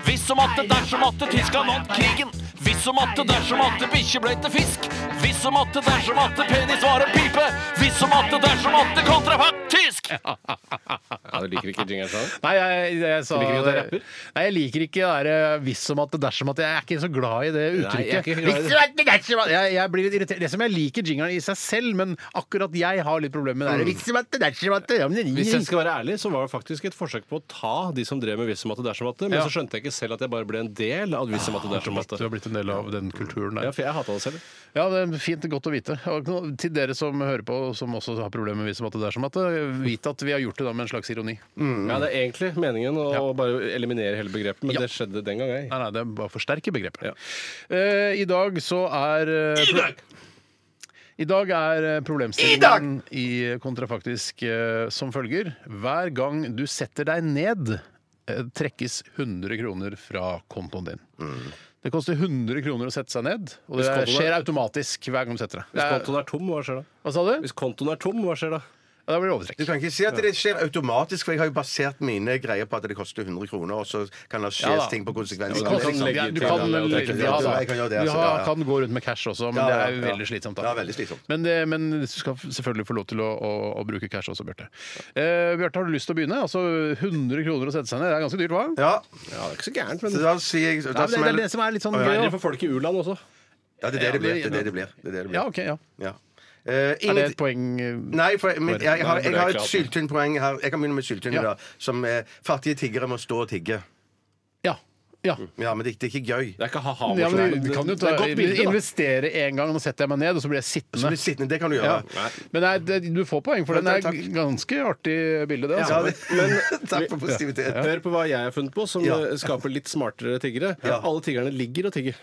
S8: Hvis som atte, dersom atte, Tyskland vant krigen. Hvis som atte, dersom atte, bikkje ble til fisk. Hvis som atte, dersom atte, penis var en pipe. Hvis som atte, dersom atte, kontrafaktisk.
S3: Ja, du liker ikke jingeren sånn?
S1: Nei, jeg, jeg sa
S3: Du liker ikke at jeg rapper?
S1: Nei, jeg liker ikke det der, eh, hvis som at det dersom at Jeg er ikke så glad i det
S3: Nei, jeg er
S1: uttrykket.
S3: ikke glad i det.
S1: Hvis som at det dersom at jeg, jeg blir litt irritert. Det som jeg liker jingeren i seg selv, men akkurat jeg har litt problemer med det. der, Hvis som at det dersom at ja, men det-
S3: Mm. Hvis jeg skal være ærlig, så var det faktisk et forsøk på å ta de som drev med vissumatte dersomatte, men
S1: Ja.
S3: så skjønte jeg ikke selv at jeg bare ble en del av vissumatte dersomatte.
S1: Du har blitt en del av den kulturen der.
S3: Ja, for jeg hata det selv.
S1: Ja, det er fint godt å vite. Og nå- til dere som hører på, som også har problemer med visum at det dersom at vit at vi har gjort det da med en slags ironi.
S3: Ja, Det er egentlig meningen å bare eliminere hele begrepet, men
S1: Ja.
S3: det skjedde den gang, jeg.
S1: Nei, nei, det er bare å forsterke begrepet.
S3: Ja.
S1: Eh, I dag så er eh, pro- I dag er eh, problemstillingen i kontrafaktisk eh, som følger. Hver gang du setter deg ned, eh, trekkes 100 kroner fra kontoen din. Det koster 100 kroner å sette seg ned, og det
S3: Mm. kontoen er-
S1: skjer automatisk hver gang du setter deg.
S3: Hvis
S1: Det er-
S3: kontoen er tom, hva skjer da?
S1: Hva sa du?
S3: Hvis kontoen er tom, hva skjer da?
S1: Ja, da blir det overtrekk.
S4: Du kan ikke si at det skjer automatisk, for jeg har jo basert mine greier på at det koster 100 kroner, og så kan det skje
S1: Ja, da.
S4: ting på Sånn liksom.
S1: Du
S4: konsekvenser.
S1: kan,
S3: kan legge
S1: ja,
S3: til
S1: du kan,
S3: det, og
S1: vel-
S3: trekke det.
S1: ja,
S4: Jeg kan gjøre det,
S1: da. Du
S4: altså,
S1: har,
S4: ja, ja.
S1: kan gå rundt med cash også, men
S4: Ja,
S1: det
S4: ja,
S1: er jo
S4: ja.
S1: veldig slitsomt.
S4: Ja, veldig slitsomt.
S1: Men, det, men du skal selvfølgelig få lov til å, å, å bruke cash også, Bjarte. Eh, Bjarte, har du lyst til å begynne? Altså 100 kroner å sette seg ned, det er ganske dyrt, hva?
S3: Ja,
S4: Ja,
S3: det er ikke så gærent, men
S4: så da sier jeg
S1: Nei,
S4: da
S1: men det, det er
S4: smeller-
S1: det som er litt sånn gøy.
S3: Verre
S1: da.
S3: for folk i u-land også.
S4: Ja, det er det det blir. Det er det det blir. Det er det det blir.
S1: Ja, ok, ja.
S4: Ja. Eh,
S1: Er det
S4: ingenting-
S1: et poeng? eh,
S4: Nei, for men jeg, jeg, har,
S3: Nei, det er
S4: jeg har et
S3: klart.
S4: syltynt poeng her. Jeg kan begynne med syltynn.
S1: Ja.
S4: da, Som eh, fattige tiggere må stå og tigge.
S1: Ja. ja.
S4: Ja, men det, det er ikke gøy.
S3: Det er ikke ha-ha.
S1: Ja, men
S3: morsomt.
S1: du kan jo
S3: Det
S1: ta,
S3: er et godt bilde, da.
S1: investere en gang, og nå setter jeg meg ned, og så blir jeg
S4: Så blir
S1: sittende.
S4: sittende, det kan du
S1: Ja.
S4: gjøre.
S1: Men nei, det, du får poeng, for den
S4: Ja,
S1: er
S4: takk, takk.
S1: ganske artig bilde, det.
S4: Ja,
S1: Altså.
S4: det, takk for positivitet.
S3: Hør på hva jeg har funnet på, som
S4: Ja.
S3: eh, skaper litt smartere tiggere.
S4: Ja.
S3: Alle tiggerne ligger og tigger.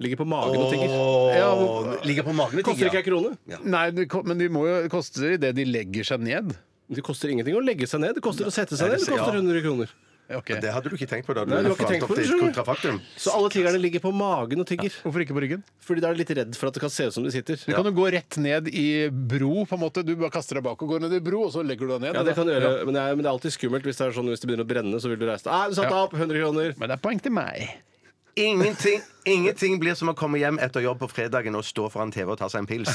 S3: Ligger på magen og tigger.
S4: Åh,
S1: Ja, men-
S4: ligger på magen og
S3: Koster ikke
S4: tigger.
S3: ei krone.
S1: Nei, det ko- men de må jo koste idet de legger seg ned.
S3: Det koster ingenting å legge seg ned. Det koster å sette seg ned. Det
S4: Ja.
S3: koster 100 kroner.
S1: Ok.
S4: Det hadde du ikke tenkt på da du,
S3: Nei, du har ikke
S4: fant
S3: tenkt
S4: opp
S3: på det,
S4: ditt
S3: skjønner du.
S4: kontrafaktum.
S3: Så alle tiggerne ligger på magen og tigger.
S1: Hvorfor ikke på ryggen?
S3: Fordi da er de litt redd for at det kan se ut som de sitter.
S1: Du
S3: Ja.
S1: kan jo gå rett ned i bro, på en måte. Du bare kaster deg bak og går ned i bro, og så legger du deg ned.
S3: Ja, det kan du gjøre, men det, er, men det er alltid skummelt hvis det er sånn hvis det begynner å brenne. så vil du reise deg. Nei, du satte
S1: Ja.
S3: opp 100 kroner.
S1: Men det er poeng til meg.
S4: Ingenting, ingenting blir som å komme hjem etter jobb på fredagen og stå foran TV og ta seg en pils.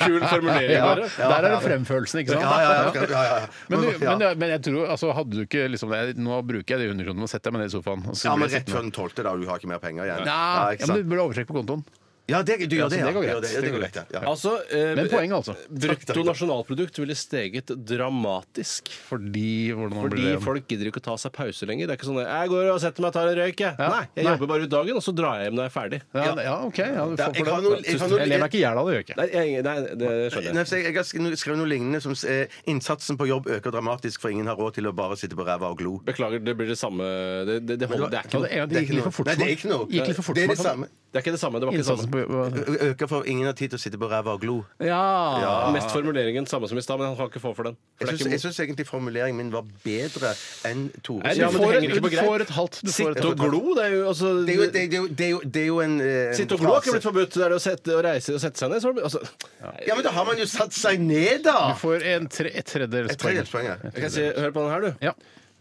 S3: Kul formulering.
S1: Ja,
S3: bare.
S1: der er det fremførelsen, ikke sant?
S4: Ja, ja, ja, ja, ja.
S1: Men, du,
S4: Ja.
S1: men, jeg- men jeg tror, altså, hadde du ikke liksom, jeg, Nå bruker jeg de 100 kronene og setter meg ned i sofaen. og så
S4: Ja,
S1: blir
S4: men
S1: jeg
S4: rett
S1: sittende.
S4: før den tolvte, da. Du har ikke mer penger igjen.
S1: Ja,
S4: ikke
S1: ja, men
S4: sant?
S1: du burde oversjekke på kontoen.
S4: Ja, det, du gjør det,
S1: så
S4: ja.
S1: det går greit.
S4: Ja, det, det går greit, ja. ja.
S3: Altså, eh,
S1: Men poeng, altså.
S3: Brutto nasjonalprodukt ville steget dramatisk.
S1: Fordi hvordan man
S3: Fordi
S1: blir det-
S3: folk gidder ikke å ta seg pause lenger. Det er ikke sånn at 'jeg går og setter meg og tar en røyk', jeg.
S1: Ja.
S3: Nei, jeg
S1: Nei.
S3: jobber bare ut dagen, og så drar jeg hjem når jeg er ferdig.
S1: ja, ja, OK. Ja, du får
S4: Ja,
S1: for
S4: jeg
S1: det.
S4: har noe- jeg har noe-
S1: jeg ler meg ikke i hjel av det, gjør jeg ikke.
S3: Nei, jeg, nei det skjønner
S4: Nei,
S3: jeg.
S4: for Jeg jeg har sk- skrevet noe lignende som eh, innsatsen på jobb øker dramatisk, for ingen har råd til å bare sitte på ræva og glo.
S3: Beklager, det blir det samme Det, det, det, holder, det, er,
S1: Ja, det,
S3: ikke noe,
S1: er- det gikk litt for fort
S4: Nei,
S1: for
S4: det
S1: meg.
S4: er ikke noe.
S1: Gikk litt for fort
S4: det er
S1: for
S4: det
S1: meg.
S4: samme.
S3: det er ikke det samme. Det var ikke sånn. det
S1: Innsatsen
S3: samme.
S1: på
S4: Ø- Øker for ingen har tid til å sitte på ræva og glo.
S1: Ja!
S3: Mest formuleringen samme som i stad, men han kan ikke få for den. For det er
S4: Jeg syns,
S3: ikke
S4: jeg syns egentlig formuleringen min var bedre enn Tore.
S3: Nei,
S1: Du
S3: Ja, men det
S1: får,
S3: henger ikke
S1: et,
S3: på
S1: du
S3: greip.
S1: får et halvt du får et,
S3: Sitte og glo, det er jo altså
S4: Det er jo, det, er jo, det, er jo, det er jo en eh,
S3: Sitte og glo har ikke
S4: frase.
S3: blitt forbudt. Det er det å, sette, å reise og sette seg ned. Så, har det blitt- altså,
S4: Ja, men da har man jo satt seg ned, da!
S1: Du får en tre, et tredjedels
S4: Et tredjedelspoeng. ja.
S3: jeg kan si, hør på den her, du.
S1: Ja.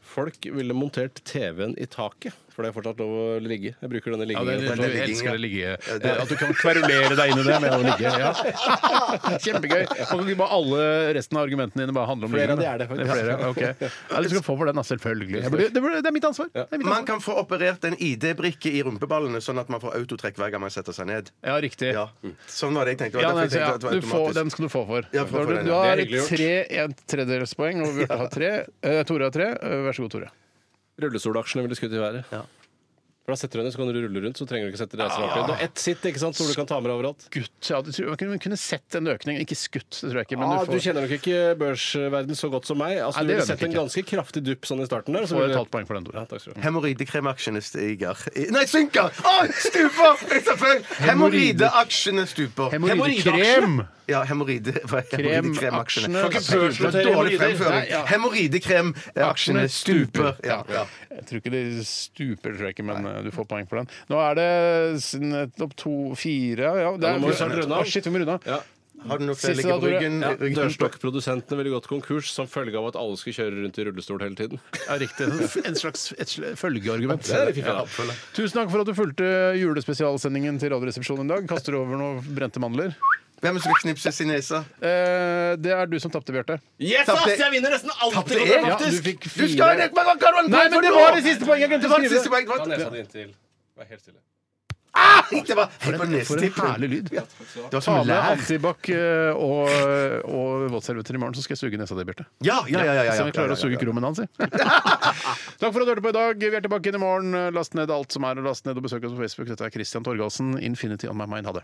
S3: Folk ville montert TV-en i taket, for det er fortsatt lov å ligge. Jeg bruker denne
S1: Ja, det,
S3: liggingen.
S1: du,
S4: det er ligging,
S1: elsker
S4: ja.
S1: det ligge eh, At du kan kverulere deg inn i det med å ligge. Ja. Kjempegøy. Kan ikke bare alle resten av argumentene dine bare handle om
S3: Flere
S1: ligging,
S3: av de
S1: da?
S3: er det, faktisk.
S1: er flere, ok. ja, Du skal få for den, da, selvfølgelig. Jeg burde, det, burde, det er mitt ansvar. Det er mitt
S4: Man
S1: ansvar.
S4: kan få operert en ID-brikke i rumpeballene, sånn at man får autotrekk hver gang man setter seg ned.
S1: Ja, riktig.
S4: Ja, Sånn var det jeg tenkte. Det
S1: Ja,
S4: var
S1: nei,
S4: derfor
S1: så,
S4: jeg
S1: ja,
S4: tenkte at det var
S1: du får,
S4: automatisk.
S1: den skal du få for.
S4: Ja, for- for
S1: du,
S4: den,
S1: du
S4: ja.
S1: har
S3: Det er hyggelig gjort.
S1: tre en tredjedelspoeng, og Bjarte har tre. Eh, Tore har tre. Eh, Vær så god, Tore.
S3: Rullestolaksjene ville skutt i været. For da setter du deg ned, så kan du rulle rundt, så trenger du ikke sette deg så rart. Du har ett sitt, ikke sant, som du kan ta med deg overalt.
S1: Gutt, ja, du tror, man kunne- man kunne sett en økning. Ikke skutt, det tror jeg ikke. Men du
S3: Ah, du
S1: får,
S3: kjenner nok ikke børsverden så godt som meg. Altså,
S1: Nei,
S3: du
S1: det
S3: ville
S1: gjør
S3: sett
S1: jeg
S3: en
S1: nok
S3: ganske kraftig dupp sånn i starten der. så
S1: får
S3: ville-
S1: et halvt poeng for den, Tore.
S3: Ja, takk skal du ha.
S4: Hemoroidekremaksjene stiger I- Nei, synker! Å, stuper! Jeg sa feil! Hemoroideaksjene stuper.
S1: Hemoroidekrem!
S4: Ja, hemoroide... hva er
S1: Krem-
S4: hemoroidekremaktiene?
S1: aksjene- Kan ikke
S3: børsnotere hemoroider.
S4: Dårlig fremføring.
S1: Nei, ja.
S4: Hemoroidekremaksjene stuper. Ja, ja.
S1: Jeg tror ikke det stuper, tror jeg ikke, men eh, du får poeng for den. Nå er det s- nettopp to, fire ja, det
S3: Ja, nå må vi snart runde
S1: Å,
S3: av.
S1: shit, vi må runde av.
S3: Ja.
S4: Har du noe
S1: Siste
S4: flere ligger
S1: da,
S4: på
S1: Tore.
S4: ryggen?
S3: Ja,
S4: ryggen?
S3: Dørstokkprodusentene ville gått konkurs som følge av at alle skulle kjøre rundt i rullestol hele tiden.
S1: Ja, riktig. En slags et sl- følgeargument.
S3: Ja.
S1: Tusen takk for at du fulgte julespesialsendingen til Radioresepsjonen i dag. Kaster du over noen brente mandler?
S4: Hvem er det som vil knipse sin nese?
S1: Eh, det er du som tapte, Bjarte.
S3: Yes,
S4: Tapte-
S3: ass! Jeg vinner nesten alltid!
S4: Tapte
S3: godt,
S4: jeg?
S1: Ja,
S3: faktisk.
S1: du fikk
S4: Du skal
S1: fire.
S4: Hva kan du
S1: Nei, men det var det siste poenget! Jeg
S4: Det
S1: glemte
S4: var
S1: å
S4: det siste
S1: skrive.
S4: poenget!
S3: Ta
S4: Det
S3: nesa
S4: var-
S3: di inntil. Vær helt stille.
S4: Det var helt på
S1: For en
S4: nesetippen.
S1: herlig lyd.
S4: Det var
S1: Ta
S4: som
S1: med
S4: lær.
S1: antibac eh, og, og våtservietter i morgen, så skal jeg suge nesa di, Bjarte.
S4: Ja, ja, ja. ja, ja,
S1: Så vi
S4: ja,
S1: klarer å
S4: ja,
S1: suge
S4: ja.
S1: krummen hans, si. Takk for at du hørte på i dag. Vi er tilbake inn i morgen. Last ned alt som er å laste ned, og besøk oss på Facebook. Dette er Christian Torgalsen. Infinity on my mind. Ha det.